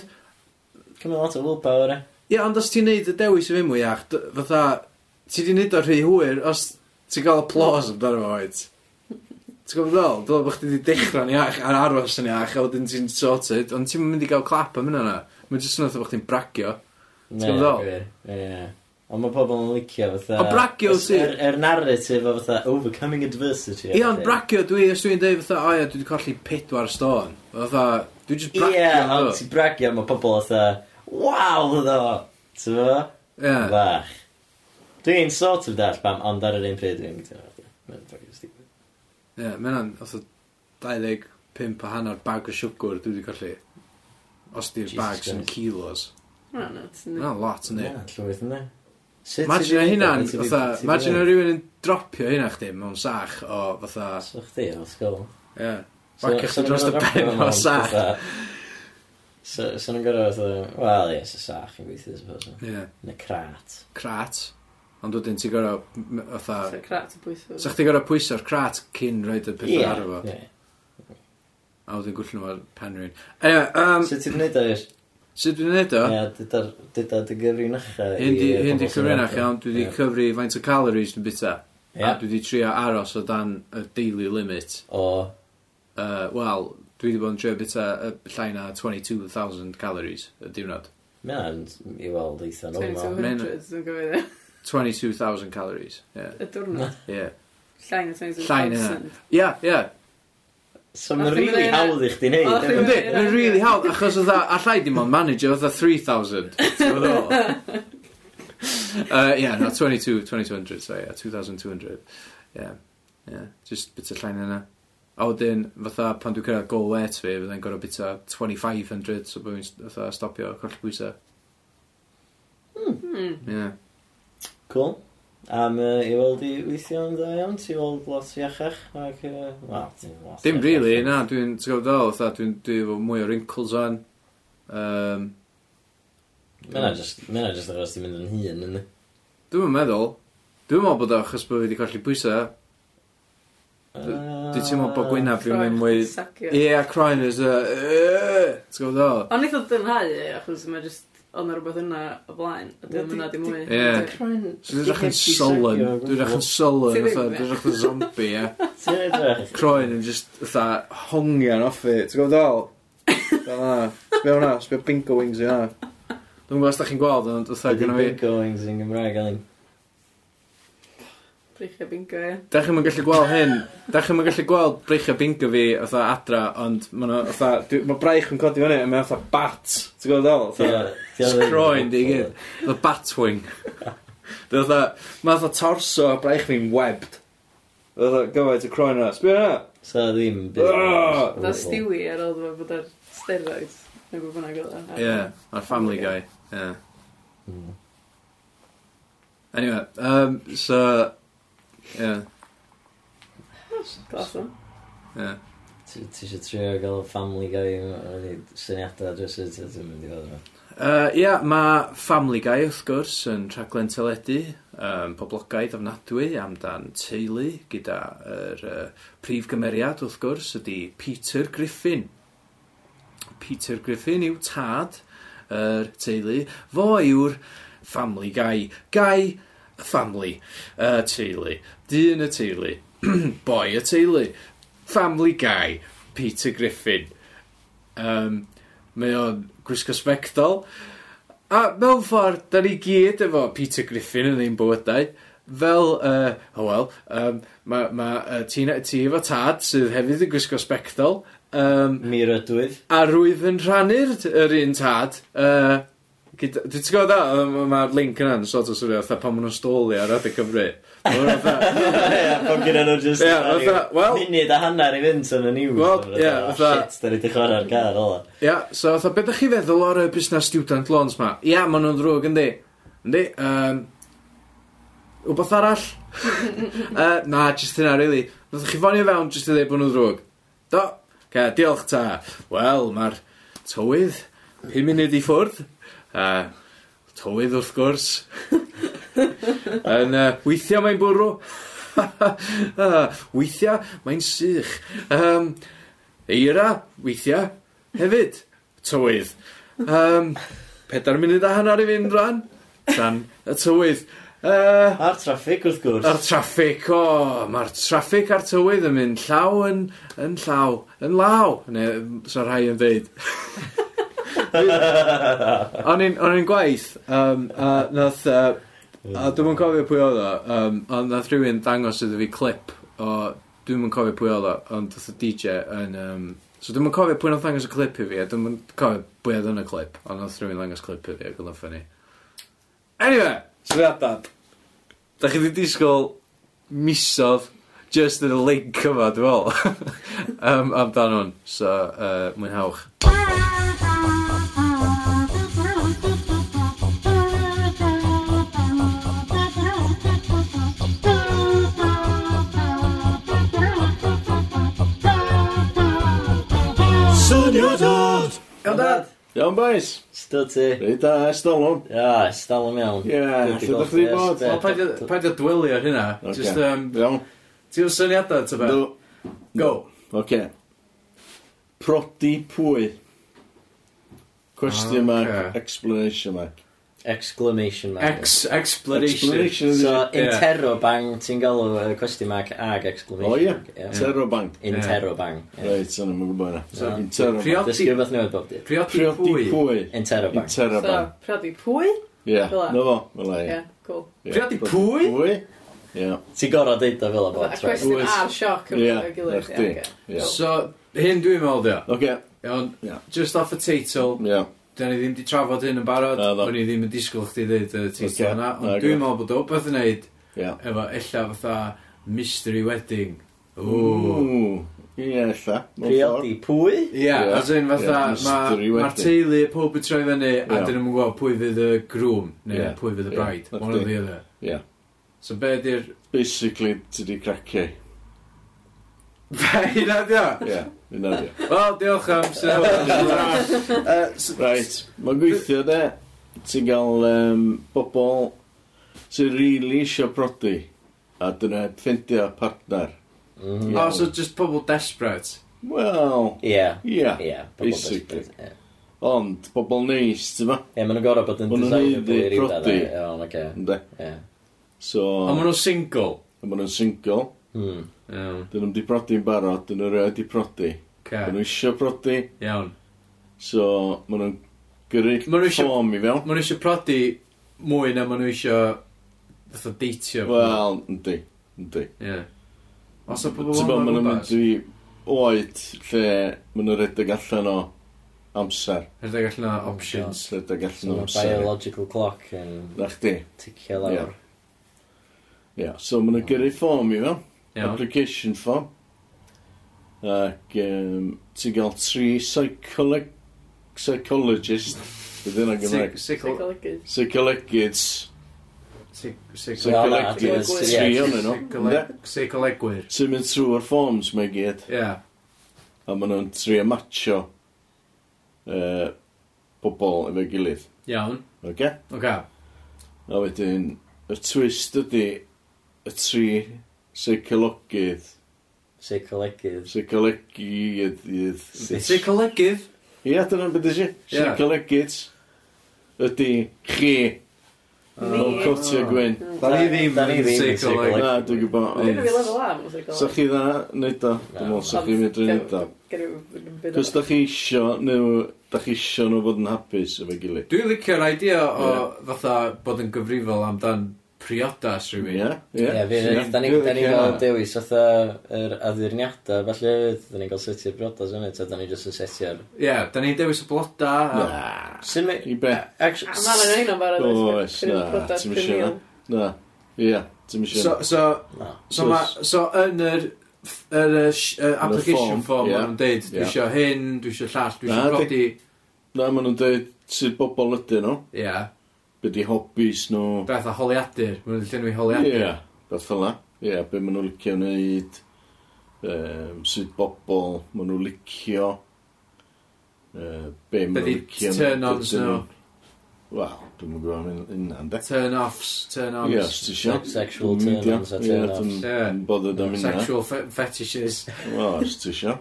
C: Cymru lot o willpower, e.
A: Ie, ond os ti'n neud y dewis i fi mwy iach, d- fatha, ti di neud o'r rhy hwyr, os ti'n cael applause amdano fo, oed. Ti'n gwybod ddol? Dwi'n bod chdi wedi dechrau'n iach a'r aros yn iach, a wedyn ti'n sorted, ond ti'n mynd i gael clap am hynna na. Mae'n jyst yn oedd bod chdi'n bragio.
C: Ie,
A: gwbod ddol?
C: gwir. Ie. Ond mae pobl yn licio fatha...
A: Ond bragio
C: Os-
A: sy'n-
C: yr- Yr narrative o fatha overcoming adversity.
A: Ie, ond
C: I think.
A: bragio dwi, os dwi'n deud fatha, o ie, dwi wedi colli pedwar stôn. Fatha, dwi jyst bragio.
C: Ie,
A: yndw?
C: ond ti'n bragio, mae pobl fatha... Waw, ddo! Ti'n fo?
A: Ie.
C: Fach. Dwi'n sort of dall pam, ond ar yr un pryd dwi'n gyda'r Mae'n ffocin stupid.
A: Ie, mae'n an, oedd 25 pimp a hanner bag o siwgr dwi wedi colli. Os di'r
C: Jesus
A: bags yn
C: Christ.
A: kilos.
B: Na, na, it's
A: Na, lot, ne.
C: Ie, Llwyth yna. Sut
A: Imagine o hynna'n, fatha, imagine o rywun yn dropio hynna chdi mewn sach o, fatha,
C: So chdi, o sgol.
A: ie, wacio chdi dros y ben o sach.
C: So, so nhw'n gorau fatha, wel, ie, so sach yn gweithio, suppose.
A: Ie,
C: Yn y crat.
A: crat. Ond wedyn ti gorau, m- fatha,
B: a crat o bwythwyd.
A: sa chdi gorau pwyso'r crat cyn roed y
C: Ie,
A: pethau ar efo.
C: ie.
A: A wedyn gwyllio nhw ar pen rhywun. Anyway, um,
C: Sut ti'n gwneud o'r...
A: sut dwi'n neud o?
C: Ie, dyda'r dyda'r dy gyrru'n acha.
A: Hyn di, hyn di cyfrinach iawn, dwi wedi cyfri faint o calories dwi'n bita. A
C: cyfrinach.
A: dwi wedi trio aros o dan y daily limit.
C: O,
A: Uh, Wel, dwi wedi bod yn trio bita y llai na 22,000 calories y diwrnod.
C: mae'n i weld eitha normal.
B: 2200, dwi'n gofio.
A: 22,000 calories, ie.
B: Y diwrnod.
A: Ie,
B: Llai na 2200.
A: Llai na hynna. ie, ie.
C: So mae'n
B: O'ch chi'n
C: rili
B: mynd-
C: hawdd i chdi neud.
B: O'ch chi'n
C: hefyd.
A: Yndi, mae'n rili hawdd, achos oedd allai dim ond manager oedd 3,000. Ti'n gwbod be dwi'n feddwl? Uh, Ie, no, 22, 2200, so ie, 2200. Ie, ie, just bit o llain yna. A wedyn, fatha, pan dwi'n cyrraedd goal weight fi, fydda'n gorau bit o 2500, so bod fi'n fatha stopio colli bwysau.
B: Hmm.
A: Ie.
C: Cool. Am uh, i weld i weithio'n dda iawn, ti'n weld lot iachach ac... Uh, wel, ti'n lot
A: Dim
C: iachach.
A: really, na, dwi'n, ti'n gwybod ddol, fatha, dwi'n dwi efo mwy o wrinkles on. Um,
C: Mae'n just, mae'n just achos ti'n mynd yn hun, ynddi?
A: dwi'n meddwl, dwi'n meddwl bod o achos bod fi wedi colli bwysau, Dwi'n teimlo bod gwynaf fi'n mynd mwy...
B: Sacio.
A: Ie, Ah, a croen is a... Yy, Ti'n gwybod ddol?
B: Ond eitha dynhau, e, achos mae just, oedd na rhywbeth yna o blaen, a dim yna dim mwy.
A: Ie. So dwi'n edrych yn sullen. Dwi'n edrych yn sullen,
B: Ti ddim,
A: fatha,
B: ie.
A: dwi'n edrych yn zombie, ie.
C: Ti'n edrych?
A: Croen yn just, fatha, hongian off i. Ti'n gwybod ddol? Fel na. Sbio hwnna, sbio bingo wings i hwnna. Dwi'n gwybod os da chi'n gweld, ond fatha,
C: Ydy
A: gyda fi...
C: big goings yn Gymraeg, Elin.
B: Brichau bingo, ie.
A: Da chi'n gallu gweld hyn, da chi'n gallu gweld breichio bingo fi fatha adra, ond ma'n fatha, dwi- ma' braich yn codi fyny, a mae'n fatha bat, ti'n gwybod ddol? Fatha, Sgroen di gyd. The Batwing. Dwi'n dda, mae dda torso a braich fi'n webbed. Dwi'n dda gyfaint y croen yna. Sbio yna?
C: So ddim
A: Ah!
B: Da Stewie ar ôl dyma bod ar steroids. Neu bod bynnag oedd o.
A: Ie, yeah, ar Family Guy. Yeah.
C: Mm.
A: Anyway, um, so... Yeah,
B: Glas o.
A: yeah.
C: Ti eisiau trio gael family guy wedi syniadau dros y ti'n mynd i fod yma.
A: Uh, Ia, yeah, mae Family Guy wrth gwrs yn rhaglen teledu, um, poblogaidd ofnadwy amdan teulu gyda yr uh, prif gymeriad wrth gwrs ydy Peter Griffin. Peter Griffin yw tad yr teulu, fo yw'r Family Guy, Guy Family, uh, teulu, dyn y teulu, boi y teulu, Family Guy, Peter Griffin. Um, Mae o'n gwisgo sbectol. A mewn ffordd, da ni gyd efo Peter Griffin yn ein bywydau. Fel, uh, oh wel, um, mae ma, uh, ti, ti efo tad sydd hefyd yn gwisgo sbectol. Um,
C: Mi rydwydd.
A: a rwydd yn rhannu'r t- yr un tad. Uh, gyda- Dwi'n ti'n gwybod da, mae'r link yna'n sort o swnio fatha pan maen nhw'n stoli ar Radio Cymru. Ma' hwnna'n fatha-
C: Ie, bod gyda nhw just
A: Ie, fatha, wel-
C: munud a hanner i fynd yn y news.
A: Wel,
C: Fatha,
A: ie,
C: "Ah,
A: fatha-
C: Shit, da ni di chwarae'r gar ola.
A: Ia, so fatha, beth ydych chi feddwl o'r yy, busnes student loans ma? Ia, maen nhw'n ddrwg, yndi. Yndi, um, wbeth arall? uh, na, jyst hynna, really. Nath chi ffonio fewn jyst i ddeud bod nhw'n ddrwg. Do, ca, diolch ta. Wel, mae'r tywydd, 5 munud i ffwrdd. Uh, tywydd wrth gwrs. Yn uh, weithio mae'n bwrw. uh, weithio mae'n sych. Um, eira, weithio, hefyd, tywydd. Um, pedar munud a hanner i fynd rhan, tan y tywydd. Uh,
C: A'r traffig wrth gwrs.
A: a'r traffic, o, oh, mae'r traffic a'r tywydd yn mynd llaw yn, yn llaw, yn law, neu so rhai yn ddeud. o'n i'n o'n i'n gwaith, um, a nath, uh, a dwi'm yn cofio pwy oedd o, um, ond nath rhywun dangos iddo fi clip o, dwi'm yn cofio pwy oedd o, ond nath y DJ yn, um, so dwi'm yn cofio pwy nath dangos y clip i fi, a dwi'm yn cofio pwy oedd yn y clip, ond nath rhywun dangos clip i fi, ac oedd o'n ffynnu. Anyway, syniadad. Da chi wedi disgwyl misodd
F: just yn y link yma, dwi'n meddwl, um, amdan hwn. So, uh, mwynhawch.
G: Iawn, dad?
F: Iawn, boys.
C: Sto ti?
F: Rhaid da, estolwm.
C: Ah, stal am iawn.
F: Ie, lle dach chi
C: Dwi 'di gweld
F: 'di
C: ffres
F: bod?
C: bed.
A: Wel, paid o- paid o dwylio ar hynna. Just, um,
F: Iawn.
A: ti'n syniadau, ta be? Go.
F: Oce. Prodi pwy?
A: Question mark, Ocê.
F: explanation mark.
C: Exclamation mark.
A: Ex, exploration.
C: So,
A: Ie.
C: interrobang, ti'n galw y cwestiwn mark ag exclamation
H: O,
A: Oh,
H: ie.
C: mark. ie.
H: Terrorbank.
C: Interrobang. ie.
H: Reit, yna, mae'n gwybod
A: So,
H: yna. Interrobang.
A: priod-
C: Dysgu rhywbeth newydd bob dydd.
A: Priodi
H: Priodi
A: pwy?
H: pwy?
C: Interrobang.
G: So,
H: Interrobang.
G: priodi pwy?
H: Ie,
G: Fel 'a.
H: na fo, fel e.
G: Ie, yeah, cool.
H: Ie.
A: Priodi pwy?
H: Pwy? Ie,
C: Ti'n gorau deud o fel o
G: A
C: bob tro.
G: cwestiwn
H: Wyth.
G: a'r sioc yn
H: Ie,
G: yeah, gilydd.
H: na chdi.
G: Ie, ocê.
H: ie.
A: So, hyn dwi'n meddwl, dio.
H: Oce,
A: Iawn,
H: Ie.
A: just off y teitl,
H: ie.
A: Da ni ddim di trafod hyn yn barod,
H: Na, do.
A: o'n i ddim yn disgwyl chdi ddeud y teitl
H: Ocê,
A: yna,
H: na,
A: ond dwi'n
H: go.
A: meddwl bod o beth yn neud
H: Ie.
A: efo ella fatha mystery wedding. Ooh.
H: Ww. Ie, ella. mewn ffordd.
C: Priodi pwy?
A: Ie, yeah,
H: Ie,
A: as in
H: ie,
A: fatha,
H: mystery
A: mae'r
H: wedding.
A: teulu pob yn troi fyny a
H: Ie.
A: dyn nhw'n gweld pwy fydd y grwm, neu
H: Ie,
A: pwy fydd y
H: ie,
A: bride,
H: na
A: one or
H: chdi.
A: the other.
H: Ie.
A: So be di'r...
H: Basically, ti di cracio.
A: Fe hynna dio?
H: Ie, yna di.
A: Wel, diolch am sy'n
H: Right, mae'n gweithio de. Ti'n gael um, bobl sy'n rili isio prodi. A dyna ffeindio partner.
C: Mhm.
H: Ie.
A: Oh, so just pobl desperate.
H: Wel,
C: Ie.
H: ie.
C: Ie. pobl
H: Basically.
C: desperate, ie.
H: Ond, bobl neis, ti'n ma?
C: Ie, maen nhw'n gorau bod yn
H: Ma' nhw'n
C: desirable i
H: neud i
C: rywbeth.
H: prodi.
C: Ie, ond oce.
H: Ynde?
C: Ie.
H: So,
A: A maen nhw'n single.
H: a maen nhw'n single,
C: Hmm.
A: Iawn,
H: dyn nhw'n di prodi'n barod, dyn nhw'n rhaid i prodi. Dyn
A: okay.
H: nhw isio prodi,
A: Iawn.
H: so maen nhw'n gyrru
A: Ma' nhw isio-
H: ffom i fewn.
A: Mae nhw eisiau prodi mwy na mae nhw eisiau fatha deitio.
H: Wel, yndi, yndi.
A: Ie. Os o pobl
H: Ti'n bod,
A: yn
H: maen nhw'n
A: gwybod,
H: mynd i oed lle maen nhw'n redeg allan o amser.
A: rydych allan o options.
H: Redeg
C: So
H: allan o
C: mae
H: amser.
C: biological clock yn
H: Na chdi.
C: ticio lawr.
H: Ie, so maen nhw'n gyrru ffom i fewn.
A: Iawn.
H: application form ac um, ti'n gael tri psycholo- psychologist bydd yna Gymraeg
A: Sickle.
G: Psycholygydd.
H: psychologids
A: Sickle.
C: Wel, na,
G: ti'n
H: psychologids
G: gweld-
H: tri
C: ie.
H: o'n nhw
A: Seicolegwyr.
H: sy'n mynd trwy'r forms mae gyd
A: Ie.
H: a maen nhw'n tri a matcho uh, bobl efo gilydd
A: Iawn.
H: okay?
A: Oce.
H: a wedyn y twist ydy y tri psychologydd
C: Seicolegydd.
H: psychologydd
A: Seicholegydd.
H: Ie, dyna beth ydych
A: Ie.
H: chi. Psychologids ydy chi. Fel cotio gwyn.
A: Da ni ddim
C: Da ni
A: yn
C: ddim yn
A: seicoleg-
C: seicolegydd.
H: Na, dwi'n gwybod.
G: Dwi'n rhywbeth
H: Ond...
G: level A, mae'n sy'n
H: Sa
G: gael.
H: chi dda wneud o? Dwi'n meddwl sa chi'n mynd i wneud o. Cos da chi isio, neu da chi isio nhw fod yn hapus efo'i gilydd.
A: Dwi'n licio'r idea o fatha bod yn gyfrifol amdan priodas
H: Ie,
A: rhywun.
H: ie.
C: Ie, fi- da ni- da ni'n gael dewis fatha yr addurniadau, falle hefyd, da ni'n gael setio'r briodas yn eto, da ni jyst yn setio'r...
A: Ie, da ni'n dewis y bloda a...
H: Na.
C: Sut mae...
H: I be?
C: Actu-
G: A mae'n ein o'n barod.
H: Oes, na. Ti'n mysio na? Na. Ie, ti'n mysio
A: So,
H: na.
A: so,
C: Na.
A: So, ma, so yn yr, yr, yy, sh- yy, application
H: form,
A: form,
H: ie.
A: yeah. nhw'n deud, dwi
H: Ie.
A: eisiau hyn, dwi eisiau llall, dwi eisiau
H: Na, di-
A: prodi.
H: Na, maen nhw'n dweud sydd bobl ydyn nhw.
A: Ie, yeah.
H: Be di hobbies nhw.
A: beth a holiadur, maen nhw'n llenwi holiadur.
H: Ie, beth fel na. Ie, be maen nhw licio wneud, um, sut bobl maen nhw licio, uh, be
A: Be
H: maen nhw
A: di
H: licio.
A: turn-ons
H: Ydyn
A: nhw?
H: Wel, dwi'n mwyn gwybod yn yna, de.
A: Turn-offs, turn-offs.
H: Ie, os ti isio.
C: Sexual
H: Mynd, ie.
C: turn-ons a
H: Ie,
C: turn-offs.
H: dwi'm- dwi'm bothered am hynna.
A: Sexual fe fetishes.
H: Wel, os ti isio.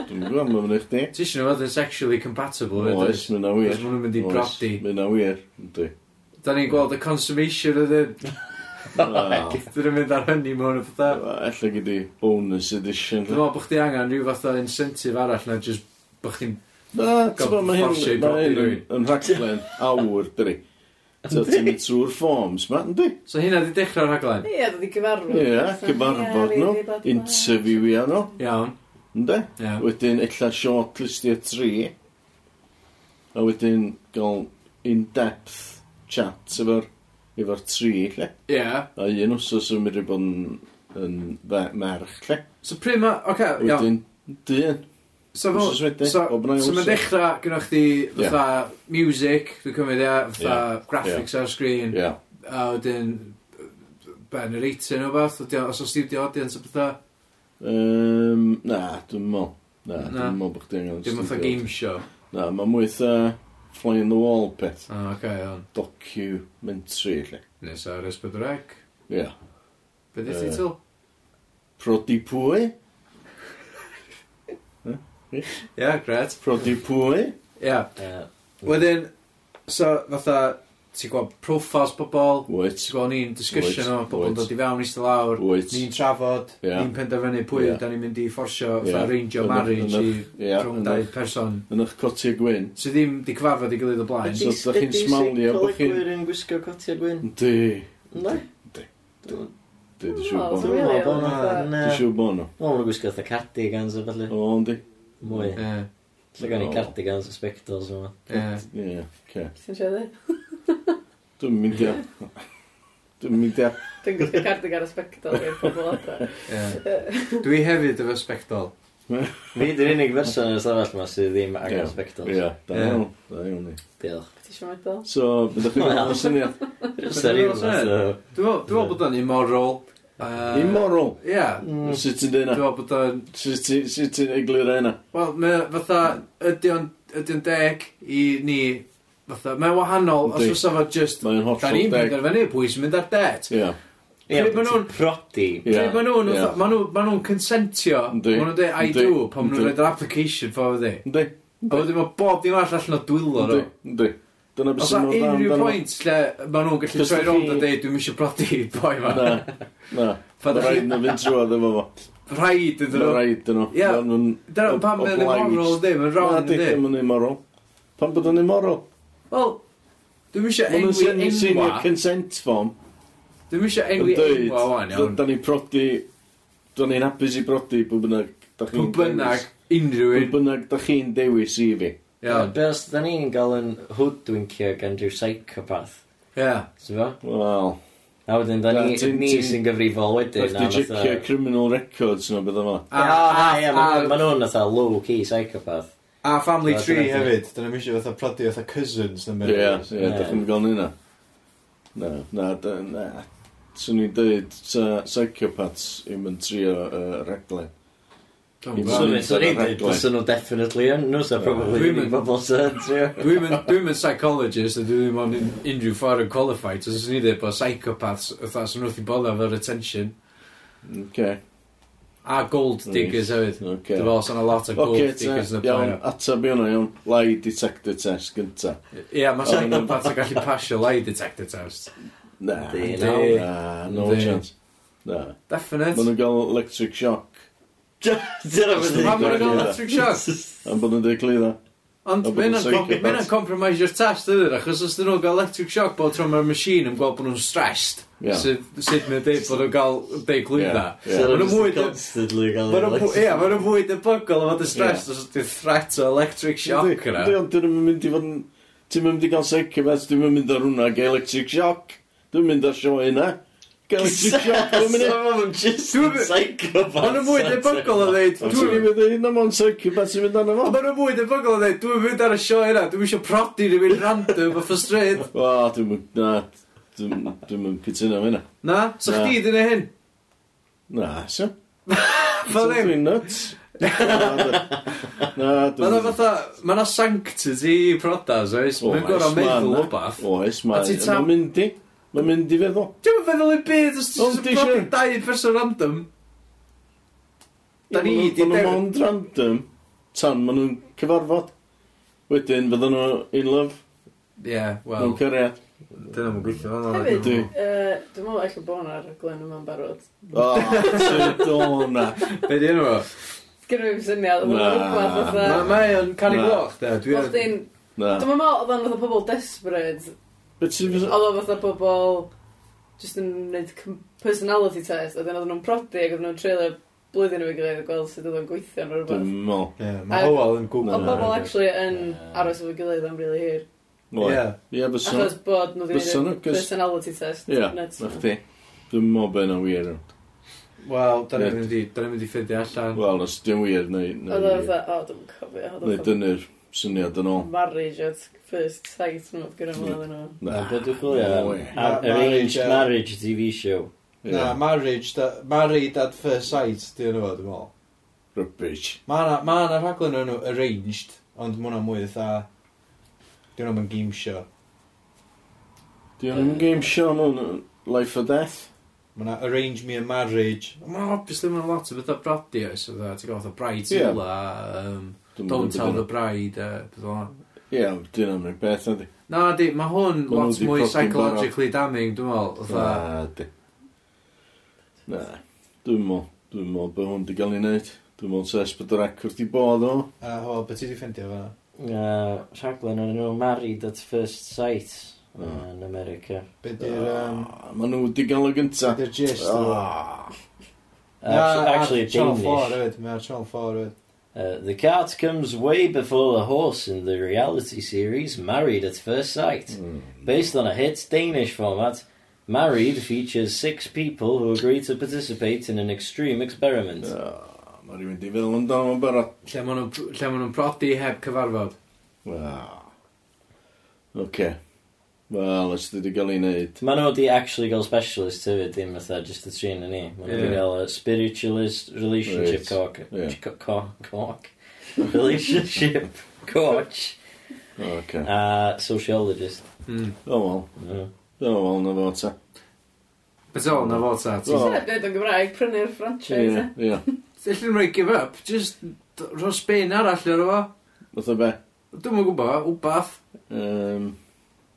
H: Dwi'n gwybod, mae'n mynd i chdi.
A: Ti eisiau nhw fod yn sexually compatible,
H: Oes,
A: ydyn?
H: mynd a wir.
A: Cos ma' nhw'n mynd i
H: Oes,
A: brodi.
H: Mynd a wir, ynddi.
A: Da ni'n gweld y consummation ydyn.
H: Wel,
A: Dyn nhw'n mynd ar hynny mewn y fatha.
H: Alla gyda bonus edition.
A: Dwi'n meddwl bod chdi angen rhyw fath o incentive arall na just bod chdi'n...
H: Na, ti'n bod, mae
A: Fforsio i
H: hyn ma'
A: brodi
H: hyn
A: rywun.
H: yn- yn rhaglen awr, dyri. So ti'n mynd trwy'r forms, ma, ynddi?
A: So hynna di dechrau'r rhaglen.
G: Ie, dwi wedi gyfarfod.
H: Ie, cyfarfod nhw, interviewio nhw,
A: Iawn,
H: ynddi?
A: ie.
H: Wedyn, illa shortlistio tri, a wedyn gael in-depth chat efo'r efo'r tri, lle.
A: Ie,
H: A un wsos yn mynd i bod yn yn fe- merch, lle.
A: So pryd ma... Oce, okay, iawn.
H: Wedyn, dyn.
A: So, fel-
H: Wsos wedyn,
A: so,
H: bob yn ail
A: so mae'n
H: wsos.
A: dechrau gyda chdi fatha music, dwi'n cymryd ia, fatha graphics ar sgrin,
H: Ia.
A: a wedyn be, narrator neu beth, os oes studio audience o bethau,
H: Yym, Na, dwi'n mol. Na,
A: Na.
H: dwi'n mol bod chdi'n angen
A: dim fatha
H: studio.
A: game show.
H: Na, mae mwy eitha fly in the wall peth.
A: O, oce, iawn.
H: Documentary, lle.
A: Nes ar Esbydrec.
H: Ia.
A: Be di
H: Yy.
A: titl?
H: Prodi pwy?
A: Ia, gret.
H: Prodi pwy?
A: Ia,
C: Ie.
A: wedyn, so fatha, ti'n gweld profiles pobol,
H: Wyt.
A: ti'n gweld ni'n discussion o,
H: Wyt,
A: pobol yn
H: wyt.
A: dod i fewn eistedd lawr,
H: Wyt.
A: ni'n trafod,
H: Ie.
A: ni'n penderfynu pwy
H: Ie.
A: yeah. da ni'n mynd i fforsio,
H: Ie.
A: yeah. arrangio
H: Yn y-
A: marriage
H: yn
A: i
H: y- ie,
A: rhwng
H: yn y-
A: dau person
H: Yn eich coti gwyn.
A: sydd ddim di cyfarfod i gilydd o blaen.
H: Ydi- so dach chi'n smalio bod chi'n-
C: Ydy yn gwisgo cotia gwyn?
H: Di.
C: Ynddo?
H: Di, di siw
B: Wel,
H: bo
B: so
H: nhw.
C: Dwi'n
B: really,
C: meddwl bod
B: fatha-
C: hwnna'n,
H: Di
C: yy,
H: siw bo nhw.
C: Wel, maen nhw'n gwisgo fatha cardigans a falle.
H: O, di.
C: Mwy.
A: Ie,
C: Lle gan i
H: O.
C: cardigans a spectacles yma.
A: ie.
H: Ie, ce.
B: Ti'n siarad?
H: Dwi'n mynd i... Dwi'n mynd i...
B: Dwi'n gwisgo cardigan o spectol i'r pobol adra.
A: ie. Dwi hefyd efo spectol.
C: Fi di'r unig person yn y stafell yma sydd ddim
H: Ie.
C: angen spectacles.
H: Ia, da
A: Ie.
H: iawn. Da iawn ni.
C: Diolch.
B: Ti'n siarad meddwl?
H: So, byddwch chi'n gwneud syniad.
C: Seriwn, so-
A: Dwi'n meddwl- dwi'n meddwl bod o'n immoral. yy,
H: Immoral.
A: Ie.
C: Mm.
H: Sut ti'n dweud
A: Dwi'n
H: yna?
A: meddwl bod o'n...
H: Sut ti- sut ti'n eglur yna?
A: Wel, mae fatha, ydy o'n ydy o'n deg i ni, fatha, mae'n wahanol, os
H: Yndi.
A: oes efo just,
H: Mae'n
A: da
H: hollol
A: ni'n
H: deg.
A: penderfynu pwy sy'n mynd ar det.
H: Ia.
C: Ie,
A: Pryd ma'
C: ti'n
A: nhw'n-
C: Prodi.
H: Ie.
A: Pryd maen nhw'n,
H: Ie.
A: fatha- maen nhw- maen nhw'n consentio,
H: Yndi.
A: maen nhw'n dweud, I
H: Yndi.
A: do, pan maen nhw'n
H: Yndi.
A: rhaid yr application for fi.
H: Yndi.
A: A wedyn mae bob dim arall allan o dwylo nhw.
H: Yndi. Yndi. Dyna beth
A: Os na
H: sy'n mynd
A: unrhyw
H: amdano.
A: pwynt lle maen nhw'n gallu
H: Cos
A: troi
H: dach
A: rownd
H: chi-
A: a deud dwi'n eisiau brodi i boi ma.
H: Na,
A: Pan
H: na. Mae
A: dach
H: rhaid
A: chi
H: na fynd trwad efo fo.
A: rhaid ydyn
H: Mae
A: nhw.
H: rhaid yn o.
A: Ie.
H: Dyna
A: Dyna pam mae'n immoral ydy, mae'n
H: Na,
A: round
H: di,
A: ydy.
H: ddim yn immoral. Pan bod yn immoral?
A: Wel, dwi'n eisiau
H: Mae'n
A: enwi
H: sy'n
A: enwa.
H: senior consent form.
A: Dwi'n eisiau
H: Yn
A: enwi
H: dweud,
A: enwa o'n iawn.
H: da ni'n prodi, da ni'n hapus i prodi pwy bynnag. da chi'n
A: Pwy bynnag,
H: dewis.
A: unrhyw
H: Pwy
A: un.
H: bynnag da chi'n dewis i fi.
A: Iawn,
C: Be os da ni'n gael yn hoodwincio gan rhyw psychopath?
A: ie.
C: Ti'n fo?
H: Wel,
C: A wedyn, da
H: Na,
C: ni,
H: ti'n-
C: ni
H: ti'n-
C: sy'n gyfrifol
H: da
C: wedyn.
H: chdi checio criminal records nhw bydda fo.
A: A- a- a-
C: Mae nhw'n fatha low-key psychopath.
A: A family
C: Na,
A: tree
C: dyna-
A: hefyd. Dyna mi eisiau fatha prodi fatha cousins na
H: Ie,
A: mynd.
H: ie, da chi'n gael ni na. Na, na, da, na. Swn i'n dweud, psychopaths yw'n mynd trio uh, reglen.
A: Dwi'n
H: Ie.
C: Swn
A: mynd-
C: i'n dweud, dyn nhw definitely yn, nhw sy'n probably
A: Dwi'n
C: unig
A: mynd-
C: bobl sy'n trio.
A: Dwi'n mynd psychologist a dwi ddim ond un- unrhyw ffordd yn qualified. So swn i dweud bod psychopaths, fatha, sy'n wrth i bodda fel attention.
H: Oce,
A: A gold diggers hefyd.
H: oce.
A: Dwi'n meddwl sy'n a lot o gold
H: Oce, te,
A: diggers yn y
H: iawn,
A: plaen.
H: atab i hwnna, iawn. Lie detector test gynta.
A: Ie, mae psychopath yn gallu pasio lie detector test.
H: Na,
C: Yndi,
H: na,
C: yndi.
H: na, no
A: Yndi.
H: chance. Na.
A: Definite.
H: Maen nhw'n gael electric shock.
C: Dyna
H: Os
A: Pam
C: beth
H: ma'
A: maen nhw'n
H: nhw'n
A: gael
H: gael
A: electric shock?
H: Am bod nhw'n declu dda.
A: Ond
H: A bod
A: mae'n
H: nhw'n psychopaths.
A: yn compromise your test ydyn, achos os dyn nhw'n gael electric shock bod tro mae'r machine yn gweld bod nhw'n stressed,
H: Ie.
A: sydd sydd mae'n deud bod nhw'n gael
H: Ie,
A: deiglwydda.
H: ie.
A: Ma' nhw'n mwy-
C: constantly gael
A: Mae nhw'n fwy debygol o fod yn
H: Ie.
A: stressed os ydy'r threat o electric shock yna.
H: Dwi'n dwi'n mynd i fod yn... Ti'n mynd i gael psychopath, dwi'n mynd ar hwnna gael electric shock. Dwi'n mynd ar sioe yna. Gael electric shock, dwi'n mynd i...
A: Dwi'n-
C: psychopath.
A: Mae nhw'n fwy debygol o ddeud,
H: Dwi'n
A: "Dwi-
H: mynd i fynd hynna mewn psychopath sy'n mynd arno
A: Ond
H: fo.
A: Mae nhw'n fwy debygol o ddeud, dwi'n mynd ar y sioe yna, dwi'n eisiau prodi rhywun random off y stryd.
H: O, dwi'n mynd... Na, dwi'n mynd cytuno fe yna.
A: Na? So
H: Na.
A: chdi di neud hyn?
H: Na, so.
A: Fel ddim.
H: Dwi'n nuts. Na, dwi- na,
A: Mae
H: dwi'n
A: yna fatha, mae yna sanctity i prodas, oes?
H: Oh,
A: Mae'n gorau meddwl o bath.
H: Oes,
A: A ti'n
H: mae'n
A: tam-
H: ma'n mynd i. Mae'n mynd i feddwl.
A: Dwi'n yn feddwl i byd os
H: Ond
A: ti'n
H: ti
A: profi
H: isio-
A: dau person random. Da ni
H: Ie, ma' nhw-
A: di
H: ma' nhw
A: dew-
H: ond random tan maen nhw'n cyfarfod. Wedyn, fydden nhw in love,
A: Ie, wel,
H: nhw'n cyrraedd.
A: dyna mae'n gweithio fan o'n
B: Hefyd,
H: Ydy.
B: yy, dwi'n meddwl eich bod yna'r glen yma'n barod.
H: O, sut o na.
A: Be di enw o?
B: Gyrra fi'n syniad, oedd
H: Na.
B: hwnna'n rhywbeth
A: Ma-
B: fatha...
A: Mae o'n canu
H: Na.
A: gloch, da. Dwi
B: Oedd
A: yn...
B: chdi'n...
H: Na.
B: Dwi'n meddwl oedd o'n fatha pobol desperate.
H: Bet sy'n fysa?
B: Oedd o fatha pobol... Just yn gwneud com- personality test. Oedden oedden nhw'n prodi ac oedden nhw'n treulio blwyddyn o'i gilydd a gweld sut oedd o'n gweithio neu
H: Dwi'n
B: rhywbeth.
H: mol.
A: Ie,
B: A-
A: mae Howell yn
H: Na.
A: gwgl.
B: Ond pobol actually yn
C: Ie.
B: aros o'i gilydd am rili hir.
H: Ie,
A: Ie.
H: Ie, fysa.
B: Achos bod nhw wedi
H: Fysa nhw,
B: gwneud
H: cos-
B: personality test.
H: Ie,
B: nuts.
H: na chdi. Dwi'n mol ben o'n wir.
A: Wel, da ni'n mynd i, da ni'n mynd i ffeindio allan.
H: Wel, os dim wir, neu...
B: Oedd o'n
H: Neu,
B: fatha, o, dwi'n cofio. Oedd
H: neu
B: o'n fatha
H: dynnu'r syniad yn ôl.
B: marriage at first sight nhw, gyda mlaen yn nhw.
C: Na,
H: Na.
C: beth dwi'n chwilio
H: no
C: am?
H: way.
C: Um, Ar-
A: Ma- marriage,
C: Arranged
A: uh,
C: Marriage TV show.
A: Na,
H: Yeah.
A: marriage, da, married at first sight, di yna fo, dwi'n meddwl.
H: Rubbish.
A: Mae yna ma na rhaglen o'n nhw arranged, ond mae hwnna'n mwy dda... Dwi'n meddwl mae'n game show.
H: Di o'n game show mewn Life or Death?
A: Mae yna arrange me a marriage. Mae obviously mae'n lot o bethau brodi oes, oedd e, ti'n gael oedd bride
H: Ie.
A: Zilla, um,
H: Dwi'm yn
A: don't
H: gwbod
A: tell the
H: hynna.
A: bride, a beth o'n
H: Ie, dyn am rhywbeth beth ydi.
A: Na, di, mae hwn
H: Ma' nhw
A: lot
H: di
A: mwy
H: profi'n
A: psychologically damning, dwi'n meddwl, oedd
H: Na, di. Na, dwi'n mo. Dwi'n mo bod hwn di gael ei wneud. Dwi'n mo ses bod yr acwr di bod o.
A: A ho, beth ti di ffeindio fe?
C: Uh, rhaglen o'n nhw married at first sight uh, yn America.
A: Be di'r... Um,
H: Ma nhw di gael o gynta.
A: Di'r gist o...
H: Ah,
C: Actually, actually
A: Channel 4
C: Danish.
A: hefyd, mae'r Channel 4 hefyd.
C: Uh, the cart comes way before the horse in the reality series Married at First Sight. Based on a hit Danish format, Married features six people who agree to participate in an extreme experiment.
H: Ah, Ma rhywun di feddwl amdano fo'n barod.
A: Lle maen nhw'n- lle maen nhw'n prodi heb cyfarfod.
H: Ah. Oce. Wel, os di di gael ei wneud.
C: Maen nhw wedi actually gael specialist hefyd, ddim fatha just y trin yn ni. Maen nhw wedi
A: Ie.
C: gael a spiritualist relationship
H: Reit.
C: cork.
H: Ie.
C: co- co- Cork. Relationship coach.
H: Oce.
C: A sociologist.
A: Mm.
H: O, wel.
C: Mm.
H: O, wel, na fo ta.
A: Beth o'n na fod ta?
H: Wel.
A: Ti'n
B: Dwi'n dweud o'n Gymraeg, prynu'r franchise,
H: Ie,
B: eh?
H: ie.
A: llun rhaid give up, just d- rho spin arall ar efo.
H: Fytha be?
A: Dwi'n mwyn gwybod, wbath.
H: Um,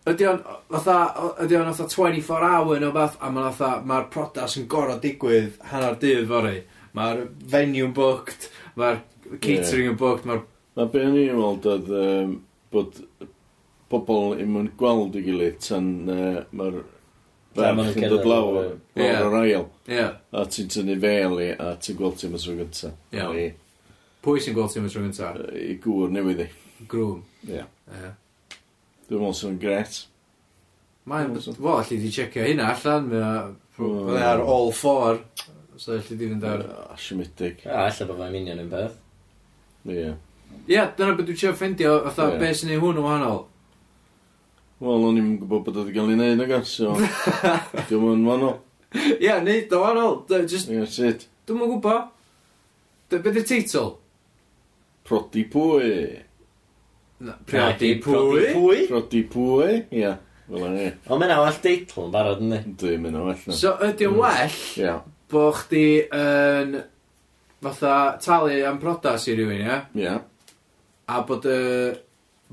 A: Ydy o'n fatha, ydy o'n fatha 24 hour neu wbath, a mae'n fatha, mae'r prodas yn gorau digwydd hanner dydd fory. Mae'r venue yn booked, mae'r catering yn booked, mae'r...
H: Mae be o'n i'n weld oedd um, bod pobl yn mynd gweld i gilydd tan uh, mae'r
C: Tan ma' nhw'n
H: ferch yn
C: cerdded
H: dod lawr,
C: lawr.
A: Ie.
H: lawr o'r ail.
A: Ie,
H: A ti'n tynnu fel i a ti'n gweld ti'n mysio gynta.
A: Iawn.
H: I,
A: pwy sy'n gweld ti'n mynd trwy'n gynta?
H: I gŵr newydd i.
A: Grwm.
H: Ie.
A: Ie.
H: Dwi'n meddwl sy'n gret.
A: Mae'n,
H: Awesome.
A: wel, alli di checio hynna allan,
H: Mm.
A: mae'n ar all four, so alli di fynd ar...
H: Ah, Siomedig. Ie.
C: A, allai bod mae'n union yn beth.
A: Ie, dyna beth dwi'n siarad ffeindio, fatha,
H: Ie.
A: yeah. beth sy'n ei hwn yn wahanol.
H: Wel, o'n i'n gwybod bod oedd gael ei wneud nag os, so... Dwi'n mynd fan o.
A: Ie, yeah, neud o wahanol, dy- jyst,
H: Ie, sut?
A: dwi'n mwyn gwybod. Dy- Beth ydy'r teitl?
H: Prodi pwy.
A: Na,
C: Priodi
A: Priodi pwy?
C: pwy?
H: Prodi pwy. Ie. Fel o'n i.
C: Ond mae'n awell deitl yn barod yn ni.
H: Dwi'n mynd o well na.
A: So ydy o'n well
H: Ie.
A: bo chdi yn fatha talu am prodas i rywun, ie?
H: Ie.
A: A bod y...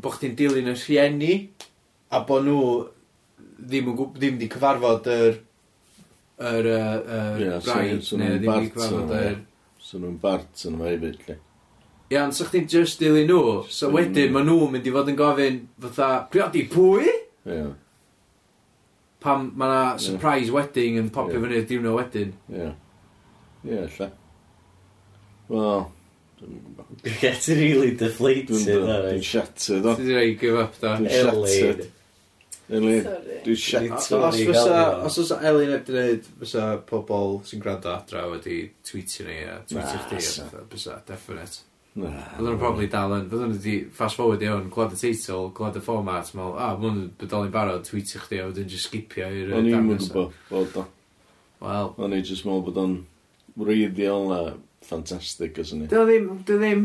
A: bo chdi'n dilyn y rhieni a bo nhw ddim yn gwb- ddim wedi cyfarfod yr yr yy, yr
H: Ie, so-
A: braidd
H: so
A: neu
H: nhw'n
A: ddim wedi
H: bart
A: cyfarfod
H: nhw, ie.
A: yr
H: So nhw'n bart yn yma hefyd, lle.
A: Ie, ond sa chdi'n just dilyn nhw, so
H: Mm.
A: wedyn ma nhw'n mynd i fod yn gofyn fatha, priodi pwy?
H: Ie,
A: Pam ma na surprise wedding yn popio
H: Ie.
A: fyny'r diwrnod wedyn.
H: ie. Ie, lle. Wel, dwi'n gwybod.
C: Get really deflated
H: Dwi'n
C: ar
H: dwi'n
C: ei.
H: shattered o.
A: Ti di rei give up da.
H: Dwi'n
C: Elaid.
H: shattered. Eli,
B: Sorry.
H: dwi'n shattered.
A: Os
C: Totally gael
A: fysa,
C: o.
A: os fysa Elin heb di wneud, fysa pobl sy'n gwrando adra wedi tweetio ni a tweetio
H: Na,
A: chdi a
H: sa.
A: fatha, fysa, definite.
H: Na.
A: Fydden nhw'n probably dal yn, fydden nhw wedi fast forward i hwn, gwlad y teitl, gwlad y format, mal, a, mwyn bydoli'n barod, tweetio chdi a wedyn just skipio i'r
H: O'n i'n mynd
A: nesaf.
H: gwybod bod o.
A: Wel,
H: O'n i'n just meddwl bod o'n wreiddiol a ffantastig os o'n i.
A: dy o ddim, dy o ddim,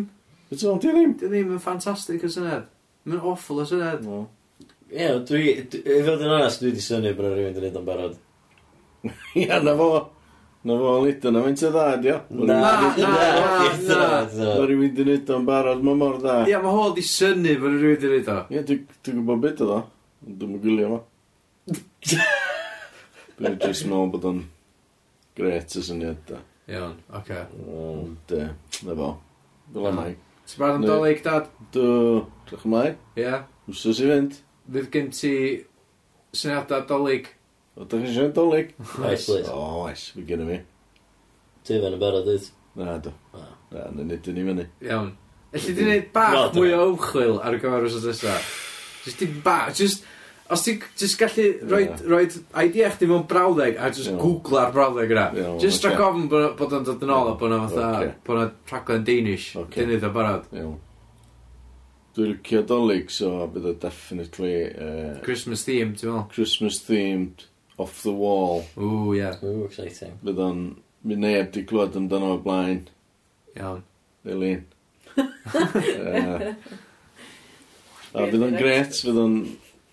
H: Beth o'n di ddim?
A: dy o ddim yn ffantastig o syniad. Mae'n awful o syniad.
H: O.
C: Ie, dwi, dwi- i fod yn onest, dwi wedi syni bod 'na rhywun wedi gwneud o'n barod.
H: Ia, na fo. Na fo, lyd yna, mynd y dda, dio.
A: Na,
C: Na,
A: na,
C: na,
A: na.
C: na.
H: Mae rhywun di wneud o'n barod, mae mor dda.
A: Ie, mae hol di syni bod yn rhywun wedi o.
H: Ie, dwi- dwi'n gwybod beth oedd o. ond Dwi'n mynd gwylio fo. Dwi'n just meddwl bod o'n gret y syniad da.
A: Iawn, oce.
C: Mm.
H: Ond, e, na fo. Mm. Fel yna.
A: Ti'n barod am
H: Neu-
A: dolyg, dad?
H: Dw, drach ymlaen.
A: Ie. Yeah.
H: Wsos i fynd.
A: Fydd gen ti syniadau dolyg.
H: O, da chi'n siarad dolyg?
C: Oes, please.
H: O, oes, fi gen i mi.
C: Ti fe'n yn barod, dwi.
H: Na, do.
C: Na.
H: Na, na, nid yn i fyny.
A: Iawn. Elli di wneud bach
C: Wel,
A: mwy o ymchwil ar y gyfer os oes nesaf. Just dim bach, just...
E: Os ti'n just gallu rhoi
H: Ie.
E: yeah. idea chdi mewn brawddeg a just
H: Ie.
E: yeah. googla'r brawddeg yna.
H: Ie, wel,
E: just
H: ocê.
E: rhaid gofyn bod bod o'n dod yn ôl a bod o'n fatha,
H: Ocê.
E: bod o'n rhaglen Danish,
H: Ocê.
E: okay. dynydd o barod.
H: Iawn. Dwi'n licio dolyg, so bydd o definitely uh,
E: Christmas theme, ti'n meddwl?
H: Christmas themed, off the wall.
E: Ww, ie, yeah.
C: Ooh, exciting.
H: Bydd o'n mynd neb di glwyd amdano o blaen.
E: iawn.
H: Elin. uh, a fydd o'n gret, fydd o'n,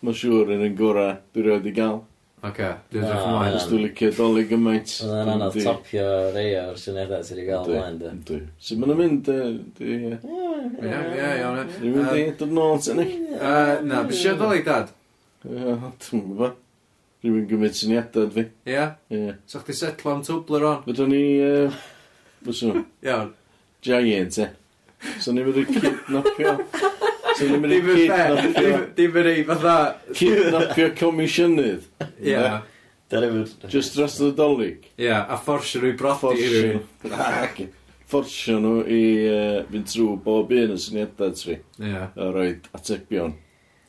H: mae'n siŵr, yn un gora dwi'n rhaid i gael.
E: Oce, dwi'n dweud
C: Ah, ie.
E: ymlaen.
H: Os dwi'n licio dolyg gymaint.
C: Oedd yn anodd topio rei o'r syniadau sydd wedi gael ymlaen, dy.
H: Dwi. Sut mae'n mynd, yy, dwi... yy,
E: Ie, ie, iawn. ie.
H: Dwi'n mynd i, dod yn ôl tynnu.
E: Yy, Na, bys i oedol i dad?
H: Dwi'n gwybod. Dwi'n mynd gymryd syniadau, fi.
E: Ie?
H: Ie.
E: So chdi setlo am Toblerone?
H: Fydwn ni, yy, byswn,
E: Iawn.
H: giant, e. So ni'n mynd i cydnopio. So ni'n mynd i
E: Dim yn fair,
H: cydnopio.
E: dim- dim yn ei fatha...
H: Cydnopio comisiynydd.
E: Ie,
C: Dyna yw'r...
H: Just dros y dolyg.
E: ie, a fforsio rwy brodi i
H: Fforsio.
E: rywun.
H: Ac Fforsio nhw i yy, fynd trwy bob un y syniadau tri.
E: Ie,
H: A roed atebion.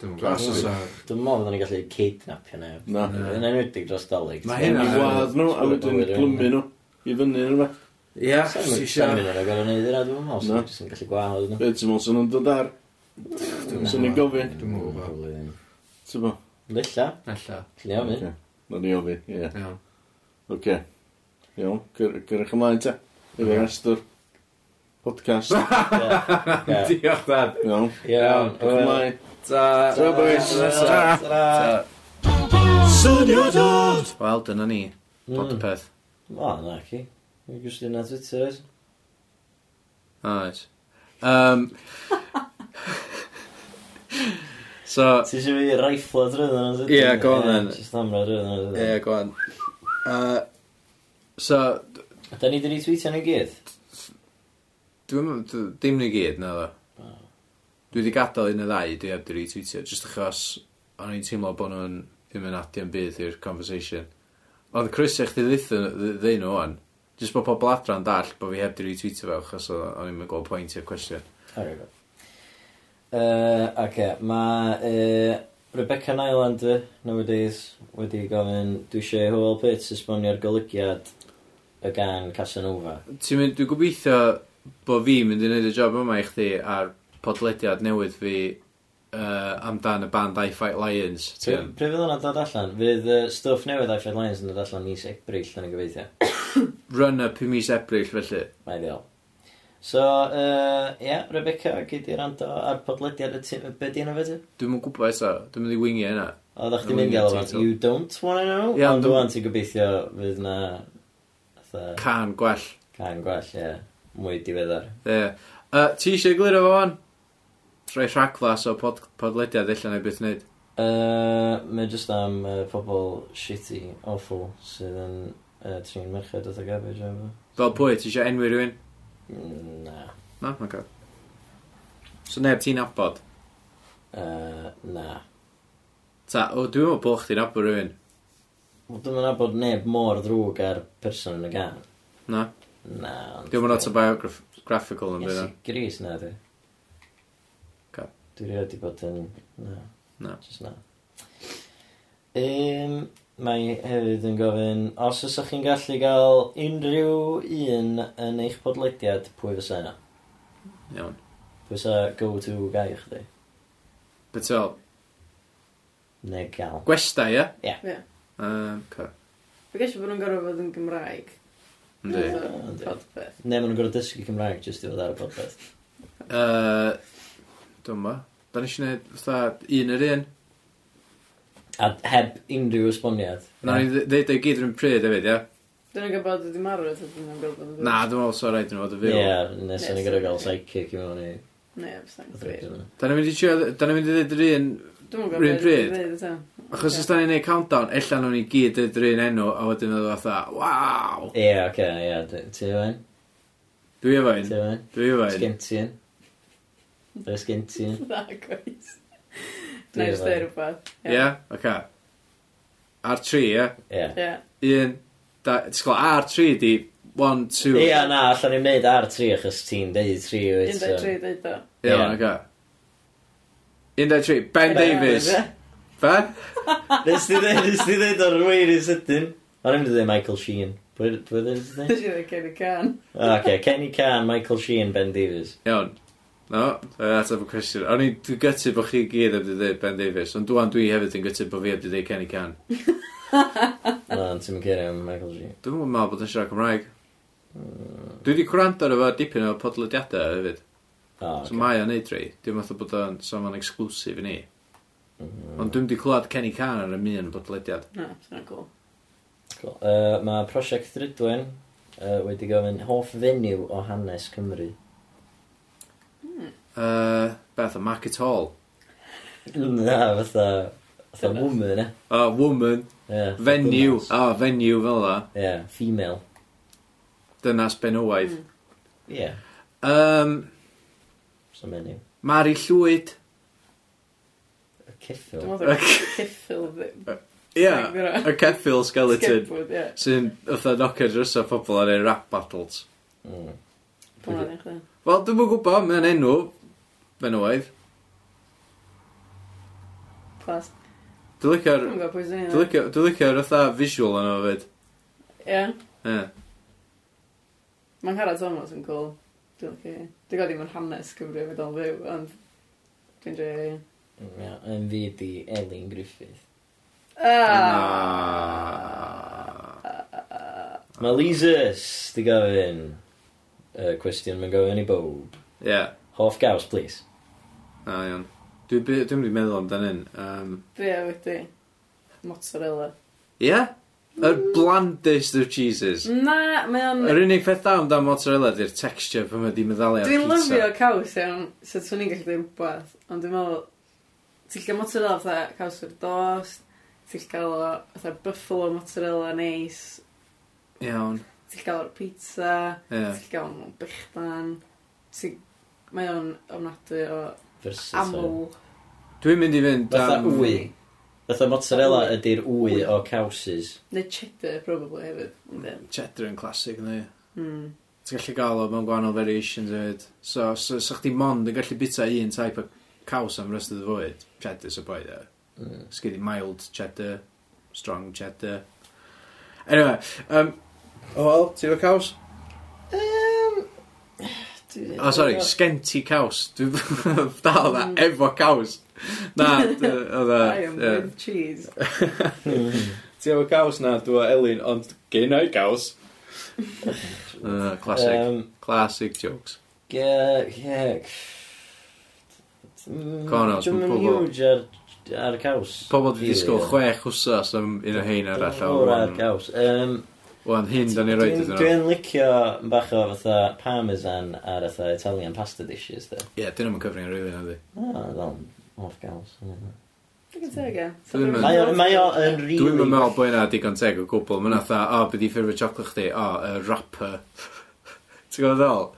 E: dwi'n glas o
H: Class.
E: sa.
C: Dwi'n meddwl bod ni'n gallu kidnapio neb.
H: Na.
E: Ie.
C: Yn enwedig dros Dolig.
E: Ma'
H: Hyn
E: hynna-
H: i wadd nhw, a wedyn glymu nhw. I fyny yn yma.
E: Ie,
C: Sa'n
E: si
C: mynd
E: sa.
C: yn agor yn neud yna, dwi'n meddwl.
H: Na.
C: Sa'n jyst yn gallu gwahanol ydyn nhw.
H: Be ti'n mwyn sy'n nhw'n dod ar? Sa'n ni'n gofyn.
E: Dwi'm yn gwbod.
C: gwybod.
H: Ti'n bo?
C: Lilla,
E: Alla,
C: chi'n iawn fi.
H: Ocê. Na ni ofyn, ie.
E: iawn.
H: Oce. Iawn, cyr- cyrrwch ymlaen te. Efo restr. Podcast.
C: Ie.
E: Diolch dad.
H: Iawn.
C: Iawn,
H: Cyrrwch ymlaen.
E: Ta.
H: Ta, boys.
E: Ta.
C: Ta.
A: Wel, dyna ni. Bod y
C: Mm.
A: peth.
C: O, na chi. Mi'n gwestiwn na Twitter. oes?
A: Oes. Um, so,
C: Ti eisiau fi raiflo drwydd yna Twitter?
A: Ie, go on
C: Ie,
A: then.
C: Jyst amra drwydd yna
A: ie,
C: Twitter.
A: yeah, go on. Uh, so,
C: Da ni wedi tweetio nhw i gyd?
A: Dwi'n dwi- dim ni gyd, na ddo. Dwi wedi gadael un y ddau, dwi heb di retweetio, jyst achos o'n i'n teimlo bod nhw'n ddim yn adio'n byd i'r conversation. Oedd Chris eich di ddeun nhw o'n, jyst bod pobl adran dall bod fi heb di retweetio fe, achos o- o'n i'n gweld pwynt i'r cwestiwn.
C: There we go. Uh, okay, mae uh, Rebecca Nylander nowadays wedi gofyn dwi eisiau Howell Pitts esbonio'r golygiad y gan Casanova.
A: Ti'n mynd, dwi'n gobeithio bod fi'n mynd i wneud y job yma i chdi ar podlediad newydd fi uh, amdan y band I Fight Lions.
C: Pryd
A: Ti'n
C: fydd hwnna'n dod allan? Fydd uh, stwff newydd Eiffel Lions yn dod allan mis Ebrill yn y gobeithio.
A: run-up i mis Ebrill felly.
C: Mae'n ddiol. So, uh, ie, yeah, Rebecca, gei di rando ar podlediad y tu... Be di yna fe ti?
A: Dwi'n mynd gwybod eto, dwi'n mynd i wingio hynna.
C: O,
A: Dwi'n
C: ddech chi'n mynd i
A: mynd i
C: alw
A: teitl.
C: You don't wanna know?
A: Ie,
C: Ie,
A: ond
C: ond
A: dwi'n-
C: dwi'n ti gobeithio fydd na... fatha,
A: Can gwell.
C: Can gwell, ie. Mwy diweddar.
A: Ie. Uh, ti eisiau egluro fo fan? Rhoi rhaglas o pod, podlediad allan ei beth wneud.
C: Uh, Mae jyst am uh, pobl shitty, awful, sydd yn uh, trin merched oedd y garbage efo.
A: Fel pwy, ti eisiau enwi rhywun?
C: Mm, Na.
A: Na, mae'n cael. So neb ti'n abod?
C: Uh, na.
A: Ta, o, dwi'n meddwl bod chdi'n abod rhywun.
C: Wel, Dwi'm yn abod neb mor ddrwg ar person yn y gan.
A: Na,
C: Na. ond-
A: dwi'n meddwl autobiographical yn
C: Nes
A: bydda.
C: i gris na dwi.
A: Ca.
C: Dwi rhaid i bod yn... Na.
A: Na.
C: Just na. Um, mae hefyd yn gofyn, os ysach chi'n gallu gael unrhyw un yn eich podlediad, pwy fysa yna?
A: Iawn.
C: Pwy fysa go-to gai chdi?
A: Beth fel,
C: Neu gael.
A: gwesta, ie?
C: Ie.
B: Ie.
A: Um, ca.
B: Fi gesio bod nhw'n gorfod bod yn Gymraeg.
A: Ynddi.
B: So,
C: Yndi.
B: Podpeth.
C: Neu maen nhw'n gorfod dysgu Cymraeg jyst i fod ar y podlediad.
A: Uh, dwi'n meddwl. Da ni eisiau gwneud fatha un yr un.
C: A heb unrhyw esboniad.
A: Na, ni ddeud ei gyd rhywun pryd hefyd, ie?
B: Dyn nhw'n gwybod ydy marw, so dyn nhw'n gwybod ydy
A: Na, dwi'n meddwl so rhaid yn fod y
C: Ie,
A: fyw.
C: yeah, nes o'n i gorfod gael psychic i mewn i...
B: Ne, fysa'n gwir.
C: Dwi'n
A: Da ni'n mynd i trio- da ni'n mynd i ddeud yr un
B: Dwi'n gwybod
A: Rhywun
B: beth
A: pryd?
B: dwi'n dweud eto.
A: Achos
B: Ocê.
A: os da ni'n neud countdown, ella nhw'n i gyd dweud yr un enw, a wedyn oedd oedd fatha, waw!
C: Ie, oce, ie. d- Ti efo un?
A: Dwi efo
C: Ti
A: un,
C: efo un?
A: dwi efo un.
C: Sgentyn. Dwi'n sgentyn.
B: Na, gwaith.
C: Dwi
B: Na,
C: efo.
B: jyst dweud rhywbeth.
A: Ie, oce. Ar tri, ie.
C: Ie.
B: Ie.
A: Un, da, ti'n gwybod, ar tri di, one, two.
C: Ie, na, allan ni'n neud ar tri achos ti'n deud tri o
B: Un, dau, tri, dweud o.
A: Iawn,
C: Ie.
A: oce. Un, dau, tri, Ben Davies.
B: Ie.
A: Be?
C: Nes di ddeud, nes di ddeud o'r wir i sydyn. O'n i'n mynd i ddeud Michael Sheen. Pwy pwy ddeud nes di ddeud?
B: Dwi'n siŵr gen i can.
C: O, oce, Kenny Can, Michael Sheen, Ben Davies.
A: Iawn. No, uh, ateb y cwestiwn. O'n i dwi'n gytu bod chi gyd heb wedi dweud Ben Davies, ond dwi'n dwi hefyd yn gytu bod fi heb wedi dweud Kenny Can.
C: Na, ond ti'n mynd am Michael Sheen.
A: Dwi'n meddwl bod yn siarad Cymraeg. Dwi wedi gwrando ar efo dipyn o podlediadau hefyd.
C: O,
A: So
C: oce.
A: mae o'n neud rei. Dwi'n meddwl bod o'n so ma'n exclusif i ni. Ond dwi'n wedi clywed Kenny Can ar y mi yn y podlediad.
B: Na, sy'n cool.
C: Cool. Yy, Mae prosiect Rydwen yy, wedi gofyn hoff fenyw o hanes Cymru.
A: Uh, Beth, o Market Hall.
C: Na, fatha... Fatha
B: Dynas.
C: woman, e?
A: Uh, woman,
C: Ie, fatha
A: venue.
C: dynas.
A: Ah, venue fel la.
C: Ie, female.
A: Dynas Ben Owaith.
B: Hmm.
C: Ie,
A: Um,
C: so menyw.
A: Mari Llwyd.
C: Y
B: Dwi'n
C: Ceffil.
B: meddwl bod cyffil ddim.
A: Ie, y ceffil skeleton.
B: Skateboard, ie.
A: Sy'n ytho knocker dros o pobl ar ei rap battles.
C: Mm.
B: Dwi'n meddwl chdi.
A: Wel, dwi'n mwyn gwybod, mae'n enw. Ben Owaith.
B: Clas.
A: Dwi'n licio'r...
B: Dwi'n gwybod pwy sy'n
A: Dwi'n licio- dwi'n licio'r ytho visual yno fyd.
B: Ie.
A: Ie.
B: Mae'n Cara Thomas yn cool. Dwi'n licio hi. Dwi'n gwybod ddim yn hanes Cymru fe dal fyw, ond dwi'n joio hi.
C: Ie, mm. yn fi di Elin Griffith.
B: Ah!
C: Mae Lisus di gofyn. Y cwestiwn mae'n gofyn i bob.
A: Ie.
C: Hoff gaws, please.
A: Na, iawn. Dwi- Dwi'n wedi meddwl amdan hyn. Um,
B: Be a wedi? Mozzarella.
A: Ie? Yr blandest of cheeses.
B: Na, mae o'n...
A: Yr unig peth da amdan mozzarella di'r texture pan mae di meddalu ar
B: Dwi'n
A: pizza.
B: lyfio caws iawn, so swn i'n gallu dweud rhywbeth, ond dwi'n meddwl, ti'n cael mozzarella fatha caws o'r dost, ti'n cael o fatha buffalo mozzarella neis,
A: Iawn,
B: ti'n cael o'r pizza,
A: ie.
B: ti'n cael o'n bychdan, ti'n... Mae o'n ofnadwy o
C: Versus.
B: aml.
A: Dwi'n mynd i fynd
C: Fatha
A: am-
C: wy. Fatha mozzarella ydy'r wy o cawsys.
B: Neu cheddar, probably, hefyd. Ynddi.
A: Cheddar yn classic, neu?
B: Mm.
A: Ti'n gallu gael o mewn gwahanol variations hefyd. So, so, so chdi mond yn gallu bita un type o caws am rest of the fwyd. Cheddar sy'n boi there.
C: Mm.
A: Sgidi mild cheddar, strong cheddar. Anyway, um, o wel, ti'n efo caws?
B: Dwi-
A: O, oh, sorry, sgenti caws. Dwi'n dal na, efo caws. Na, d- oedd e,
B: Mm. I am
A: ie.
B: with cheese.
A: Ti efo caws na, dwi'n Elin, ond gen i caws. Uh, classic,
C: Um,
A: classic jokes.
C: Ie, ie.
A: Conos,
C: Dwi'n
A: ma'
C: mynd
A: pobol-
C: huge ar, ar caws.
A: Pobl wedi
C: Rili,
A: disgwyl
C: ie.
A: chwech wsos am un o hein arall o
C: Mor ar
A: wan-
C: gaws. Um,
A: wan hyn da ni roed
C: dwi'n
A: iddyn nhw.
C: dwi'n licio bach o fatha parmesan ar fatha Italian pasta dishes, de.
A: Ie, dyn nhw'n cyfrin rili na di.
C: O, ddol, off gaws. Mae
B: Dwi'n e. tega.
A: Dwi'n meddwl-
C: o- mae o yn rili...
A: Dwi'n mynd meddwl bod yna digon teg o gwbl. Mae'n atha, o, oh, beth i ffurfio chocolate chdi? O, oh, uh, rapper. Ti'n gwybod ddol?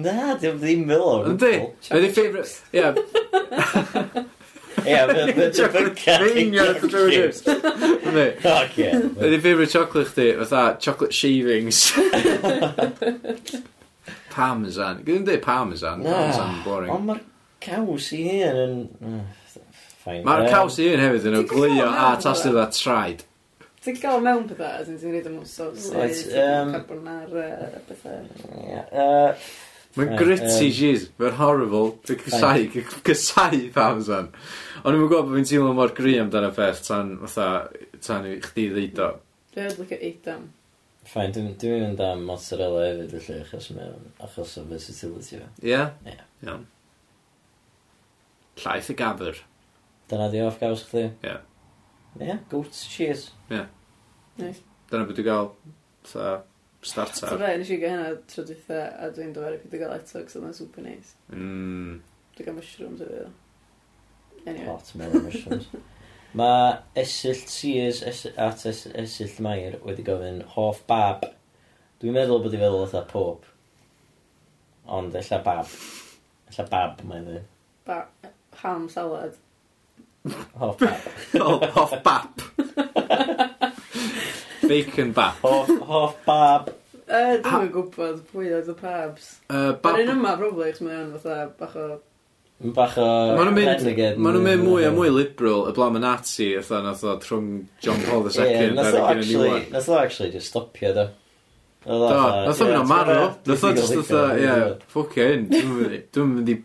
C: Na, dwi'n ddim fel o
A: Yndi?
C: gwbl.
A: Beth i ffurfio... Ie,
C: Ie, mae'n
A: Union at the Trader Joe's. Yndi.
C: Oce.
A: Ydy favourite chocolate chdi, fatha chocolate shavings. parmesan. Gwyd yn dweud parmesan,
C: Na.
A: parmesan yn boring.
C: Ond mae'r caws i hyn yn... Fine.
A: Mae'r
C: Yym,
A: caws i un hefyd yn
B: Ti'n
A: oglio
B: gwbod
A: a
B: hwnna?
A: tastio dda traed.
B: Ti'n cael o mewn pethau, as in ti'n rhaid am o sos,
C: Right, yym.
B: carbonara, pethau.
C: ie, yy,
A: Mae'n
C: Ie,
A: gritty
C: yym.
A: cheese, mae'n horrible, dwi'n cysau, cysau parmesan. Ond i'n gwybod bod fi'n teimlo mor gri amdano peth tan, fatha, tan i chdi ddeud o.
B: Dwi'n meddwl licio eidam.
C: Fine, dwi'n dwi mynd am mozzarella hefyd felly, achos mewn, achos o versatility fe.
A: Ie?
C: Ie.
A: Iawn. Llaeth y gafr.
C: Dyna di off gaws chdi?
A: Ie.
C: Ie, yeah, goat's cheese.
B: Nice.
A: Dyna beth dwi'n gael, fatha, starter.
B: So fe, nes i gael hynna tro dwytha, a dwi'n dyfaru pwy dwi'n gael eto, cos oedd yn super nice.
A: Mm.
B: Dwi'n gael mushrooms efo. Anyway.
C: Hot melon mushrooms. Mae Esill Sears es, at es, Esill Mair wedi gofyn hoff bab. Dwi'n meddwl bod i feddwl eitha pob. Ond ella bab. Ella bab mae'n dweud.
B: Ba ham salad.
C: Hoff bab.
A: Oh, hoff bap. Bacon bap.
C: Hoff, hoff bab.
B: Uh,
A: Ha-
B: dwi'n yn gwybod pwy oedd y pabs.
A: Uh,
B: Yr
A: bap.
B: un yma, probably, chos mae o'n fatha bach o
C: Yn bach o
A: Ma' nhw'n mynd-
C: renegade.
A: Ma' nhw'n mynd mwy a mwy liberal y blaen y Nazi fatha nath o trwng John Paul II
C: Ie,
A: yeah,
C: nath o
A: ar y
C: actually,
A: gynnu
C: nath o actually just stopio do.
A: Do, nath o'n mynd o marw. Nath o'n just fatha, ie, ffwcio hyn. Dwi'n mynd i- Dwi'n mynd i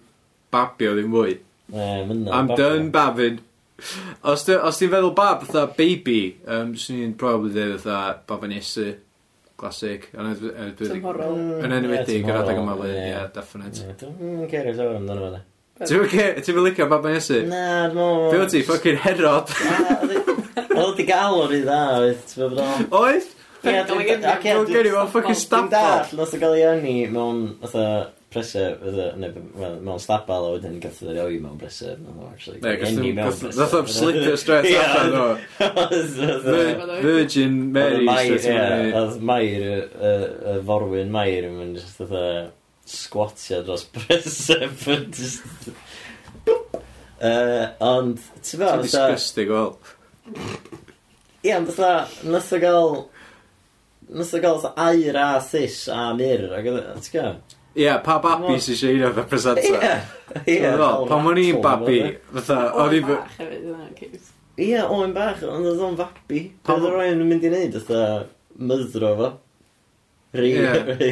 A: babio ddim mwy. I'm done babbing. Os ti- os ti'n feddwl bab fatha baby, um, swn i'n probably dweud fatha bab yn esu. Classic. Yn enw- yn
B: Sy'n
A: enwedig-
B: horror.
A: yn enwedig yr adeg yma, ie, yeah, definite.
C: Dwi'n cair o'r sôn amdano fe.
A: Ti'n mynd licio bab yn esu?
C: Na, dwi'n meddwl...
A: Be o ti, ffucking herod?
C: Oedd o wedi gael o'r i dda, oedd, ti'n meddwl bod o'n...
A: Oedd?
C: Ie, e,
B: Gael ei
C: dwi'n
B: gynnig.
C: ocê,
A: Dwi'n
C: dwi'n-
A: gynnig o'n fucking
C: Dwi'n
A: stabal.
C: dall, nath o gael ei ynni mewn, fatha, prysur, fatha, neu, wel, mewn stabal, a wedyn gath o'i roi mewn prysur, nath o actually.
A: Ne,
C: gael ei eni mewn
A: gos
C: prysur.
A: nath o'n slipio straight
C: Ie,
A: allan o.
C: oedd- oedd- oedd-
A: Vir- Virgin Mary.
C: Oedd Mair,
A: straight
C: ie,
A: away.
C: Oedd Mair, y- y- y forwyn Mair yn mynd just fatha squatio dros bresef yn just... Uh, ond,
A: Ti'n
C: ti'n fawr, fatha...
A: disgusting, wel.
C: Ie, ond fatha, nath o gael... Nath o gael fatha air a thys a myr, ac oedd... e- Ti'n gael?
A: Ie, pa babi
C: Wel-
A: sy'n siarad o'r representa?
C: Ie, ie.
A: Pan o'n i'n babi, fatha, o'n i'n...
B: bach hefyd, yna, cute.
C: Ie, o'n bach, ond oedd o'n fabi.
A: Pam-
C: Pan oedd rhaid yn mynd i wneud, oedd myddro fo. Rhi,
A: Ie.
C: rhi.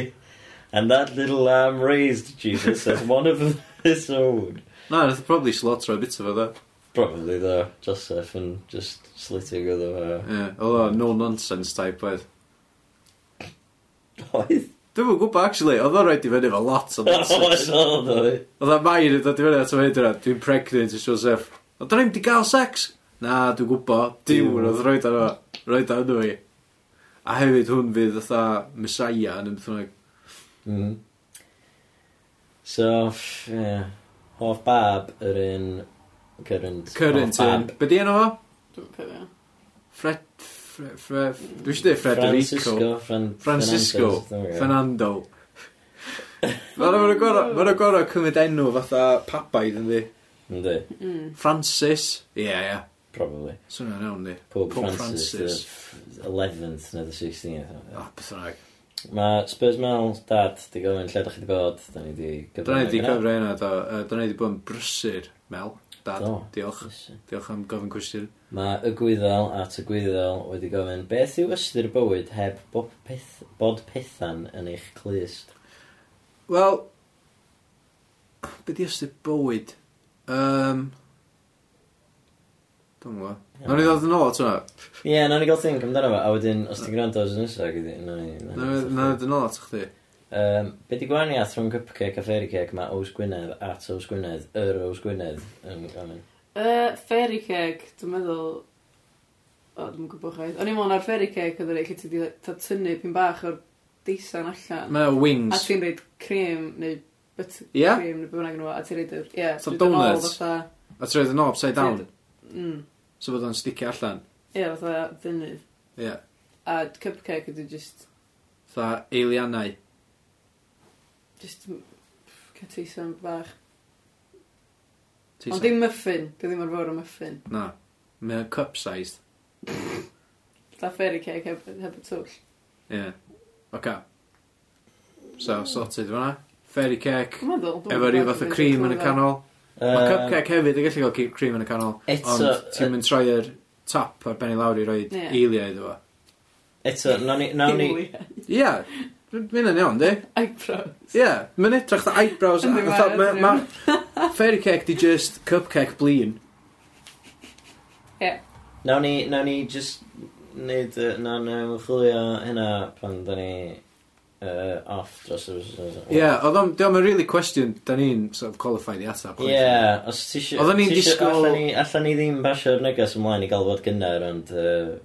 C: And that little lamb raised Jesus as one of his own.
A: Na, nath o probably slotro a bit o fo, dda.
C: Probably though, Joseph and just slitting uh, oedd o.
A: Ie, oedd o no-nonsense type oedd.
C: Oedd?
A: Dwi'n mwyn gwybod, actually, oedd o rhaid i fyny fo lot o
C: Oedd
A: nonsense.
C: oedd oedd.
A: Oedd o mair yn dod i fyny at o hyn yna, dwi'n pregnant, it's Joseph. Ond o'n i'n di gael sex? Na, dwi'n gwybod, diw, oedd roed arno, roed arno i. A hefyd hwn fydd fatha Messiah yn ymwneud. Mm-hmm.
C: Mm. So, ff- ie. Hoff bab yr un... Current.
A: Current
C: hoff
A: yn... Be di enw fo?
B: Dwi'n cofio.
A: Fred... Fre- Fre- Dwi eisiau dweud Frederico.
C: Francisco. Fran
A: Francisco
C: Fernandez, dwi'n meddwl.
A: Fernando. Mae'n ma gorau ma goro cymryd enw fatha pabaid yn di.
C: Yndi,
B: Mm.
A: Francis. Ie, yeah, ie. Yeah.
C: probably.
A: Swnio'n iawn di.
C: Pope
A: Pope
C: Francis.
A: Francis. Oh.
C: the 11th neu the 16th.
A: O, beth rhaeg.
C: Mae Spurs Mel, dad, di gofyn lle dach chi di bod. Da ni di gyfrannu.
A: Dyna ni wedi cyfro hynna, do. Yy, Dyna ni wedi bod yn brysur, Mel. Dad,
C: Do.
A: diolch. Diolch am gofyn cwestiwn.
C: Mae y gwyddel at y gwyddel wedi gofyn beth yw ystyr bywyd heb bod, peth, bod pethan yn eich clust?
A: Wel, be di ystyr bywyd? Um, Dwi'n gwybod. Nawr ni ddod yn ôl at hwnna.
C: Ie, yeah, nawn ni gael think amdano fo, a wedyn, os ti'n gwrando os nesaf, gyda, nawn ni... nawn ni
A: Nawr ni
C: gael think.
A: ddod yn ôl at chdi.
C: Yym, Be di gwahaniaeth rhwng cupcake a fairy cake mae Ows Gwynedd at Ows Gwynedd, yr Ows Gwynedd yn gofyn?
B: Yy, fairy cake, dwi'n meddwl... O, dwi'n gwybod chwaith. O'n i'n meddwl na'r fairy cake oedd rhaid lle ti 'di ta tynnu pyn bach o'r deisan allan.
A: Mae
B: A
A: wings.
B: ti'n reid crem neu but
A: Ie?
B: cream neu bwna gyda fo, a ti'n reid yr... Ie,
A: So
B: dwi'n dod yn ôl
A: donuts.
B: fatha...
A: A trwy'n yn upside down,
B: Mm,
A: so bod o'n sticio allan.
B: ie, fatha ddynydd.
A: Ie.
B: A cupcake ydy just...
A: Tha eilianau.
B: Just... m- Cael teisan bach.
A: Ti
B: Ond
A: sa-
B: dim muffin. Dwi ddim ar fawr o muffin.
A: Na. Mae o'n cup sized.
B: Da fairy cake heb, heb y twll.
A: Ie. Oca. So, sorted fyna. Fairy cake.
B: Dwi'n meddwl... dwi'n
A: Efo rhyw
B: meddwl
A: fath o
B: dwi'n
A: cream yn y
B: clywed.
A: canol. Mae
C: Yym,
A: cupcake hefyd yn gallu cael ci- cream yn y canol.
C: Eto,
A: Ond ti'n mynd troi yr top ar ben i lawr i roi
B: Ie.
A: eiliau iddo fo.
C: eto, nawn ni, nawn ni,
B: Ew,
A: Ie. Mae'n yn iawn, di?
B: Eyebrow.
A: Ie. Mae'n edrych dda eyebrows. a-
B: Yndi, mae,
A: fatha, ma-
B: yndi.
A: ma- Fairy cake di just cupcake blin.
C: Nawn ni, nawn ni just neud, uh, nawn ni ymchwilio hynna pan da ni uh, off dros y wythnos.
A: Ie, oedd o'n, diolch, mae'n really question, da ni'n sort of qualified i atab.
C: Ie, yeah, os ti eisiau...
A: Oedden ni'n disgwyl-
C: Allan ni, allan ni ddim basio'r neges ymlaen i gael fod gynnar, ond... Uh,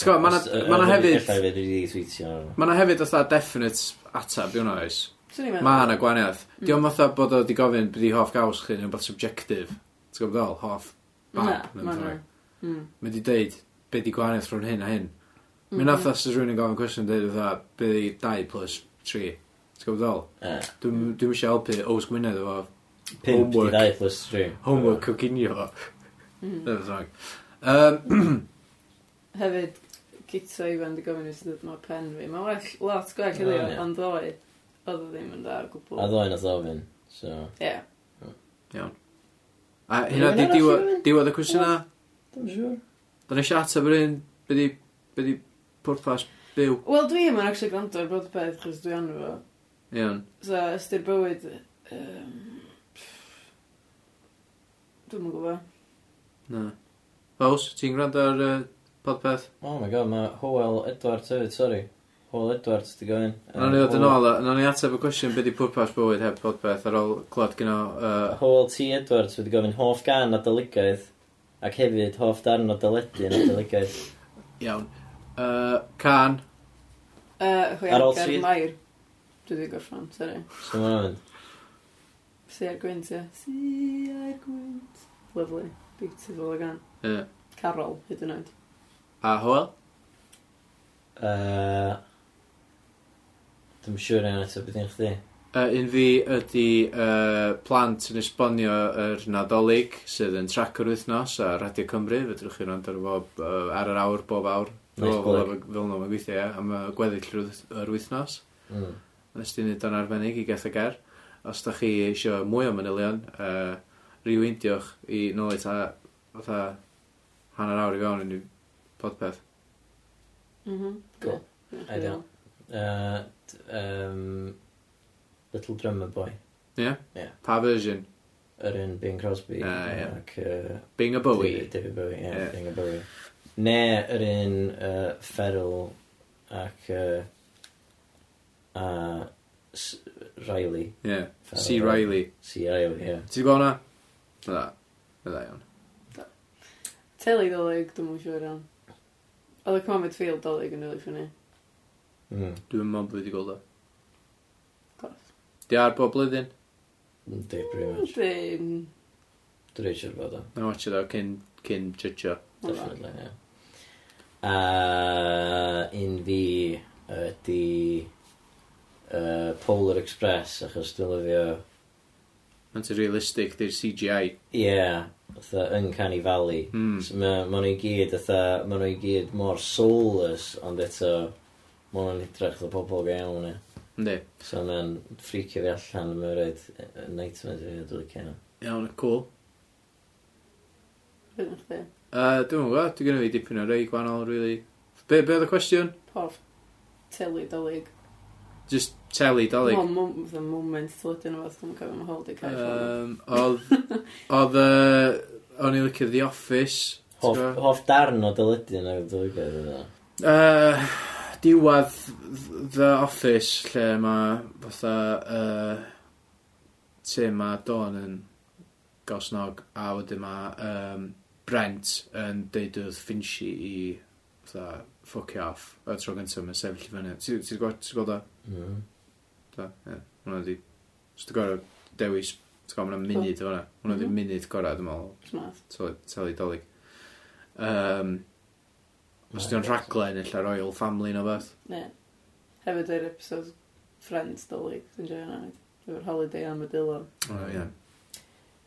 A: T'w gwbod, ma' 'na- ma' 'na hefyd-
C: Efallai fe wedi tweetio.
A: Mae yna hefyd fatha definite atab, yw'n oes.
B: Swn i'n meddwl.
A: Mae yna gwaniaeth. Mm. Di o'n fatha bod o wedi gofyn beth i hoff gaws chi, neu'n beth subjective. T'w gwybod ddol, hoff bab.
B: Na, ma' nhw. Mm.
A: Mae wedi deud, beth i gwaniaeth rhwng hyn a hyn.
B: Mm-hmm.
A: Mae'n mm. fatha sy'n rhywun yn gofyn cwestiwn, deud fatha, beth i 2 plus 3. T'w gwybod ddol?
C: Uh,
A: Dwi'n
B: Mm.
A: dwi eisiau helpu Ows Gwynedd efo
C: pimp di
A: Homework.
C: dau plus three.
B: Mm.
A: homework coginio fo. Neu beth bynnag. Yym,
B: Hefyd, gyto i fan di gofyn i sydd mae pen fi. Mae well, lot gwell
C: O,
B: i ddeo,
C: ie.
B: ond ddoe, oedd o ddim yn da o gwbl.
C: A ddoen oedd ofyn, so...
B: Ie.
A: Iawn. A hynna di
C: Rhywun arall i
A: diwedd
C: fynd?
A: diwedd y cwestiwn na?
C: Dwi'n siŵr.
A: Da ni eisiau ateb yr un, byddi, byddi pwrpas byw.
B: Wel, dwi yma'n actually gwrando ar bod y peth, chos dwi anno fo.
A: Iawn.
B: So, ystyr bywyd... Um, Dwi'n mwyn gwybod.
A: Na. Faws, ti'n gwrando ar uh, podpeth?
C: Oh my god, mae Howell Edwards hefyd, sori. Howell Edwards, di gofyn.
A: Na ni ddod yn ôl, na ni ateb y cwestiwn byddi pwrpas bywyd heb podpeth ar ôl clod gyno uh,
C: Howell T. Edwards wedi gofyn hoff gan adolygaeth ac hefyd hoff darn o dyledu yn adolygaeth.
A: Iawn. Uh, can.
B: Uh, hwy
C: Ar
B: ar
C: ôl
B: gair
C: sydd?
B: mair. Dwi wedi gorffan, sori.
C: So mae'n mynd.
B: Si ar gwynt, ie. Si ar gwynt. Lovely. Beautiful again.
A: Ie.
B: Carol, hyd yn oed.
A: A hwyl?
C: Uh, Dwi'n siŵr yn eto beth yw'n chdi.
A: Uh, un fi ydi uh, plant yn esbonio yr nadolig sydd yn trac yr wythnos a Radio Cymru, fedrwch chi rand ar fo uh, ar yr awr, bob awr.
C: Nice
A: Fel-
C: plug.
A: fel- Fel nhw'n gweithio, ie, am y gweddill yr wyth- yr wythnos.
C: Mm.
A: Nes ti'n neud o'n arbennig i gath y ger. Os da chi eisiau mwy o manylion, uh, rewindiwch i nôl i ta, fatha, hanner awr i fewn yn y podpeth.
B: Mhm.
C: Cool.
B: Ie,
C: I don't. Uh, d- um, Little Drummer Boy.
A: Pa version?
C: Yr un Bing Crosby.
A: Ah, ie.
C: Ac uh,
A: Bing a Bowie.
C: David, David Bowie, ie,
A: Ie.
C: Bing a Bowie. Ne, yr un uh, Ferrell ac uh, a S Riley.
A: Yeah.
C: Farrell
A: C. Riley.
C: C. Riley, ie.
A: Ti'n gweld hwnna? Fydda. Fydda iawn.
B: Teli dolyg, dwi'n mwyn siŵr iawn. Oedd y Comet Field dolyg yn rili ffynnu.
C: Mm.
A: Dwi'n mynd blwyddyn gweld o.
B: Glas.
A: Di ar bob blwyddyn?
C: Dwi, pretty much.
B: Mm. Dwi'n...
C: Dwi'n siŵr bod o.
A: Mae'n watch it o cyn, cyn judge o.
C: Definitely, ie. A un fi ydi uh, Polar Express, achos dwi'n lyfio...
A: Mae'n ti'n realistic, di'r CGI.
C: Ie, yeah, Uncanny Valley.
A: Hmm.
C: So ma, ma nhw i gyd, atha, ma nhw i gyd mor soulless, ond eto, ma nhw'n edrych o bobl go iawn e.
A: Yndi.
C: So ma'n ffricio fi allan, ma'n rhaid y e, nightmares fi, dwi'n licio hynna.
A: Iawn, cool.
B: Dwi'n chdi.
A: Uh, dwi'n gwybod, dwi'n gynnu fi dipyn o rei gwahanol, really. Be, be oedd y cwestiwn?
B: Pob. Teli dolyg.
A: Just teli, dolyg.
B: Wel, mom- fatha moment tolydyn o fath, dwi'n cofio mae hold i cael.
A: Um, oedd, oedd, yy, o'n i licio The Office. ti'n
C: Hoff,
A: gwbo?
C: hoff darn o dyledu yna, dwi'n licio hynna.
A: Yy, diwadd The Office lle mae fatha uh, Tim a Dawn yn gosnog a wedyn mae um, Brent yn deud wrth Finchi i fatha fuck you off a tro gyntaf mae'n sefyll i fyny. Ti- Ti'n gwybod, ti'n gweld o?
C: Mm.
A: Da, ie. Hwna di, os ti'n gorau dewis, ti'n gwybod, mae'n munud o hwnna. Hwna di
B: Mhm.
A: munud gorau, dwi'n meddwl,
B: Smart.
A: tele- teledolig. Um, Os di'n rhaglen, illa Royal Family na beth.
B: Ne. Hefyd yr episode Friends dolyg. Dwi'n joio hwnna. Efo'r holiday am y dilo.
A: O,
C: Oh,
A: ie.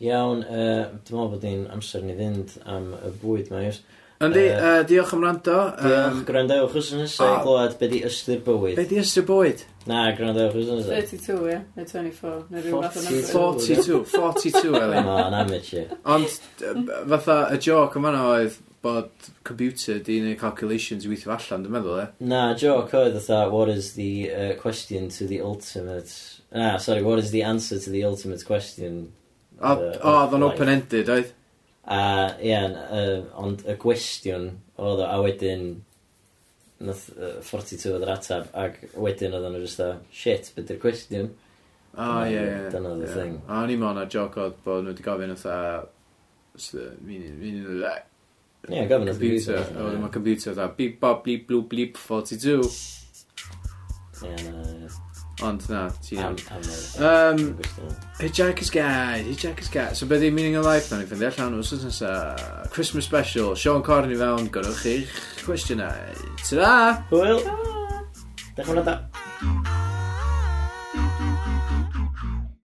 C: Iawn, uh, dwi'n meddwl bod ni'n amser ni fynd am y bwyd mae ys.
A: Yndi,
C: Yy,
A: yy, diolch am rando.
C: Diolch,
A: Yym,
C: gwrandewch wrth nesaf i
A: a-
C: glwad be di ystyr bywyd.
A: Be di ystyr bwyd?
C: Na, gwrandewch wrth nesaf.
B: 32, ie? Neu 24? Neu rhyw fath o
C: 42.
A: 42,
B: number.
A: 42, Elin.
C: Come on, amateur.
A: Ond, yy, fatha, y joc yma oedd bod computer di neud calculations i weithio allan, dwi'n meddwl, e?
C: Na, joke oedd fatha, what is the uh, question to the ultimate... Na, sorry, what is the answer to the ultimate question?
A: O,
C: Yy,
A: o, oedd o'n
C: life.
A: open-ended, oedd?
C: A, ie, n- yy, ond y gwestiwn oedd o, a wedyn nath uh, 42 oedd yr atab, ac wedyn oedd o'n just a, shit, beth yw'r cwestiwn?
A: O, ie, ie.
C: Dyna oedd
A: Ie.
C: y thing.
A: A o'n i mon a joc oedd bod nhw wedi gofyn oedd Meaning,
C: Ie, yeah, gofyn oedd y
A: computer.
C: gwestiwn,
A: A
C: ie.
A: wedyn mae computer oedd beep bop bleep bloop bleep 42.
C: Ie, na, ie.
A: Ond na, ti
C: Am-
A: iawn.
C: am y-
A: Um,
C: y gwestiwn.
A: Hitchhiker's Guide, Hitchhiker's Guide. So beth ydi Meaning of Life, na ni ffindi allan wrth os nesa. Christmas Special, Sean Corn i fewn, gorwch chi'ch cwestiynau. Ta-da!
C: Hwyl! Dech chi'n